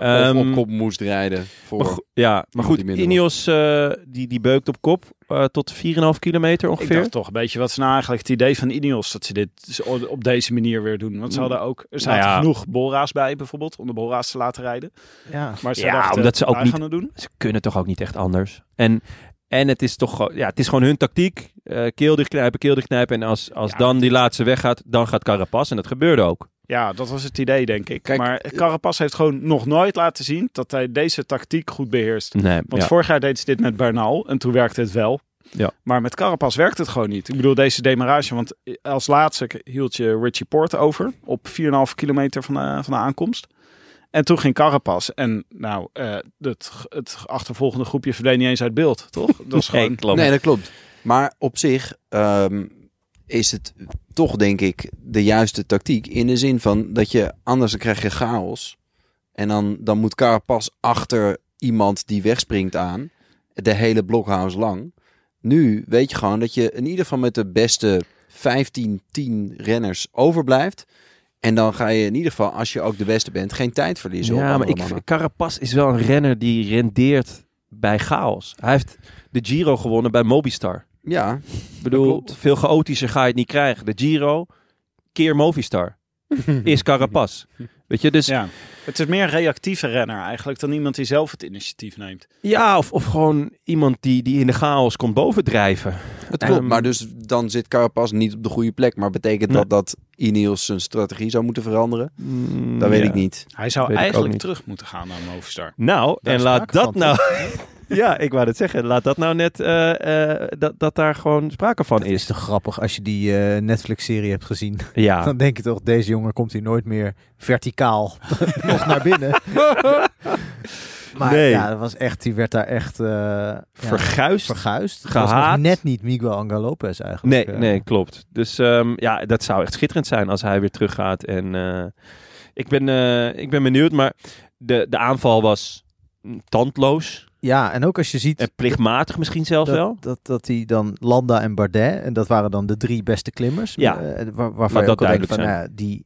Speaker 1: Ehm,
Speaker 6: of op kop moest rijden. Voor...
Speaker 1: maar go- ja, maar
Speaker 6: Iemand
Speaker 1: goed.
Speaker 6: die minder
Speaker 1: Ineos eh, die, die beukt op kop eh, tot 4,5 kilometer
Speaker 5: Ik
Speaker 1: ongeveer.
Speaker 5: dacht toch een beetje, wat is nou eigenlijk het idee van Ineos dat ze dit zo- op deze manier weer doen? Want ze hadden ook, er zaten
Speaker 1: Nou ja.
Speaker 5: genoeg bolra's bij bijvoorbeeld, om de bolra's te laten rijden.
Speaker 2: Ja.
Speaker 5: Maar ze
Speaker 1: Ja,
Speaker 5: dachten,
Speaker 1: omdat ze ook
Speaker 5: wij
Speaker 1: niet-
Speaker 5: gaan het doen.
Speaker 1: Ze kunnen toch ook niet echt anders. En, en het, is toch, gewoon- ja, het is gewoon hun tactiek. eh keel dichtknijpen, keel dichtknijpen. En als, als
Speaker 5: Ja.
Speaker 1: dan die laatste weggaat, dan gaat Carapaz. En dat gebeurde ook.
Speaker 5: Ja, dat was het idee, denk ik.
Speaker 6: Kijk,
Speaker 1: eh,
Speaker 5: maar Carapaz heeft gewoon nog nooit laten zien dat hij deze tactiek goed beheerst.
Speaker 1: Nee,
Speaker 5: Want
Speaker 1: ja.
Speaker 5: vorig jaar deed ze dit met Bernal en toen werkte het wel.
Speaker 1: Ja.
Speaker 5: Maar met Carapaz werkt het gewoon niet. Ik bedoel, deze demarage, want als laatste k- hield je Richie Porte over op 4,5 kilometer van de, van de aankomst. En toen ging Carapaz. En nou, eh, het, het achtervolgende groepje verdween niet eens uit beeld,
Speaker 1: [laughs]
Speaker 5: toch? Dat was
Speaker 1: Nee,
Speaker 5: gewoon...
Speaker 1: klopt.
Speaker 6: Nee, dat klopt. Maar op zich ehm, is het toch, denk ik, de juiste tactiek. In de zin van dat je anders dan krijg je chaos. En dan, dan moet Carapaz achter iemand die wegspringt aan. De hele blokhuis lang. Nu weet je gewoon dat je in ieder geval met de beste 15, 10 renners overblijft. En dan ga je in ieder geval, als je ook de beste bent, geen tijd verliezen. op
Speaker 1: Ja, maar
Speaker 6: andere
Speaker 1: ik,
Speaker 6: mannen.
Speaker 1: Carapaz is wel een renner die rendeert bij chaos. Hij heeft de Giro gewonnen bij Mobistar.
Speaker 6: Ja,
Speaker 1: Ik bedoel,
Speaker 6: klopt.
Speaker 1: veel chaotischer ga je het niet krijgen. De Giro, keer [laughs] Movistar, is Carapaz. Weet je, dus ja,
Speaker 5: Ja. Het is meer een reactieve renner eigenlijk dan iemand die zelf het initiatief neemt.
Speaker 1: of, of gewoon iemand die, die in de chaos komt bovendrijven.
Speaker 6: Het klopt,
Speaker 1: Ehm,
Speaker 6: maar dus dan zit Carapaz niet op de goede plek. Maar betekent
Speaker 1: Nee.
Speaker 6: dat dat Ineos zijn strategie zou moeten veranderen?
Speaker 1: Mm,
Speaker 6: Dat weet
Speaker 1: ja.
Speaker 6: ik niet.
Speaker 5: Hij zou
Speaker 1: Weet ik ook
Speaker 5: eigenlijk
Speaker 1: niet.
Speaker 5: terug moeten gaan naar Movistar.
Speaker 1: Nou,
Speaker 2: Daar
Speaker 1: en
Speaker 2: is
Speaker 1: laat
Speaker 2: sprake
Speaker 1: dat
Speaker 2: van,
Speaker 1: nou... [laughs] ja, ik wou het zeggen. Laat dat nou net... eh, eh, dat, dat daar gewoon sprake van
Speaker 2: Dat is
Speaker 1: is.
Speaker 2: toch grappig als je die eh, Netflix-serie hebt gezien.
Speaker 1: [laughs] Ja.
Speaker 2: Dan denk je toch, deze jongen komt hier nooit meer verticaal [laughs] nog naar binnen.
Speaker 1: [laughs]
Speaker 2: maar
Speaker 1: Nee.
Speaker 2: ja, dat was echt, die werd daar echt eh, ja,
Speaker 1: Verguisd.
Speaker 2: verguisd. Het Was
Speaker 1: Gehaat.
Speaker 2: nog net niet Miguel Angel Lopez eigenlijk.
Speaker 1: Nee,
Speaker 2: eh.
Speaker 1: nee, klopt. Dus ehm, ja, dat zou echt schitterend zijn als hij weer teruggaat. En eh, ik, ben, eh, ik ben benieuwd, maar de, de aanval was mm, tandloos
Speaker 2: Ja, en ook als je ziet...
Speaker 1: en plichtmatig misschien zelfs wel.
Speaker 2: dat, dat, dat die dan Landa en Bardet, en dat waren dan de drie beste klimmers.
Speaker 1: Ja.
Speaker 2: eh, waar-
Speaker 1: Laat
Speaker 2: waarvan je
Speaker 1: dat
Speaker 2: ook al
Speaker 1: duidelijk
Speaker 2: denkt van,
Speaker 1: zijn.
Speaker 2: nou ja, die,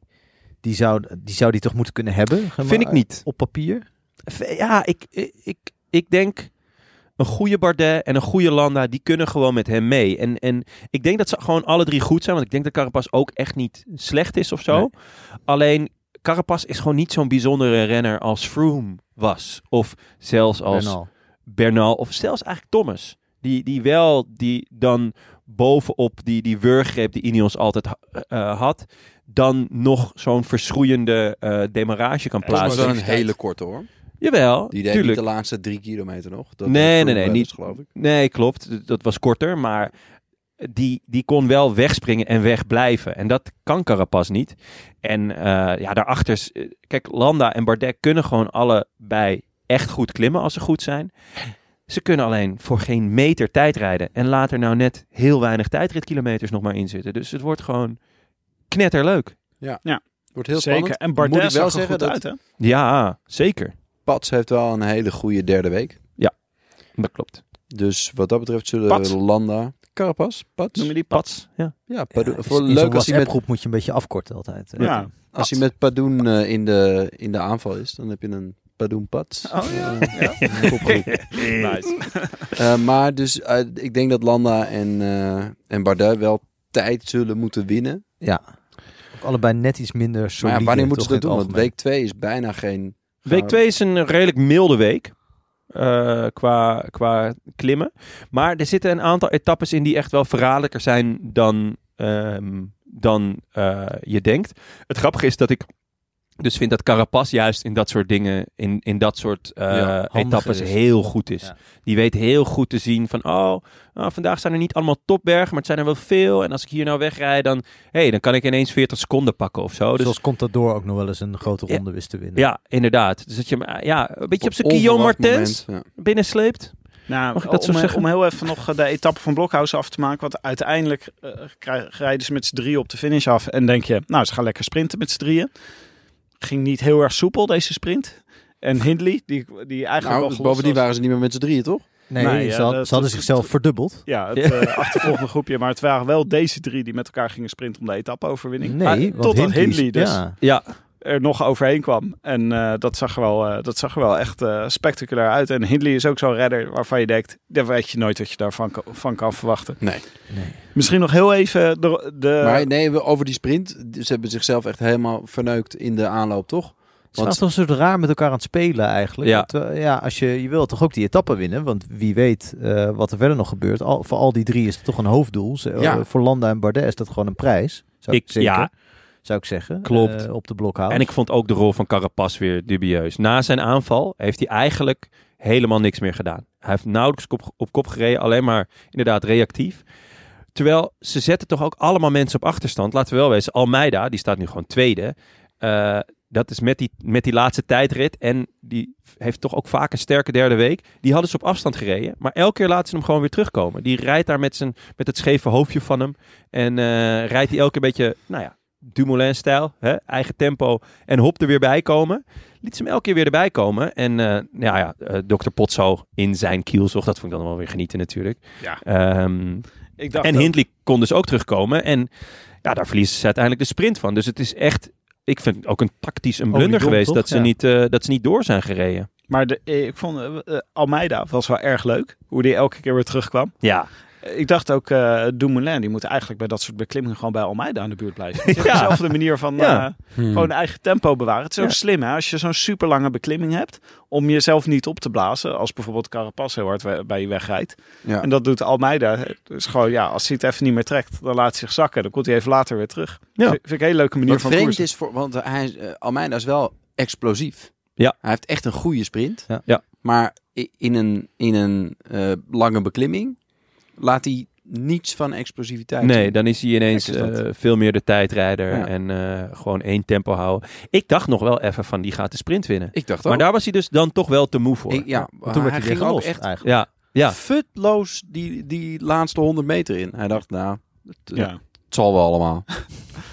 Speaker 2: die, zou, die zou die toch moeten kunnen hebben?
Speaker 1: Vind ik niet.
Speaker 2: Op papier.
Speaker 1: V- Ja, ik, ik, ik, ik denk een goede Bardet en een goede Landa, die kunnen gewoon met hem mee. En, en ik denk dat ze gewoon alle drie goed zijn, want ik denk dat Carapaz ook echt niet slecht is of zo.
Speaker 2: Nee.
Speaker 1: Alleen Carapaz is gewoon niet zo'n bijzondere renner als Froome was. Of zelfs als...
Speaker 2: Bernal.
Speaker 1: Bernal of zelfs eigenlijk Thomas. Die, die wel die dan bovenop die, die wurggreep die Ineos altijd ha- eh, had, dan nog zo'n verschroeiende eh, demarage kan
Speaker 6: Dat was
Speaker 1: plaatsen.
Speaker 6: wel een hele korte hoor.
Speaker 1: Jawel,
Speaker 6: Die deed niet
Speaker 1: tuurlijk.
Speaker 6: de laatste drie kilometer nog. Dat
Speaker 1: Nee,
Speaker 6: vroeg
Speaker 1: nee, nee,
Speaker 6: wel
Speaker 1: niet-
Speaker 6: eens, geloof ik.
Speaker 1: Nee, klopt. D- Dat was korter, maar die, die kon wel wegspringen en wegblijven. En dat kan Carapaz niet. En eh, ja, daarachter... is- eh, Kijk, Landa en Bardet kunnen gewoon allebei echt goed klimmen als ze goed zijn. Ze kunnen alleen voor geen meter tijd rijden. En laat er nou net heel weinig tijdritkilometers nog maar in zitten. Dus het wordt gewoon knetterleuk.
Speaker 6: Wordt heel
Speaker 5: Zeker.
Speaker 6: spannend.
Speaker 5: En Bardet
Speaker 6: Moet ik wel
Speaker 5: zag er
Speaker 6: zeggen
Speaker 5: goed
Speaker 6: dat
Speaker 5: uit, hè?
Speaker 1: Ja, zeker.
Speaker 6: Pats heeft wel een hele goede derde week.
Speaker 1: Dat klopt.
Speaker 6: Dus wat dat betreft zullen
Speaker 1: Pats.
Speaker 6: Landa... Carapaz? Pats?
Speaker 5: Noem je die Pat?
Speaker 1: Pats. Ja.
Speaker 6: Ja,
Speaker 2: Ja,
Speaker 6: Padoen.
Speaker 2: is-
Speaker 6: Voor
Speaker 2: in zo'n
Speaker 6: leuk als hij met,
Speaker 2: WhatsApp-groep moet je een beetje afkorten altijd. hè.
Speaker 5: Ja.
Speaker 6: als hij met Padoen eh, in, de, in de aanval is. Dan heb je een Padoen Pats.
Speaker 5: Oh ja.
Speaker 6: [laughs]
Speaker 5: Nice.
Speaker 6: Eh, maar dus eh, ik denk dat Landa en, eh, en Bardet wel tijd zullen moeten winnen.
Speaker 2: Ja. Ook allebei net iets minder solide.
Speaker 6: maar ja, wanneer moeten ze
Speaker 2: toch
Speaker 6: dat
Speaker 2: in
Speaker 6: doen?
Speaker 2: het
Speaker 6: Want
Speaker 2: algemeen?
Speaker 6: week 2 is bijna geen...
Speaker 1: Week 2 is een redelijk milde week. eh, qua, qua klimmen. Maar er zitten een aantal etappes in die echt wel verraderlijker zijn dan, ehm, dan eh, je denkt. Het grappige is dat ik dus vind dat Carapaz juist in dat soort dingen, in, in dat soort eh,
Speaker 2: handiger
Speaker 1: etappes
Speaker 2: is.
Speaker 1: heel goed is.
Speaker 2: Ja.
Speaker 1: Die weet heel goed te zien van, oh, nou, vandaag zijn er niet allemaal topbergen, maar het zijn er wel veel. En als ik hier nou wegrij, dan, hey, dan kan ik ineens 40 seconden pakken of zo. Dus
Speaker 2: Zoals Contador ook nog wel eens een grote
Speaker 1: Ja.
Speaker 2: ronde wist te winnen.
Speaker 1: ja, inderdaad. Dus dat je hem eh, ja, een beetje op zijn
Speaker 6: onverwacht
Speaker 1: Guillaume Martens
Speaker 6: moment, ja.
Speaker 1: binnensleept.
Speaker 5: Nou,
Speaker 1: Mag ik dat zo
Speaker 5: om, eh,
Speaker 1: zeggen?
Speaker 5: om heel even nog eh, de etappe van Blokhuizen af te maken. Want uiteindelijk eh, krij- rijden ze met z'n drieën op de finish af. En denk je, nou, ze gaan lekker sprinten met z'n drieën. Ging niet heel erg soepel, deze sprint. En Hindley, die, die eigenlijk
Speaker 6: Nou,
Speaker 5: wel
Speaker 6: bovendien
Speaker 5: was.
Speaker 6: waren ze niet meer met z'n drieën, toch?
Speaker 2: Nee,
Speaker 5: Nee,
Speaker 2: ze,
Speaker 5: ja,
Speaker 2: had-
Speaker 5: dat-
Speaker 2: ze hadden
Speaker 5: dat-
Speaker 2: zichzelf verdubbeld.
Speaker 5: Ja, het eh, achtervolgende groepje. Maar het waren wel deze drie die met elkaar gingen sprinten om de etappe-overwinning. Maar
Speaker 2: Nee, want
Speaker 5: Ah, totdat
Speaker 2: Hindley,
Speaker 5: Hindley dus
Speaker 2: Ja,
Speaker 1: Ja,
Speaker 5: er nog overheen kwam. En eh, dat, zag er wel, eh, dat zag er wel echt eh, spectaculair uit. En Hindley is ook zo'n redder waarvan je denkt... daar weet je nooit wat je daarvan kan- van kan verwachten.
Speaker 6: Nee.
Speaker 5: Misschien nog heel even de... de
Speaker 6: maar nee, we- over die sprint. Ze hebben zichzelf echt helemaal verneukt in de aanloop, toch?
Speaker 2: het was toch zo raar met elkaar aan het spelen eigenlijk.
Speaker 1: Ja.
Speaker 2: Want, eh, ja, als je, je wil toch ook die etappe winnen. Want wie weet eh, wat er verder nog gebeurt. Al, voor al die drie is het toch een hoofddoel. Ze-
Speaker 6: Ja.
Speaker 2: eh, voor Landa en Bardet is dat gewoon een prijs. Zou ik,
Speaker 1: Ik-
Speaker 2: zeker,
Speaker 1: ja.
Speaker 2: zou ik zeggen.
Speaker 1: Klopt.
Speaker 2: eh, op de blokhouden.
Speaker 1: en ik vond ook de rol van Carapaz weer dubieus. Na zijn aanval heeft hij eigenlijk helemaal niks meer gedaan. Hij heeft nauwelijks kop, op kop gereden, alleen maar inderdaad reactief. Terwijl ze zetten toch ook allemaal mensen op achterstand. Laten we wel wezen, Almeida, die staat nu gewoon tweede. Eh, dat is met die, met die laatste tijdrit. En die heeft toch ook vaak een sterke derde week. Die hadden ze op afstand gereden. Maar elke keer laten ze hem gewoon weer terugkomen. Die rijdt daar met, zijn, met het scheve hoofdje van hem. En eh, rijdt hij elke keer een beetje, nou ja, Dumoulin-stijl. hè, Eigen tempo. En hop er weer bij komen. Liet ze hem elke keer weer erbij komen. En eh ja, ja eh, Dr. Potso in zijn kielzocht. Dat vond ik dan wel weer genieten natuurlijk.
Speaker 5: Ja.
Speaker 1: Ehm,
Speaker 5: ik dacht
Speaker 1: en
Speaker 5: ook-
Speaker 1: Hindley kon dus ook terugkomen. En ja, daar verliezen ze uiteindelijk de sprint van. Dus het is echt, ik vind het ook een tactisch een blunder
Speaker 2: Oliedom,
Speaker 1: geweest
Speaker 2: toch?
Speaker 1: dat, ze
Speaker 2: Ja.
Speaker 1: niet, eh, dat ze niet door zijn gereden.
Speaker 5: Maar de, eh, ik vond eh, eh, Almeida was wel erg leuk. Hoe die elke keer weer terugkwam.
Speaker 1: Ja,
Speaker 5: Eh, ik dacht ook, eh Dumoulin, die moet eigenlijk bij dat soort beklimmingen gewoon bij Almeida aan de buurt blijven. Het is
Speaker 1: Ja.
Speaker 5: dezelfde manier van
Speaker 1: Ja.
Speaker 5: eh, gewoon eigen tempo bewaren. Het is ook slim hè, als je zo'n super lange beklimming hebt, om jezelf niet op te blazen. Als bijvoorbeeld Carapaz heel hard we- bij je wegrijdt.
Speaker 6: Ja.
Speaker 5: En dat doet Almeida. Dus gewoon, ja, als hij het even niet meer trekt, dan laat hij zich zakken. Dan komt hij even later weer terug.
Speaker 1: Ja.
Speaker 5: Vind- Vind ik een hele leuke manier
Speaker 6: Wat
Speaker 5: van
Speaker 6: vreemd
Speaker 5: koersen.
Speaker 6: is, voor, want hij, is- eh, Almeida is wel explosief.
Speaker 1: Ja.
Speaker 6: Hij heeft echt een goede sprint.
Speaker 2: Ja.
Speaker 1: Ja.
Speaker 6: Maar i- in een, in een eh, lange beklimming laat hij niets van explosiviteit
Speaker 1: nee,
Speaker 6: zien.
Speaker 1: dan is hij ineens
Speaker 6: Kijk eens dat.
Speaker 1: eh, veel meer de tijdrijder
Speaker 6: Ja.
Speaker 1: en eh, gewoon één tempo houden. Ik dacht nog wel even van die gaat de sprint winnen.
Speaker 6: Ik dacht ook.
Speaker 1: Maar daar was hij dus dan toch wel te moe voor.
Speaker 6: Ik- ja,
Speaker 2: Want toen werd hij
Speaker 6: hij
Speaker 2: weer
Speaker 6: ging ook
Speaker 2: gelost
Speaker 6: echt
Speaker 2: eigenlijk.
Speaker 1: ja, ja.
Speaker 6: futloos die, die laatste 100 meter in. Hij dacht, nou, het, eh,
Speaker 5: Ja.
Speaker 6: het zal wel allemaal.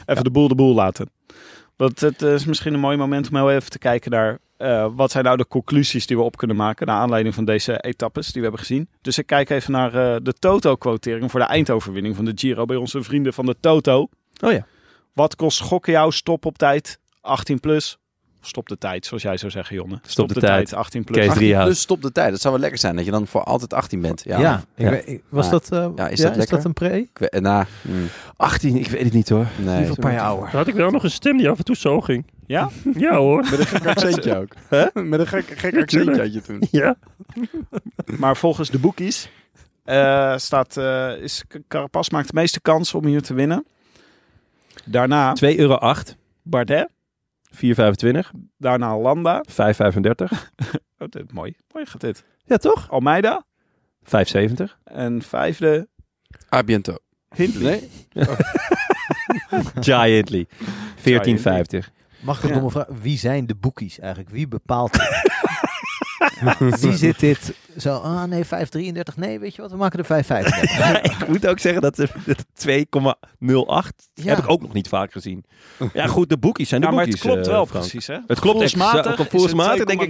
Speaker 5: Even de boel de boel laten. Dat, het eh, is misschien een mooi moment om heel even te kijken naar... eh, wat zijn nou de conclusies die we op kunnen maken... naar aanleiding van deze etappes die we hebben gezien. Dus ik kijk even naar eh, de Toto-quotering... voor de eindoverwinning van de Giro bij onze vrienden van de Toto.
Speaker 1: Oh ja.
Speaker 5: Wat kost gokken jou stop op tijd? 18 plus. Stop de tijd, zoals jij zou zeggen, Jonne. Stop,
Speaker 1: de tijd.
Speaker 5: 18 plus.
Speaker 1: Kees
Speaker 6: 18
Speaker 1: Driehuis.
Speaker 6: plus stop de tijd. Dat zou wel lekker zijn, dat je dan voor altijd 18 bent. Ja,
Speaker 2: Ja, ik
Speaker 1: Ja.
Speaker 2: weet- ik- was
Speaker 6: Ja.
Speaker 2: dat, eh, ja, is, dat
Speaker 6: lekker?
Speaker 2: een pre?
Speaker 6: Ik weet- nou, hm,
Speaker 1: 18, ik weet het niet hoor.
Speaker 6: nee.
Speaker 2: een paar jaar ouder.
Speaker 7: Had ik wel nog een stem die af en toe zo ging?
Speaker 5: Ja?
Speaker 7: Ja hoor.
Speaker 6: Met een gek accentje ook. Met een gek, gek accentje had je toen.
Speaker 7: Ja.
Speaker 5: Maar volgens de boekies eh, staat, eh, is Carapaz maakt de meeste kans om hier te winnen. Daarna
Speaker 1: 2,08 euro, 4,25,
Speaker 5: Bardet,
Speaker 1: 5,35.
Speaker 5: daarna Landa. Oh, dit, mooi. Mooi gaat dit.
Speaker 1: Ja toch?
Speaker 5: Almeida
Speaker 1: 5,70.
Speaker 5: en vijfde
Speaker 6: A Ah, biento.
Speaker 5: Hindley.
Speaker 6: Nee?
Speaker 1: Giantly. 14,50.
Speaker 2: Mag ik een domme vraag? Wie zijn de boekies eigenlijk? Wie bepaalt
Speaker 1: [laughs]
Speaker 2: Die zit dit zo, ah nee, 5,33. Nee, weet je wat, we maken er 5,35.
Speaker 1: ik moet ook zeggen dat eh, dat 2,08
Speaker 2: Ja.
Speaker 1: heb ik ook nog niet vaak gezien. Ja, goed, de boekies zijn de
Speaker 5: Ja, maar het
Speaker 1: boekies,
Speaker 5: klopt
Speaker 1: eh,
Speaker 5: wel
Speaker 1: Frank.
Speaker 5: precies, hè?
Speaker 1: Het klopt
Speaker 5: Gevoelsmatig
Speaker 1: exact.
Speaker 5: is het
Speaker 1: Gevoelsmatig denk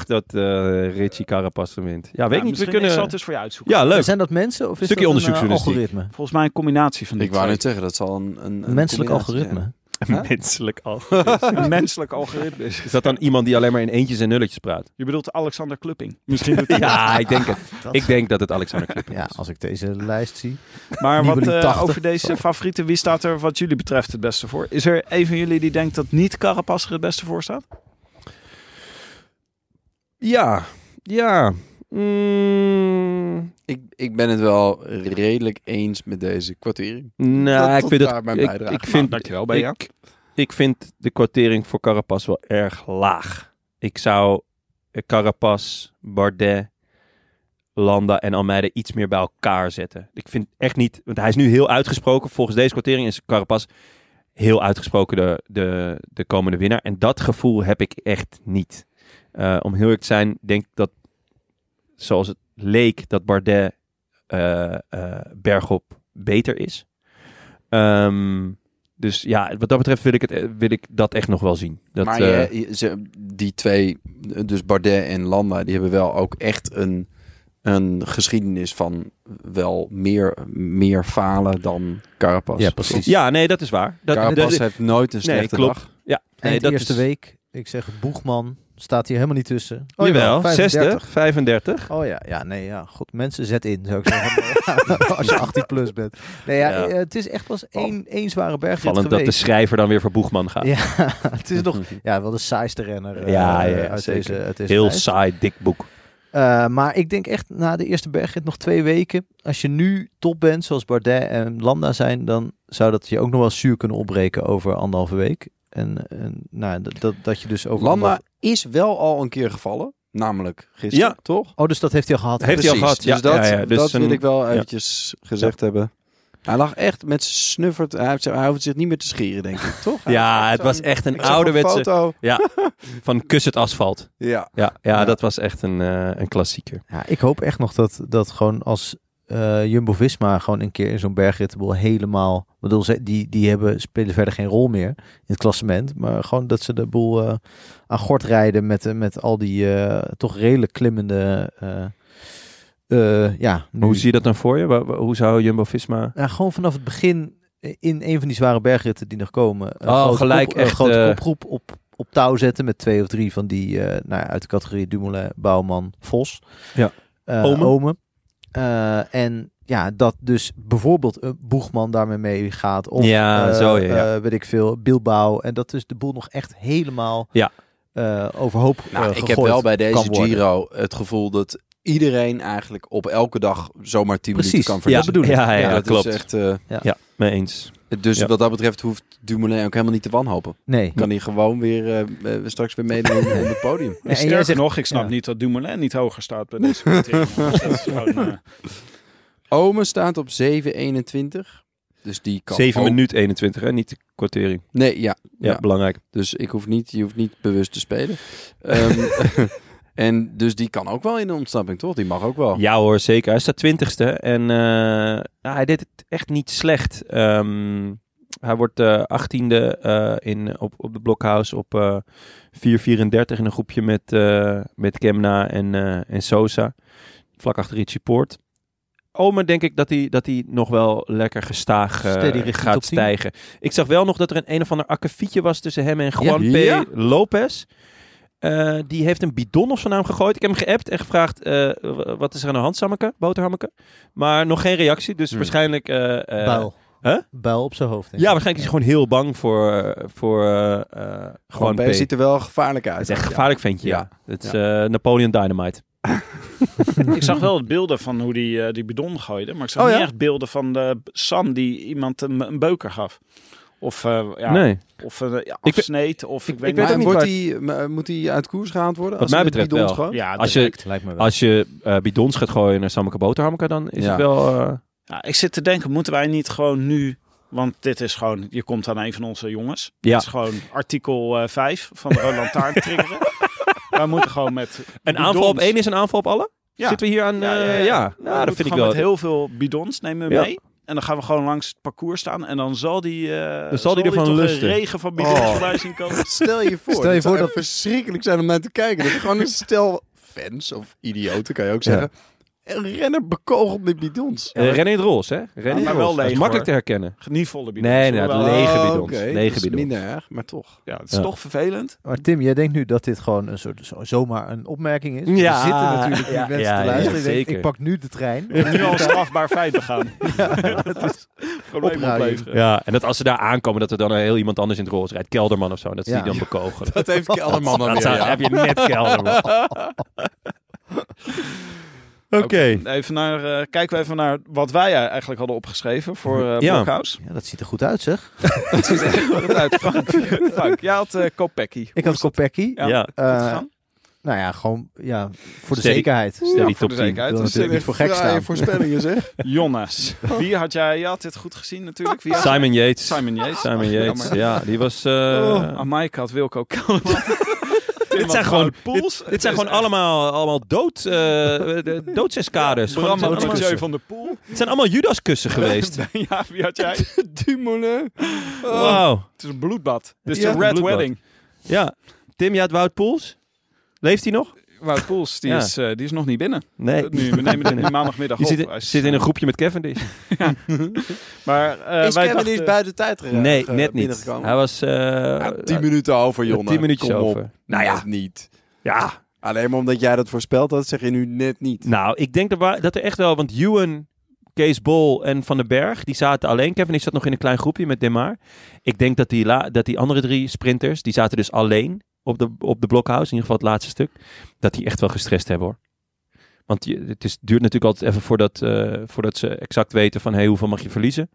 Speaker 1: ik
Speaker 5: 2,08.
Speaker 1: 2,08 dat eh Richie Carapaz hem wint. Ja, weet niet.
Speaker 5: Ja,
Speaker 1: We
Speaker 5: misschien
Speaker 1: kunnen...
Speaker 5: is dat dus voor je uitzoeken.
Speaker 1: Ja,
Speaker 5: [laughs]
Speaker 1: leuk.
Speaker 2: Zijn dat mensen of is
Speaker 1: Stukje
Speaker 2: dat een eh,
Speaker 1: onderzoeksjournalistiek.
Speaker 2: algoritme?
Speaker 5: Volgens mij een combinatie van die
Speaker 6: Ik wou
Speaker 5: twee.
Speaker 6: net zeggen, dat zal een... een,
Speaker 2: Een
Speaker 6: een
Speaker 2: menselijk
Speaker 6: combinatie zijn.
Speaker 2: algoritme.
Speaker 6: Huh?
Speaker 1: Menselijk af.
Speaker 5: [laughs] Een menselijk algoritme is.
Speaker 1: Is dat dan iemand die alleen maar in eentjes en nulletjes
Speaker 5: [laughs]
Speaker 1: praat?
Speaker 5: Je bedoelt Alexander
Speaker 1: [laughs]
Speaker 5: Klupping. [laughs] Misschien doet hij
Speaker 1: Ja, ik denk het.
Speaker 2: Dat-
Speaker 1: Ik denk dat het Alexander Klupping
Speaker 2: Ja, als ik deze lijst zie.
Speaker 5: Maar wat
Speaker 2: Nibali
Speaker 5: eh,
Speaker 2: 80.
Speaker 5: over deze favorieten, wie staat er wat jullie betreft het beste voor? Is er een van jullie die denkt dat niet Carapaz er het beste voor staat?
Speaker 1: Ja, ja. Mm,
Speaker 6: Ik, ik ben het wel redelijk eens met deze kwartering.
Speaker 1: nou,
Speaker 6: Dat
Speaker 1: ik
Speaker 6: tot
Speaker 1: vind
Speaker 6: daar
Speaker 1: dat,
Speaker 6: mijn
Speaker 1: ik,
Speaker 6: bijdrage.
Speaker 1: ik vind,
Speaker 5: dankjewel,
Speaker 1: ik,
Speaker 5: Benja.
Speaker 1: ik vind de kwartering voor Carapaz wel erg laag. Ik zou eh, Carapaz, Bardet, Landa en Almeida iets meer bij elkaar zetten. Ik vind echt niet, want hij is nu heel uitgesproken. Volgens deze kwartering is Carapaz heel uitgesproken de, de, de komende winnaar. En dat gevoel heb ik echt niet. Eh, om heel eerlijk te zijn, denk ik dat zoals het leek dat Bardet eh, eh, bergop beter is. Ehm, dus ja, wat dat betreft wil ik, het, eh, wil ik dat echt nog wel zien. Dat,
Speaker 6: maar
Speaker 1: eh,
Speaker 6: je, je- ze, die twee, dus Bardet en Landa, die hebben wel ook echt een, een geschiedenis van wel meer, meer falen dan Carapaz.
Speaker 2: Ja, precies.
Speaker 1: ja, nee, dat is waar. Dat, dat-
Speaker 6: Carapaz heeft nooit een
Speaker 1: nee,
Speaker 6: slechte
Speaker 1: klopt.
Speaker 6: dag.
Speaker 1: Ja, nee,
Speaker 2: Eind
Speaker 1: dat
Speaker 2: eerste
Speaker 1: is,
Speaker 2: week, ik zeg Boegman, staat hier helemaal niet tussen.
Speaker 1: jawel,
Speaker 2: 35.
Speaker 1: 60, 35.
Speaker 2: Oh ja, ja, nee, ja. God, mensen, zet in, zou ik zeggen.
Speaker 1: [laughs]
Speaker 2: [laughs] Als je 18 plus bent. Nee, ja,
Speaker 1: Ja.
Speaker 2: eh, het is echt pas één, één zware bergrit
Speaker 1: Vallend dat de
Speaker 2: geweest.
Speaker 1: schrijver dan weer voor Boegman gaat.
Speaker 2: ja, [laughs] het is nog ja, wel de saaiste renner eh,
Speaker 1: Ja, ja,
Speaker 2: uit,
Speaker 1: zeker.
Speaker 2: deze, uit deze
Speaker 1: Heel
Speaker 2: lijst.
Speaker 1: saai, dik boek.
Speaker 2: Eh, maar ik denk echt na de eerste bergrit nog twee weken. Als je nu top bent, zoals Bardet en Landa zijn, dan zou dat je ook nog wel zuur kunnen opbreken over anderhalve week. En, en nou, dat- dat, dat je dus over.
Speaker 6: Landa
Speaker 2: anderhalve-
Speaker 6: is wel al een keer gevallen, namelijk gisteren,
Speaker 1: Ja.
Speaker 6: toch?
Speaker 2: Oh, dus dat heeft hij al gehad.
Speaker 1: Heeft hij al
Speaker 6: Precies.
Speaker 1: gehad, ja,
Speaker 6: dus dat,
Speaker 1: ja, ja, dus
Speaker 6: dat wil
Speaker 1: een-
Speaker 6: ik wel
Speaker 1: ja.
Speaker 6: eventjes gezegd hebben. Hij lag echt met zijn snuffert. Hij, heeft- hij hoeft zich niet meer te scheren, denk ik, toch?
Speaker 1: Ja,
Speaker 6: Hij-
Speaker 1: het was
Speaker 6: zo'n-
Speaker 1: echt een
Speaker 6: ik zag
Speaker 1: ouderwetse...
Speaker 6: foto.
Speaker 1: Ja, van kus het asfalt.
Speaker 6: Ja.
Speaker 1: Ja, ja,
Speaker 6: Ja.
Speaker 1: dat was echt een, eh, een klassieker.
Speaker 2: Ja, ik hoop echt nog dat, dat gewoon als eh, Jumbo-Visma gewoon een keer in zo'n bergrittenbol helemaal... Ik bedoel, ze- die, die hebben, spelen verder geen rol meer in het klassement. Maar gewoon dat ze de boel eh, aan gort rijden met, eh, met al die eh, toch redelijk klimmende... eh, eh, ja, nu-
Speaker 1: Maar hoe zie je dat dan voor je? Wa- wa- Hoe zou Jumbo-Visma...
Speaker 2: Ja, gewoon vanaf het begin eh, in een van die zware bergritten die nog komen... Een
Speaker 1: Oh,
Speaker 2: grote
Speaker 1: gelijk
Speaker 2: kop,
Speaker 1: echt,
Speaker 2: Een grote
Speaker 1: eh,
Speaker 2: kopgroep op, op touw zetten met twee of drie van die... eh, nou, ja, uit de categorie Dumoulin, Bouwman, Vos.
Speaker 1: Ja.
Speaker 2: Eh,
Speaker 1: Omen.
Speaker 2: Omen. Eh, en ja, dat dus bijvoorbeeld een Boegman daarmee mee gaat. Of,
Speaker 1: Ja,
Speaker 2: eh,
Speaker 1: zo, ja, ja.
Speaker 2: eh, weet ik veel, Bilbao. En dat dus de boel nog echt helemaal
Speaker 1: Ja.
Speaker 2: eh, overhoop
Speaker 6: Nou,
Speaker 2: eh,
Speaker 6: ik heb
Speaker 2: gegooid
Speaker 6: wel bij deze
Speaker 2: kan worden.
Speaker 6: Giro het gevoel dat iedereen eigenlijk op elke dag zomaar 10
Speaker 2: Precies,
Speaker 6: minuten kan
Speaker 1: Ja,
Speaker 6: verliezen.
Speaker 1: bedoel ik. Ja, ja, ja,
Speaker 6: dat
Speaker 1: klopt.
Speaker 6: Is echt, eh,
Speaker 1: Ja, mee eens.
Speaker 6: dus
Speaker 1: Ja.
Speaker 6: wat dat betreft hoeft Dumoulin ook helemaal niet te wanhopen.
Speaker 2: Nee.
Speaker 6: Kan hij gewoon weer eh, eh, straks weer meedoen op het podium.
Speaker 2: En jij
Speaker 5: Sterker
Speaker 2: zegt-
Speaker 5: nog, ik snap
Speaker 2: ja.
Speaker 5: niet dat Dumoulin niet hoger staat bij deze [laughs] kwartering. Dat is gewoon, eh,
Speaker 6: Omen staat op 7,21. Dus die kan
Speaker 1: 7
Speaker 6: ook-
Speaker 1: minuut 21, hè? niet de kwartering.
Speaker 6: Nee, ja.
Speaker 1: Ja,
Speaker 6: Ja.
Speaker 1: belangrijk.
Speaker 6: Dus ik hoef niet, je hoeft niet bewust te spelen. Ehm, [laughs] en dus die kan ook wel in de ontsnapping, toch? Die mag ook wel.
Speaker 1: Ja hoor, zeker. Hij staat twintigste en eh, nou, hij deed het echt niet slecht. Ehm, hij wordt eh, achttiende eh, in op, op de Blockhouse op eh 4.34 in een groepje met, eh, met Kemna en, eh, en Sosa. Vlak achter Richie Poort. Omen denk ik dat hij, dat hij nog wel lekker gestaag eh,
Speaker 2: Steady richting top
Speaker 1: gaat
Speaker 2: 10.
Speaker 1: stijgen. Ik zag wel nog dat er een een of ander akkefietje was tussen hem en Juan P.
Speaker 6: Ja.
Speaker 1: Lopez. Eh, die heeft een bidon op zijn naam gegooid. Ik heb hem geappt en gevraagd, eh, w- wat is er aan de hand, Sammeke, boterhammeke? Maar nog geen reactie,
Speaker 5: Hmm.
Speaker 1: dus waarschijnlijk... eh, eh,
Speaker 2: Buil.
Speaker 1: Huh?
Speaker 2: Buil op zijn hoofd. denk
Speaker 1: Ja,
Speaker 2: ik.
Speaker 1: waarschijnlijk is hij gewoon heel bang voor, eh, voor eh, eh,
Speaker 6: Gewoon
Speaker 1: Juan P.
Speaker 6: P ziet er wel gevaarlijk
Speaker 1: Het
Speaker 6: uit.
Speaker 1: is echt een gevaarlijk ventje, ja. Het is eh, Napoleon Dynamite.
Speaker 5: ik zag wel beelden van hoe die, eh, die bidon gooide, maar ik zag
Speaker 6: Oh,
Speaker 5: niet
Speaker 6: ja?
Speaker 5: echt beelden van de Sam die iemand een, een beuker gaf. Of, eh ja,
Speaker 1: Nee.
Speaker 5: of een ja,
Speaker 1: Ik-
Speaker 5: afsneed, of ik, weet
Speaker 1: ik weet
Speaker 5: niet.
Speaker 6: Maar
Speaker 1: ook
Speaker 6: wordt
Speaker 1: waar-
Speaker 6: die, maar eh, moet hij uit koers gehaald worden?
Speaker 1: Wat
Speaker 6: als
Speaker 1: mij
Speaker 6: hij met
Speaker 1: betreft wel.
Speaker 6: bidons gooit?
Speaker 5: Ja,
Speaker 1: Als je,
Speaker 5: direct.
Speaker 2: Lijkt me wel.
Speaker 1: als je eh, bidons gaat gooien naar Sammeke Boterhammeke, dan is
Speaker 6: Ja.
Speaker 1: het wel... eh,
Speaker 5: Ja, ik zit te denken, moeten wij niet gewoon nu... Want dit is gewoon, je komt aan een van onze jongens.
Speaker 1: Ja. [laughs]
Speaker 5: Het is gewoon artikel eh 5 van de Roland Taarn triggeren. Wij moeten gewoon met
Speaker 1: Een aanval op
Speaker 5: bidons.
Speaker 1: één is een aanval op alle?
Speaker 5: Ja.
Speaker 1: Zitten we hier aan... eh,
Speaker 5: Ja,
Speaker 1: Ja,
Speaker 5: ja, ja.
Speaker 1: Nou, dat vind ik
Speaker 5: gewoon
Speaker 1: wel.
Speaker 5: met heel veel bidons nemen we
Speaker 1: Ja.
Speaker 5: mee. En dan gaan we gewoon langs het parcours staan. En dan zal die, eh,
Speaker 1: Dan zal die ervan
Speaker 5: toch
Speaker 1: lusten.
Speaker 5: een regen van bidons
Speaker 1: Oh.
Speaker 5: voorbij zien
Speaker 1: [laughs]
Speaker 5: komen.
Speaker 6: [laughs] Stel je voor.
Speaker 2: Stel je voor
Speaker 6: zou
Speaker 2: dat-
Speaker 6: verschrikkelijk zijn om naar te kijken. Dat er gewoon een stel fans of idioten kan je ook
Speaker 1: Ja.
Speaker 6: zeggen. Een renner bekogeld met bidons.
Speaker 1: Eh, rennen in het roze, hè? Rennen in
Speaker 5: maar
Speaker 1: het
Speaker 5: wel
Speaker 1: roze. Dat is
Speaker 5: leeg,
Speaker 1: makkelijk te
Speaker 5: hoor.
Speaker 1: herkennen.
Speaker 5: Genietvolle bidons.
Speaker 1: Nee, nee, het
Speaker 5: Hoewel,
Speaker 1: lege
Speaker 6: Oh,
Speaker 1: bidons.
Speaker 6: oké.
Speaker 1: Lege
Speaker 6: Dat is
Speaker 1: bidons.
Speaker 6: minder erg, maar toch.
Speaker 5: Ja, het is
Speaker 1: eh, Ja.
Speaker 5: toch vervelend.
Speaker 2: Maar Tim, jij denkt nu dat dit gewoon een soort, zo- zomaar een opmerking is.
Speaker 1: Ja.
Speaker 2: Er zitten natuurlijk die
Speaker 1: Ja,
Speaker 2: mensen
Speaker 1: ja,
Speaker 2: te
Speaker 1: ja,
Speaker 2: luisteren. Die denken,
Speaker 1: zeker.
Speaker 2: ik
Speaker 1: [laughs]
Speaker 2: pak nu de trein.
Speaker 5: Nu al een strafbaar feit begaan. Probleem
Speaker 2: Opruiing.
Speaker 5: opleveren.
Speaker 1: Ja, en dat als ze daar aankomen, dat er dan een heel iemand anders in het roze rijdt. Kelderman of zo. En dat ze
Speaker 2: Ja.
Speaker 1: die dan
Speaker 5: [laughs]
Speaker 1: bekogelen.
Speaker 6: Dat heeft Kelderman dan
Speaker 1: Dat
Speaker 6: weer.
Speaker 1: zou-
Speaker 6: ja.
Speaker 1: heb je net Kelderman. Oké.
Speaker 5: Even naar, eh, kijken we even naar wat wij eh, eigenlijk hadden opgeschreven voor eh
Speaker 1: Ja. [laughs]
Speaker 5: Blokhuis.
Speaker 2: Ja, dat ziet er goed uit, zeg.
Speaker 5: Wat uit, Frank. Frank, jij had eh Kopecky.
Speaker 2: Ik had Kopecky.
Speaker 1: Ja.
Speaker 2: Eh,
Speaker 5: gaan?
Speaker 2: nou ja, gewoon ja, voor de
Speaker 1: Steady.
Speaker 2: zekerheid.
Speaker 1: Stel die top
Speaker 5: voor de
Speaker 1: 10.
Speaker 5: zekerheid.
Speaker 2: Ik wil
Speaker 5: Dat is
Speaker 2: natuurlijk niet voor gek
Speaker 6: Fraaie
Speaker 2: staan.
Speaker 6: voorspellingen
Speaker 5: [laughs]
Speaker 6: zeg.
Speaker 5: Jonas, wie had jij? Je had dit goed gezien natuurlijk. Wie had-
Speaker 1: Simon Yates.
Speaker 5: Simon Yates.
Speaker 1: Simon Yates.
Speaker 5: Jammer.
Speaker 1: Ja, die was... eh,
Speaker 5: Oh, Amaika had Wilco [laughs] Kelderman.
Speaker 1: Dit zijn gewoon, dit, dit
Speaker 5: [laughs]
Speaker 1: zijn gewoon allemaal, allemaal dood, eh, eh, doodseskaders. Gewoon, het, zijn allemaal,
Speaker 5: Mathieu van der Poel.
Speaker 1: het zijn allemaal Judaskussen geweest.
Speaker 5: [laughs] ja, wie had jij?
Speaker 6: Dumoulin.
Speaker 5: Oh.
Speaker 1: Wauw.
Speaker 5: Het is een bloedbad. Dit is
Speaker 1: Ja,
Speaker 5: de Red
Speaker 1: bloedbad.
Speaker 5: Wedding.
Speaker 1: Ja. Tim, jij had Wout Poels? Leeft hij nog?
Speaker 5: Wout Poels, die,
Speaker 1: Ja.
Speaker 5: is, eh, die is nog niet binnen.
Speaker 1: Nee.
Speaker 5: Nu, we
Speaker 1: [laughs]
Speaker 5: nemen dit nu [laughs]
Speaker 1: Nee.
Speaker 5: maandagmiddag
Speaker 1: Je
Speaker 5: op.
Speaker 1: zit,
Speaker 5: Hij is, eh,
Speaker 1: zit in een groepje met Cavendish.
Speaker 5: Maar eh,
Speaker 6: is
Speaker 5: wij
Speaker 6: Kevin
Speaker 5: dachten-
Speaker 6: is buiten tijd gereden?
Speaker 1: Nee, net niet. Hij was... eh,
Speaker 6: Tien minuten over, jongen.
Speaker 1: tien minuutjes
Speaker 6: Kom
Speaker 1: over.
Speaker 6: Op.
Speaker 1: Nou ja.
Speaker 6: Net niet.
Speaker 1: Ja,
Speaker 6: Alleen maar omdat jij dat voorspeld had, zeg je nu net niet.
Speaker 1: Nou, ik denk dat, wa- dat er echt wel, want Ewan, Kees Bol en Van den Berg, die zaten alleen. Kevin, ik zat nog in een klein groepje met Demar. Ik denk dat die, la- dat die andere drie sprinters, die zaten dus alleen op de, op de blokhouse, in ieder geval het laatste stuk, dat die echt wel gestrest hebben hoor. Want je- het is, duurt natuurlijk altijd even voordat, eh, voordat ze exact weten van hey, hoeveel mag je verliezen.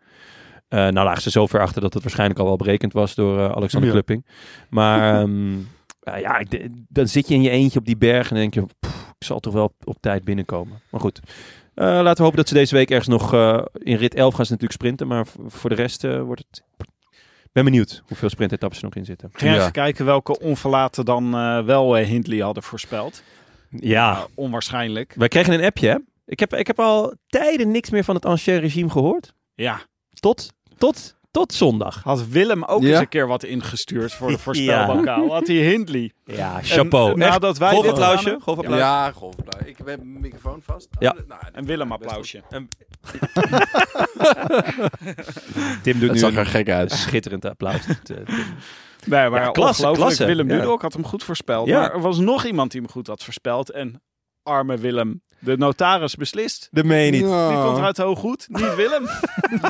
Speaker 1: Eh, nou lagen ze zo ver achter dat het waarschijnlijk al wel berekend was door eh, Alexander
Speaker 7: Ja.
Speaker 1: Klupping. Maar ehm, [laughs] eh, ja, ik de- dan zit je in je eentje op die berg en dan denk je, ik zal toch wel op, op tijd binnenkomen. Maar goed, Eh, laten we hopen dat ze deze week ergens nog... eh, in rit 11 gaan ze natuurlijk sprinten, maar v- voor de rest eh, wordt het... Ik ben benieuwd hoeveel sprintetappes er nog in zitten.
Speaker 5: Ik ging even kijken welke onverlaten dan eh, wel eh, Hindley hadden voorspeld.
Speaker 1: Ja,
Speaker 5: Eh, onwaarschijnlijk.
Speaker 1: wij kregen een appje, hè? Ik heb, ik heb al tijden niks meer van het ancien regime gehoord.
Speaker 5: Ja,
Speaker 1: Tot, tot, tot zondag.
Speaker 5: had Willem ook
Speaker 6: Ja.
Speaker 5: eens een keer wat ingestuurd [laughs] voor de voorspelbokaal. Had hij Hindley.
Speaker 1: Ja,
Speaker 5: En,
Speaker 1: chapeau.
Speaker 5: eh,
Speaker 1: Echt,
Speaker 5: nadat wij
Speaker 1: golf
Speaker 5: dit
Speaker 1: applausje,
Speaker 5: hadden-
Speaker 1: golf applaus.
Speaker 6: Ja, golf. nou, Ik heb mijn microfoon vast.
Speaker 1: Ja.
Speaker 6: Oh, nou,
Speaker 5: En Willem applausje.
Speaker 1: Tim doet
Speaker 6: Dat
Speaker 1: nu
Speaker 6: zag
Speaker 1: een
Speaker 6: er gek uit.
Speaker 1: schitterend applaus. Eh, Tim.
Speaker 5: Nee, maar
Speaker 1: Ja, klasse,
Speaker 5: ongelooflijk.
Speaker 1: klasse.
Speaker 5: Willem
Speaker 1: Ja.
Speaker 5: Dudok had hem goed voorspeld.
Speaker 1: Ja.
Speaker 5: Maar er was nog iemand die hem goed had voorspeld. En arme Willem. De notaris beslist.
Speaker 1: [laughs] Dat meen je niet.
Speaker 6: Ah.
Speaker 5: Die komt eruit heel goed. Niet
Speaker 1: [laughs]
Speaker 5: Willem.
Speaker 6: Oh, [laughs]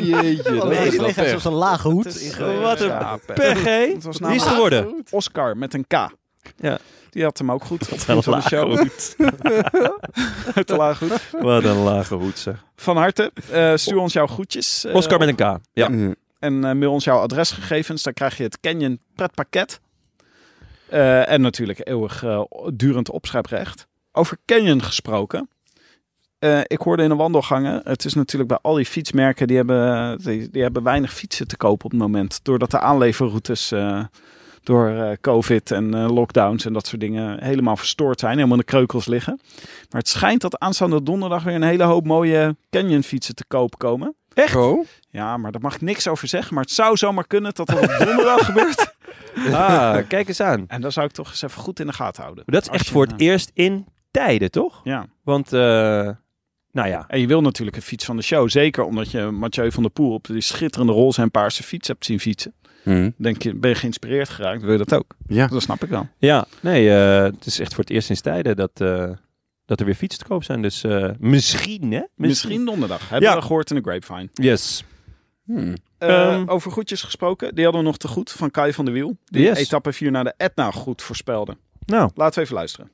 Speaker 6: Jeetje, dat
Speaker 2: Alleen,
Speaker 6: is
Speaker 2: die
Speaker 6: wel
Speaker 2: liggen
Speaker 6: pech.
Speaker 2: zoals een lage hoed.
Speaker 1: Wat een
Speaker 5: eh, Ja, pech.
Speaker 1: pech, hè?
Speaker 5: Het
Speaker 1: Wie
Speaker 5: was
Speaker 1: is
Speaker 5: namelijk-
Speaker 1: het geworden?
Speaker 5: Oscar met een K.
Speaker 1: Ja.
Speaker 5: Die had hem ook goed. Op
Speaker 1: Wel
Speaker 5: vriend van de show. [laughs] Te laag goed.
Speaker 1: [laughs] Wat een lage hoed, zeg.
Speaker 5: Van harte, eh, stuur ons jouw groetjes. eh,
Speaker 1: Oscar met een K. Ja.
Speaker 6: Mm.
Speaker 5: En eh, mail ons jouw adresgegevens. Dan krijg je het Canyon pretpakket. Eh, en natuurlijk eeuwig eh, durend opschrijprecht. Over Canyon gesproken. Eh, ik hoorde in de wandelgangen, het is natuurlijk bij al die fietsmerken, die hebben, die, die hebben weinig fietsen te kopen op het moment. Doordat de aanleverroutes eh, door eh, COVID en eh, lockdowns en dat soort dingen helemaal verstoord zijn. Helemaal in de kreukels liggen. Maar het schijnt dat aanstaande donderdag weer een hele hoop mooie Canyon fietsen te koop komen.
Speaker 6: Oh.
Speaker 5: Ja, maar daar mag ik niks over zeggen. Maar het zou zomaar kunnen dat dat op
Speaker 1: [laughs]
Speaker 5: donderdag [laughs] gebeurt.
Speaker 1: Ah, kijk eens aan.
Speaker 5: En dan zou ik toch eens even goed in de gaten houden.
Speaker 1: Dat is
Speaker 5: Als
Speaker 1: echt
Speaker 5: je-
Speaker 1: voor het eerst in tijden, toch?
Speaker 5: Ja.
Speaker 1: Want, eh, nou ja.
Speaker 5: En je wil natuurlijk een fiets van de show. Zeker omdat je Mathieu van der Poel op die schitterende roze en paarse fiets hebt zien fietsen. Denk je, ben je geïnspireerd geraakt, wil je dat ook.
Speaker 6: Ja.
Speaker 5: Dat snap ik wel.
Speaker 1: Hmm. Ja, nee, eh, het is echt voor het eerst sinds tijden dat, eh, dat er weer fietsen te koop zijn. Dus eh, misschien, hè?
Speaker 5: Misschien donderdag. Hebben
Speaker 1: Ja.
Speaker 5: we gehoord in de grapevine.
Speaker 1: Yes.
Speaker 5: Eh,
Speaker 1: Ehm.
Speaker 5: over goedjes gesproken. Die hadden we nog te goed van Kai van der Wiel. Die
Speaker 1: Yes.
Speaker 5: etappe 4 naar de Etna goed voorspelde.
Speaker 1: Nou,
Speaker 5: Laten we even luisteren.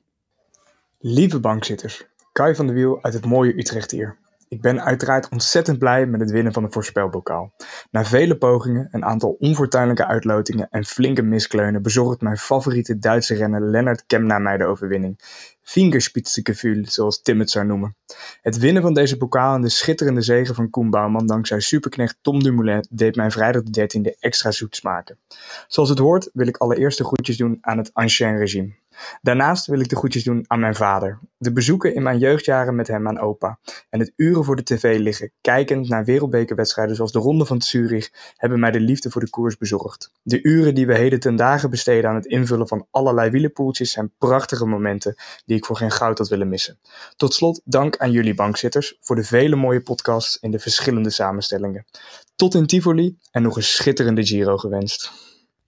Speaker 8: Lieve bankzitters, Kai van de Wiel uit het mooie Utrecht hier. Ik ben uiteraard ontzettend blij met het winnen van de voorspelbokaal. Na vele pogingen, een aantal onfortuinlijke uitlotingen en flinke miskleunen bezorgt mijn favoriete Duitse renner Lennart Kemna mij de overwinning. Fingerspitzengevoel, zoals Tim het zou noemen. Het winnen van deze bokaal en de schitterende zegen van Koen Bouwman dankzij superknecht Tom Dumoulin deed mijn vrijdag de 13e extra zoet smaken. Zoals het hoort wil ik allereerst de groetjes doen aan het ancien regime. Daarnaast wil ik de groetjes doen aan mijn vader, de bezoeken in mijn jeugdjaren met hem aan opa en het uren voor de tv liggen, kijkend naar wereldbekerwedstrijden zoals de Ronde van Zurich, hebben mij de liefde voor de koers bezorgd. De uren die we heden ten dagen besteden aan het invullen van allerlei wielenpoeltjes zijn prachtige momenten die ik voor geen goud had willen missen. Tot slot dank aan jullie bankzitters voor de vele mooie podcasts in de verschillende samenstellingen. Tot in Tivoli en nog een schitterende Giro gewenst.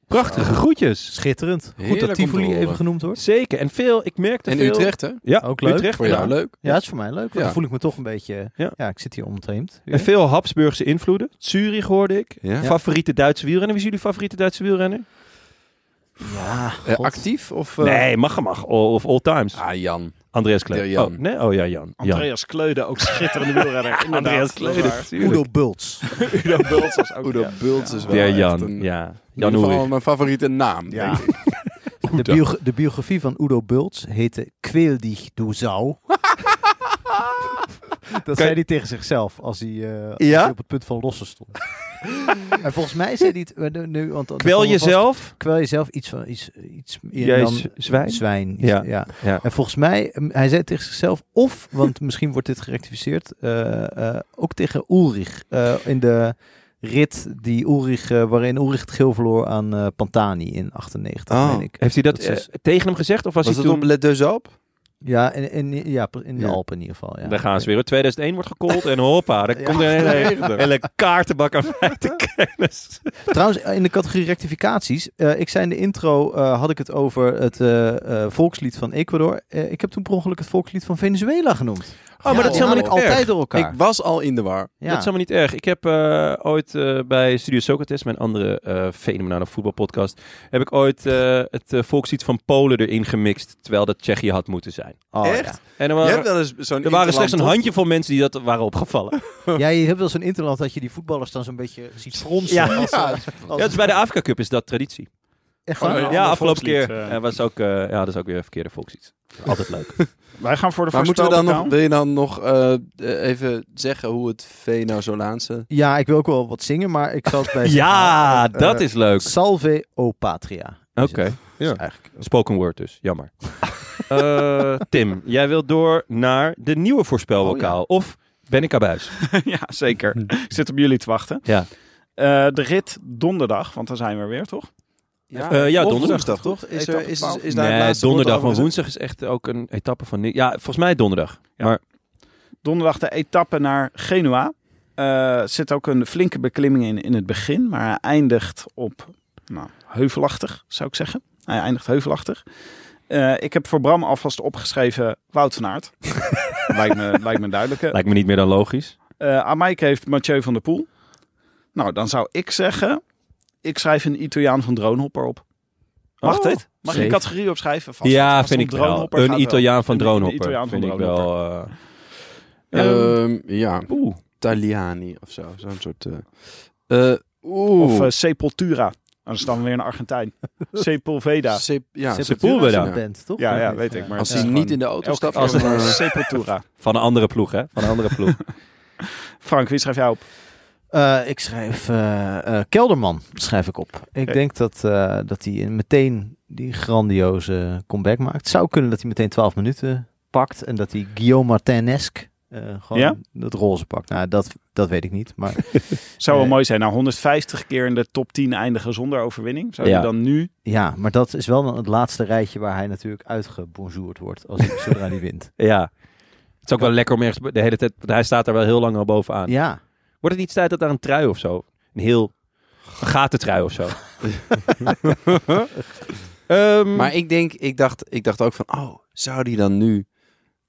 Speaker 1: Prachtige groetjes.
Speaker 9: Schitterend.
Speaker 6: Heerlijk
Speaker 9: Goed
Speaker 6: om
Speaker 9: dat
Speaker 6: te
Speaker 9: Tivoli
Speaker 6: horen.
Speaker 9: even genoemd wordt.
Speaker 1: Zeker. En veel, ik merkte
Speaker 6: En
Speaker 1: veel...
Speaker 6: Utrecht, hè?
Speaker 1: Ja,
Speaker 9: Ook leuk.
Speaker 1: Utrecht.
Speaker 6: Voor
Speaker 1: ja.
Speaker 6: jou leuk.
Speaker 2: Ja, het is voor mij leuk. want
Speaker 6: Ja.
Speaker 2: Dan voel ik me toch een beetje...
Speaker 1: Ja.
Speaker 2: Ja, ik zit hier ontheemd.
Speaker 1: En veel Habsburgse invloeden. Zurich hoorde ik.
Speaker 6: Ja.
Speaker 1: Favoriete Duitse wielrenner. Wie is jullie favoriete Duitse wielrenner?
Speaker 2: Ja,
Speaker 6: Eh,
Speaker 2: god.
Speaker 6: actief of... eh,
Speaker 1: nee, mag mag. O- Of all times.
Speaker 6: Ah, Jan.
Speaker 1: Andreas
Speaker 6: Ja,
Speaker 1: Kleuder.
Speaker 6: Jan.
Speaker 1: Oh, nee? oh ja, Jan. Jan.
Speaker 5: Andreas Kleude, ook schitterende
Speaker 1: [laughs]
Speaker 5: wielrenner. Inderdaad,
Speaker 1: Andreas
Speaker 5: dat is
Speaker 1: Kleuder.
Speaker 5: waar.
Speaker 1: tuurlijk.
Speaker 2: Udo Bults.
Speaker 5: Udo Bultz was ook...
Speaker 6: Oedo
Speaker 5: ja.
Speaker 6: Bult is wel
Speaker 1: Ja,
Speaker 6: echt
Speaker 1: Jan.
Speaker 6: een-
Speaker 1: ja.
Speaker 6: in ieder
Speaker 1: Jan
Speaker 6: geval
Speaker 1: Oerik.
Speaker 6: mijn favoriete naam.
Speaker 5: Ja.
Speaker 6: denk ik.
Speaker 2: De, bio- de biografie van Udo Bults heette Queel dich
Speaker 1: [laughs]
Speaker 2: du Sau. Dat zei hij tegen zichzelf als hij, eh, als
Speaker 1: Ja?
Speaker 2: hij op het punt van lossen
Speaker 1: [laughs]
Speaker 2: stond. en volgens mij zei hij het eh, nu- nu... Want, dan
Speaker 1: Kwel
Speaker 2: komen we vast-
Speaker 1: jezelf.
Speaker 2: Kwel jezelf iets van... Iets, iets, meer
Speaker 1: Jij
Speaker 2: dan-
Speaker 1: z- zwijn.
Speaker 2: Zwijn.
Speaker 1: Ja.
Speaker 2: Ja.
Speaker 1: Ja.
Speaker 2: En volgens mij, mm, hij zei tegen zichzelf, of, want misschien wordt dit gerectificeerd, eh, eh, ook tegen Ulrich. eh, in de rit die Ulrich, eh, waarin Ulrich het geel verloor aan eh, Pantani in 98,
Speaker 1: Ah.
Speaker 6: Oh.
Speaker 2: meen ik.
Speaker 1: Heeft hij dat,
Speaker 2: Dat is-
Speaker 1: eh, tegen hem gezegd? Of was,
Speaker 6: Was
Speaker 1: hij
Speaker 6: het op
Speaker 1: toen...
Speaker 6: Les Deux Alpes?
Speaker 2: Ja, in, in, ja, in de
Speaker 6: Ja.
Speaker 2: Alpen in ieder geval. Ja.
Speaker 1: Daar gaan ze weer. hoor. 2001 wordt gekold en hoppa. Dan
Speaker 2: Ja.
Speaker 1: komt er een hele, hele kaartenbak aan [laughs] feitenkennis.
Speaker 2: Trouwens, eh, in de categorie rectificaties. eh, ik zei in de intro, eh, had ik het over het eh, eh, volkslied van Ecuador. Eh, ik heb toen per ongeluk het volkslied van Venezuela genoemd.
Speaker 1: Oh, maar dat is
Speaker 2: Die haal
Speaker 1: helemaal
Speaker 2: ik
Speaker 1: niet erg.
Speaker 2: altijd door elkaar.
Speaker 6: Ik was al in de war.
Speaker 2: ja.
Speaker 1: Dat is helemaal niet erg. Ik heb eh, ooit eh, bij Studio Socrates, mijn andere eh fenomenale voetbalpodcast, heb ik ooit eh, het eh, volkslied van Polen erin gemixt, terwijl dat Tsjechië had moeten zijn.
Speaker 2: Oh, ja.
Speaker 6: Echt?
Speaker 1: En er
Speaker 6: Je
Speaker 1: waren,
Speaker 6: hebt wel eens zo'n
Speaker 1: er waren slechts een
Speaker 6: interland,
Speaker 1: handjevol mensen die dat waren opgevallen.
Speaker 2: Ja, je hebt wel zo'n interland dat je die voetballers dan zo'n beetje ziet fronsen.
Speaker 1: Ja.
Speaker 2: als,
Speaker 6: Ja.
Speaker 2: als-
Speaker 1: Ja, dus bij de Afrika Cup is dat traditie.
Speaker 2: echt
Speaker 5: Oh,
Speaker 2: waar?
Speaker 5: ja.
Speaker 1: ja,
Speaker 5: ander
Speaker 1: afgelopen keer
Speaker 5: volkslied, eh.
Speaker 1: eh, was ook, eh, ja, dat is ook weer een verkeerde volkslied. Altijd leuk.
Speaker 5: Wij gaan voor de
Speaker 6: toch? Maar moeten we dan nog,
Speaker 5: voorspelbokaal.
Speaker 6: wil je dan nog eh, eh, even zeggen hoe het Venezolaanse...
Speaker 2: Ja, ik wil ook wel wat zingen, maar ik zal het
Speaker 1: [laughs]
Speaker 2: bij
Speaker 1: ja,
Speaker 2: Eh,
Speaker 1: dat
Speaker 2: eh,
Speaker 1: is leuk.
Speaker 2: Salve o patria. is
Speaker 1: Oké.
Speaker 2: het.
Speaker 1: Ja.
Speaker 2: Dus eigenlijk.
Speaker 1: Spoken word dus, jammer. [laughs] Eh, Tim, jij wilt door naar de nieuwe voorspelbokaal. Of ben ik abuis?
Speaker 5: ja, zeker. Ik zit op jullie te wachten.
Speaker 1: Ja.
Speaker 5: Eh, de rit donderdag, want daar zijn we weer, toch?
Speaker 6: Ja,
Speaker 1: Eh, ja,
Speaker 6: of
Speaker 1: donderdag.
Speaker 6: woensdag, toch? Is, er, is, is, daar het
Speaker 1: nee,
Speaker 6: laatste woord
Speaker 1: donderdag,
Speaker 6: over
Speaker 1: maar
Speaker 6: gezegd?
Speaker 1: woensdag is echt ook een etappe van... ni- Ja, volgens mij donderdag.
Speaker 5: Donderdag de etappe naar Genua. Eh zit ook een flinke beklimming in in het begin, maar hij eindigt op nou, heuvelachtig, zou ik zeggen. Hij eindigt heuvelachtig. Eh, ik heb voor Bram alvast opgeschreven Wout van Aert. lijkt, me, lijkt me een duidelijke.
Speaker 1: Lijkt me niet meer dan logisch.
Speaker 5: Eh aan Mike heeft Mathieu van der Poel. Nou, dan zou ik zeggen, ik schrijf een Italiaan van Droonhopper op. Mag
Speaker 1: Oh,
Speaker 5: dit? Mag je
Speaker 1: zeker.
Speaker 5: een categorie opschrijven? Vast,
Speaker 1: ja,
Speaker 5: Vast
Speaker 1: vind
Speaker 5: een
Speaker 1: ik wel.
Speaker 5: Droonhopper
Speaker 1: Een
Speaker 5: gaat wel.
Speaker 1: Italiaan van
Speaker 5: Een- een
Speaker 1: Droonhopper.
Speaker 5: Italiaan van
Speaker 1: vind ik wel... eh, eh,
Speaker 6: Ehm, ja,
Speaker 1: Oeh.
Speaker 6: Italiani of zo. Zo'n soort... eh, eh, Oeh.
Speaker 5: Of eh, Sepultura. Dat is dan weer een [laughs] Argentijn. Sepulveda.
Speaker 6: Sep- ja,
Speaker 1: Sepulveda.
Speaker 2: Sepultura is een
Speaker 6: Ja.
Speaker 2: band, toch?
Speaker 5: Ja, ja, weet ik. Maar
Speaker 6: als
Speaker 5: het
Speaker 6: hij
Speaker 5: is
Speaker 6: niet in
Speaker 5: gewoon
Speaker 6: de auto
Speaker 5: elke
Speaker 6: stapt...
Speaker 5: keer
Speaker 6: dan,
Speaker 5: maar
Speaker 6: eh,
Speaker 5: Sepultura.
Speaker 1: Van een andere ploeg, hè? Van een andere ploeg.
Speaker 5: [laughs] Frank, wie schrijf jij op?
Speaker 2: Eh, ik schrijf eh, eh, Kelderman, schrijf ik op. Ik
Speaker 5: Oké.
Speaker 2: denk dat, eh, dat hij meteen die grandioze comeback maakt. Het zou kunnen dat hij meteen 12 minuten pakt en dat hij Guillaume Martin-esque eh, gewoon
Speaker 5: Ja?
Speaker 2: dat roze pakt. Nou, dat, dat weet ik niet, maar
Speaker 5: Zou wel
Speaker 2: Eh,
Speaker 5: mooi zijn. Nou, 150 keer in de top 10 eindigen zonder overwinning. Zou je
Speaker 1: Ja.
Speaker 5: dan nu...
Speaker 2: Ja, maar dat is wel dan het laatste rijtje waar hij natuurlijk uitgebonjourd wordt als hij, zodra hij wint.
Speaker 1: Ja. Het is ook wel lekker om ergens de hele tijd... want Hij staat daar wel heel lang al bovenaan.
Speaker 2: Ja,
Speaker 1: Wordt het niet tijd dat daar een trui of zo? Een heel... Een gatentrui of zo?
Speaker 2: Mm.
Speaker 1: Ehm,
Speaker 6: Maar ik denk, ik dacht, ik dacht ook van, oh, zou die dan nu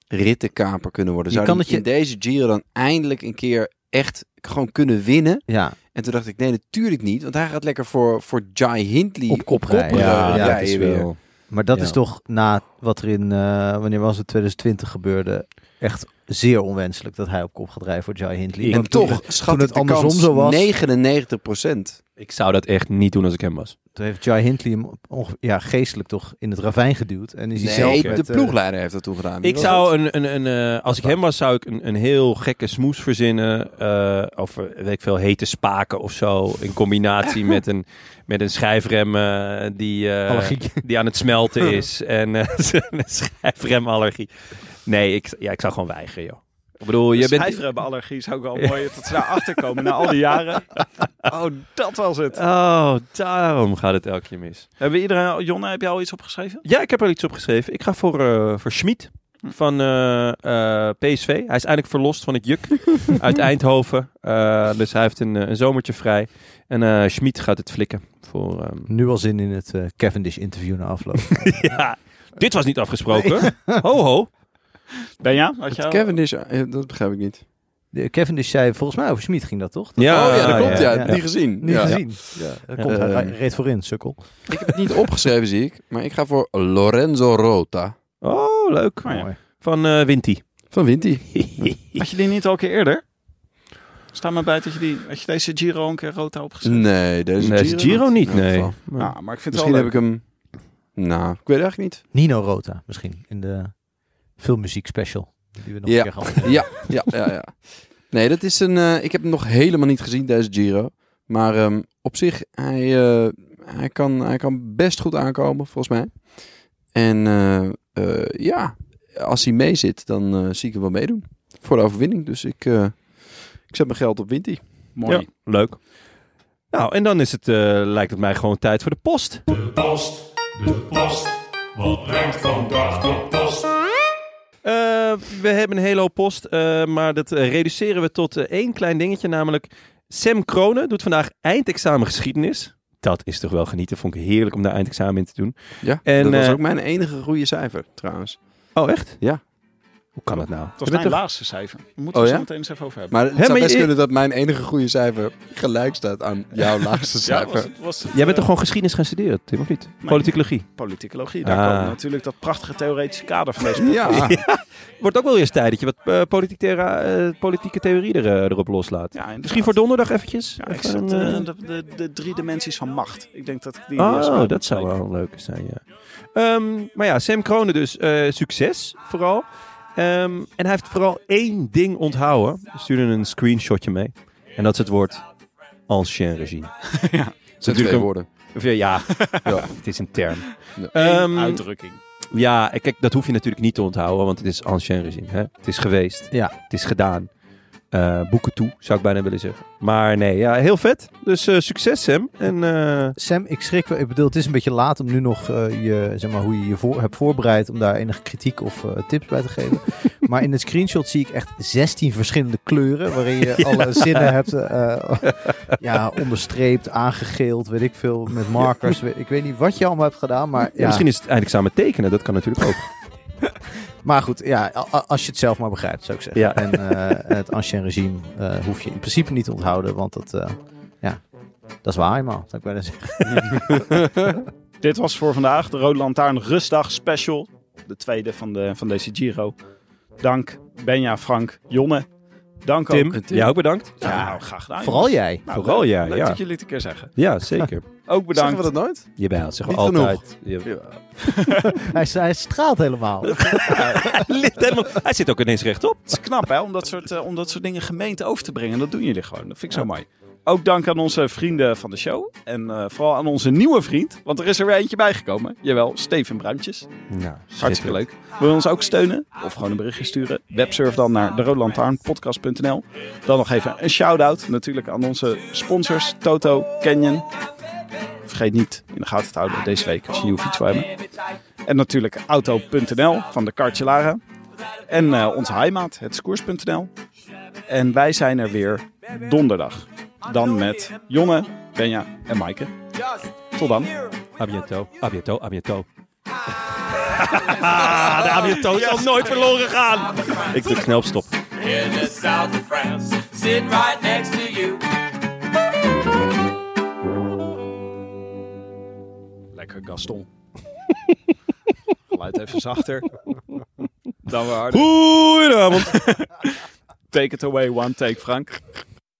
Speaker 6: rittenkaper kunnen worden?
Speaker 2: Je
Speaker 6: Zou
Speaker 2: kan
Speaker 6: die
Speaker 2: het je-
Speaker 6: in deze Giro dan eindelijk een keer echt gewoon kunnen winnen?
Speaker 2: ja.
Speaker 6: En toen dacht ik, nee, natuurlijk niet, want hij gaat lekker voor, voor Jai Hindley
Speaker 2: Op kop rijden.
Speaker 6: Ja,
Speaker 2: Ja,
Speaker 1: dat
Speaker 6: ja,
Speaker 1: is
Speaker 6: weer.
Speaker 1: wel-
Speaker 2: Maar dat
Speaker 1: Ja.
Speaker 2: is toch na wat er in, eh, wanneer was het, 2020 gebeurde, echt zeer onwenselijk dat hij op kop gaat rijden voor Jai Hindley.
Speaker 6: En
Speaker 2: toen
Speaker 6: toch
Speaker 2: het-
Speaker 6: schat
Speaker 2: toen
Speaker 6: ik
Speaker 2: het
Speaker 6: de
Speaker 2: andersom
Speaker 6: kans
Speaker 2: zo was.
Speaker 6: 99 procent.
Speaker 1: Ik zou dat echt niet doen als ik hem was.
Speaker 2: Toen heeft Jai Hindley hem onge- ja, geestelijk toch in het ravijn geduwd. En is hij zelf
Speaker 6: de
Speaker 2: met, eh,
Speaker 6: ploegleider heeft dat toen gedaan. Wie
Speaker 1: Ik
Speaker 6: was
Speaker 1: zou
Speaker 6: dat?
Speaker 1: een, een, een eh, als ik hem was, zou ik een, een heel gekke smoes verzinnen. eh, of eh, weet ik veel, hete spaken of zo. In combinatie met een, met een schijfrem eh, die, eh,
Speaker 2: Allergie.
Speaker 1: die aan het smelten is. en eh, [laughs] een schijfremallergie. Nee, ik, ja, ik zou gewoon weigeren, joh. Ik bedoel,
Speaker 5: Dus
Speaker 1: je bent...
Speaker 5: Schijfremmenallergie is ook wel mooi dat ze daar achter komen na al die jaren. Oh, dat was het.
Speaker 1: Oh, daarom gaat het elke keer mis.
Speaker 5: Hebben iedereen, Jonne, heb je al iets opgeschreven?
Speaker 1: Ja, ik heb er iets op geschreven. Ik ga voor, eh voor Schmid van eh, eh, PSV. Hij is eindelijk verlost van het juk [laughs] uit Eindhoven. Eh, dus hij heeft een, eh, een zomertje vrij. En eh Schmid gaat het flikken. Voor, ehm,
Speaker 2: [laughs] Nu al zin in het eh, Cavendish-interview na
Speaker 6: [laughs]
Speaker 2: afloop.
Speaker 1: ja, dit was niet afgesproken. [laughs] Ho, ho.
Speaker 5: Ben je? Had je
Speaker 6: Dat
Speaker 5: al-
Speaker 6: Cavendish, eh, dat begrijp ik niet.
Speaker 2: De Cavendish zei, volgens mij over Smit ging dat toch?
Speaker 6: oh ja, dat klopt. Ja,
Speaker 2: ja.
Speaker 6: niet gezien.
Speaker 2: Niet
Speaker 6: ja.
Speaker 2: gezien.
Speaker 6: Ja.
Speaker 2: Dat komt,
Speaker 6: Eh,
Speaker 2: hij reed voorin, sukkel.
Speaker 6: Ik heb het niet opgeschreven, zie ik. Maar ik ga voor Lorenzo Rota.
Speaker 1: Oh, leuk.
Speaker 5: Oh ja.
Speaker 2: Mooi.
Speaker 1: Van eh Winti.
Speaker 6: Van Winti.
Speaker 5: Had je die niet al een keer eerder? Sta maar bij dat je die, had je deze Giro al een keer rood had opgezet?
Speaker 6: Nee, deze
Speaker 1: Nee,
Speaker 6: Giro,
Speaker 1: Giro niet,
Speaker 6: in elk
Speaker 1: nee.
Speaker 6: geval.
Speaker 1: Maar-
Speaker 5: Nou, maar ik vind
Speaker 6: Misschien
Speaker 5: het
Speaker 6: heb
Speaker 5: wel
Speaker 6: ik hem... Nou, ik weet het eigenlijk niet.
Speaker 2: Nino Rota misschien, in de filmmuziek special. Die we nog
Speaker 6: Ja.
Speaker 2: een keer gaan opnemen.
Speaker 6: Ja, ja, ja, ja. Nee, dat is een... eh, ik heb hem nog helemaal niet gezien, deze Giro. Maar ehm, op zich, hij, eh, hij, kan, hij kan best goed aankomen, volgens mij. En eh, eh, ja, als hij mee zit, dan eh, zie ik hem wel meedoen. Voor de overwinning. Dus ik, eh, ik zet mijn geld op Winti.
Speaker 5: mooi.
Speaker 1: Ja, leuk. Nou, en dan is het, eh, lijkt het mij gewoon tijd voor de post.
Speaker 4: De post, de post, wat brengt vandaag de post?
Speaker 1: Eh, we hebben een hele hoop post, eh, maar dat eh, reduceren we tot eh, één klein dingetje, namelijk Sam Kronen doet vandaag eindexamen geschiedenis. Dat is toch wel genieten, vond ik heerlijk om daar eindexamen in te doen.
Speaker 6: Ja,
Speaker 1: En,
Speaker 6: dat was
Speaker 1: eh,
Speaker 6: ook mijn enige goede cijfer, trouwens.
Speaker 1: Oh, echt?
Speaker 6: Ja.
Speaker 1: Hoe kan dat nou?
Speaker 5: Het was mijn laatste cijfer. Daar moeten we
Speaker 6: Oh
Speaker 5: het zo
Speaker 6: ja?
Speaker 5: meteen eens even over hebben.
Speaker 6: Maar het
Speaker 1: Hè,
Speaker 6: zou
Speaker 1: maar
Speaker 6: best
Speaker 1: je-
Speaker 6: kunnen dat mijn enige goede cijfer gelijk staat aan jouw laagste
Speaker 5: ja,
Speaker 6: cijfer.
Speaker 5: was het, was het,
Speaker 1: Jij bent
Speaker 5: eh,
Speaker 1: toch gewoon geschiedenis gaan studeren, Tim, of niet?
Speaker 5: Nee.
Speaker 1: Politicologie.
Speaker 5: politicologie. Daar
Speaker 1: Ah.
Speaker 5: komt natuurlijk dat prachtige theoretische kader
Speaker 1: [laughs]
Speaker 5: van deze
Speaker 6: Ja,
Speaker 1: Wordt ook wel eens tijd dat je wat eh, politiek thera- eh, politieke theorie er, eh, erop loslaat.
Speaker 5: Ja, inderdaad.
Speaker 1: Misschien voor donderdag eventjes?
Speaker 5: Ja, ik
Speaker 1: Even
Speaker 5: zat,
Speaker 1: een, eh,
Speaker 5: eh, de, dus de, de drie dimensies van macht. Ik denk dat ik die... eerst
Speaker 1: Oh,
Speaker 5: wel
Speaker 1: dat zou
Speaker 5: bespreek.
Speaker 1: wel leuk zijn, ja. Ehm, maar ja, Sam Kronen dus. eh, succes vooral. Ehm, en hij heeft vooral één ding onthouden. We sturen een screenshotje mee. En dat is het woord ancien regime.
Speaker 6: zijn
Speaker 1: natuurlijk
Speaker 6: twee
Speaker 1: een-
Speaker 6: woorden.
Speaker 1: Of ja, ja, [laughs] ja, het is een term.
Speaker 6: Ja.
Speaker 1: Ehm,
Speaker 5: Uitdrukking.
Speaker 1: ja, en kijk, dat hoef je natuurlijk niet te onthouden, want het is ancien regime. Hè? Het is geweest.
Speaker 2: Ja.
Speaker 1: Het is gedaan. Eh, boeken toe, zou ik bijna willen zeggen. Maar nee, ja, heel vet. Dus eh, succes, Sam. En eh,
Speaker 2: Sam, ik schrik wel. Ik bedoel, het is een beetje laat om nu nog eh, je, zeg maar, hoe je je voor, hebt voorbereid om daar enige kritiek of eh, tips bij te
Speaker 1: [laughs]
Speaker 2: geven. maar in het screenshot zie ik echt 16 verschillende kleuren waarin
Speaker 1: [laughs]
Speaker 2: je alle zinnen hebt eh, ja, onderstreept, aangegeeld, weet ik veel, met markers. Weet- ik weet niet wat je allemaal hebt gedaan, maar,
Speaker 1: ja,
Speaker 2: ja,
Speaker 1: misschien is het eindelijk samen tekenen. Dat kan natuurlijk ook.
Speaker 2: maar goed, ja, a- a- als je het zelf maar begrijpt, zou ik zeggen.
Speaker 1: Ja.
Speaker 2: En eh, het ancien regime eh, hoef je in principe niet te onthouden, want dat, eh, ja, dat is waar helemaal, zou ik bijna zeggen.
Speaker 5: Dit was voor vandaag de Rode Lantaarn Rustdag Special. De tweede van, de, van deze Giro. Dank Benja, Frank, Jonne. Dank ook.
Speaker 1: Tim, jij ook bedankt.
Speaker 5: Nou, nou, graag
Speaker 1: Ah,
Speaker 5: gedaan.
Speaker 2: Vooral jij.
Speaker 5: Nou,
Speaker 1: Vooral
Speaker 5: leuk-
Speaker 1: ja,
Speaker 5: Leuk
Speaker 1: ja.
Speaker 5: dat jullie het een keer zeggen.
Speaker 1: Ja, zeker.
Speaker 5: Ook bedankt.
Speaker 6: Zeggen we dat nooit?
Speaker 1: [laughs] Jawel, dat zeggen we
Speaker 6: Niet genoeg.
Speaker 1: altijd. Ja.
Speaker 2: Hij, hij straalt
Speaker 1: [laughs]
Speaker 2: helemaal.
Speaker 1: Hij [laughs] ligt helemaal- Hij zit ook ineens rechtop.
Speaker 5: Het is knap hè, om dat, soort, eh, om dat soort dingen gemeente over te brengen. Dat doen jullie gewoon. Dat vind ik zo mooi. Ook dank aan onze vrienden van de show. En eh, vooral aan onze nieuwe vriend. Want er is er weer eentje bijgekomen. Jawel, Steven Bruintjes.
Speaker 1: Nou,
Speaker 5: Hartstikke leuk. Wil je ons ook steunen? Of gewoon een berichtje sturen? Websurf dan naar deroodlantaarnpodcast.nl. Dan nog even een shout-out natuurlijk aan onze sponsors Toto, Canyon. Vergeet niet in de gaten te houden deze week als je een nieuwe fiets wil hebben. En natuurlijk auto.nl van de Cartelara. En eh, onze heimaat, het scoers.nl. En wij zijn er weer donderdag. Dan met Jonne, Benja en Maaike. Tot dan.
Speaker 1: Abiento, abiento, abiento. [laughs] de abiento zal nooit verloren gaan. Ik druk snel op stop.
Speaker 4: In the south of France, sitting right next to you.
Speaker 5: Lekker Gaston. [laughs] Geluid even zachter. Dan weer harder. [laughs]
Speaker 1: Goedenavond.
Speaker 5: Take it away, one take Frank.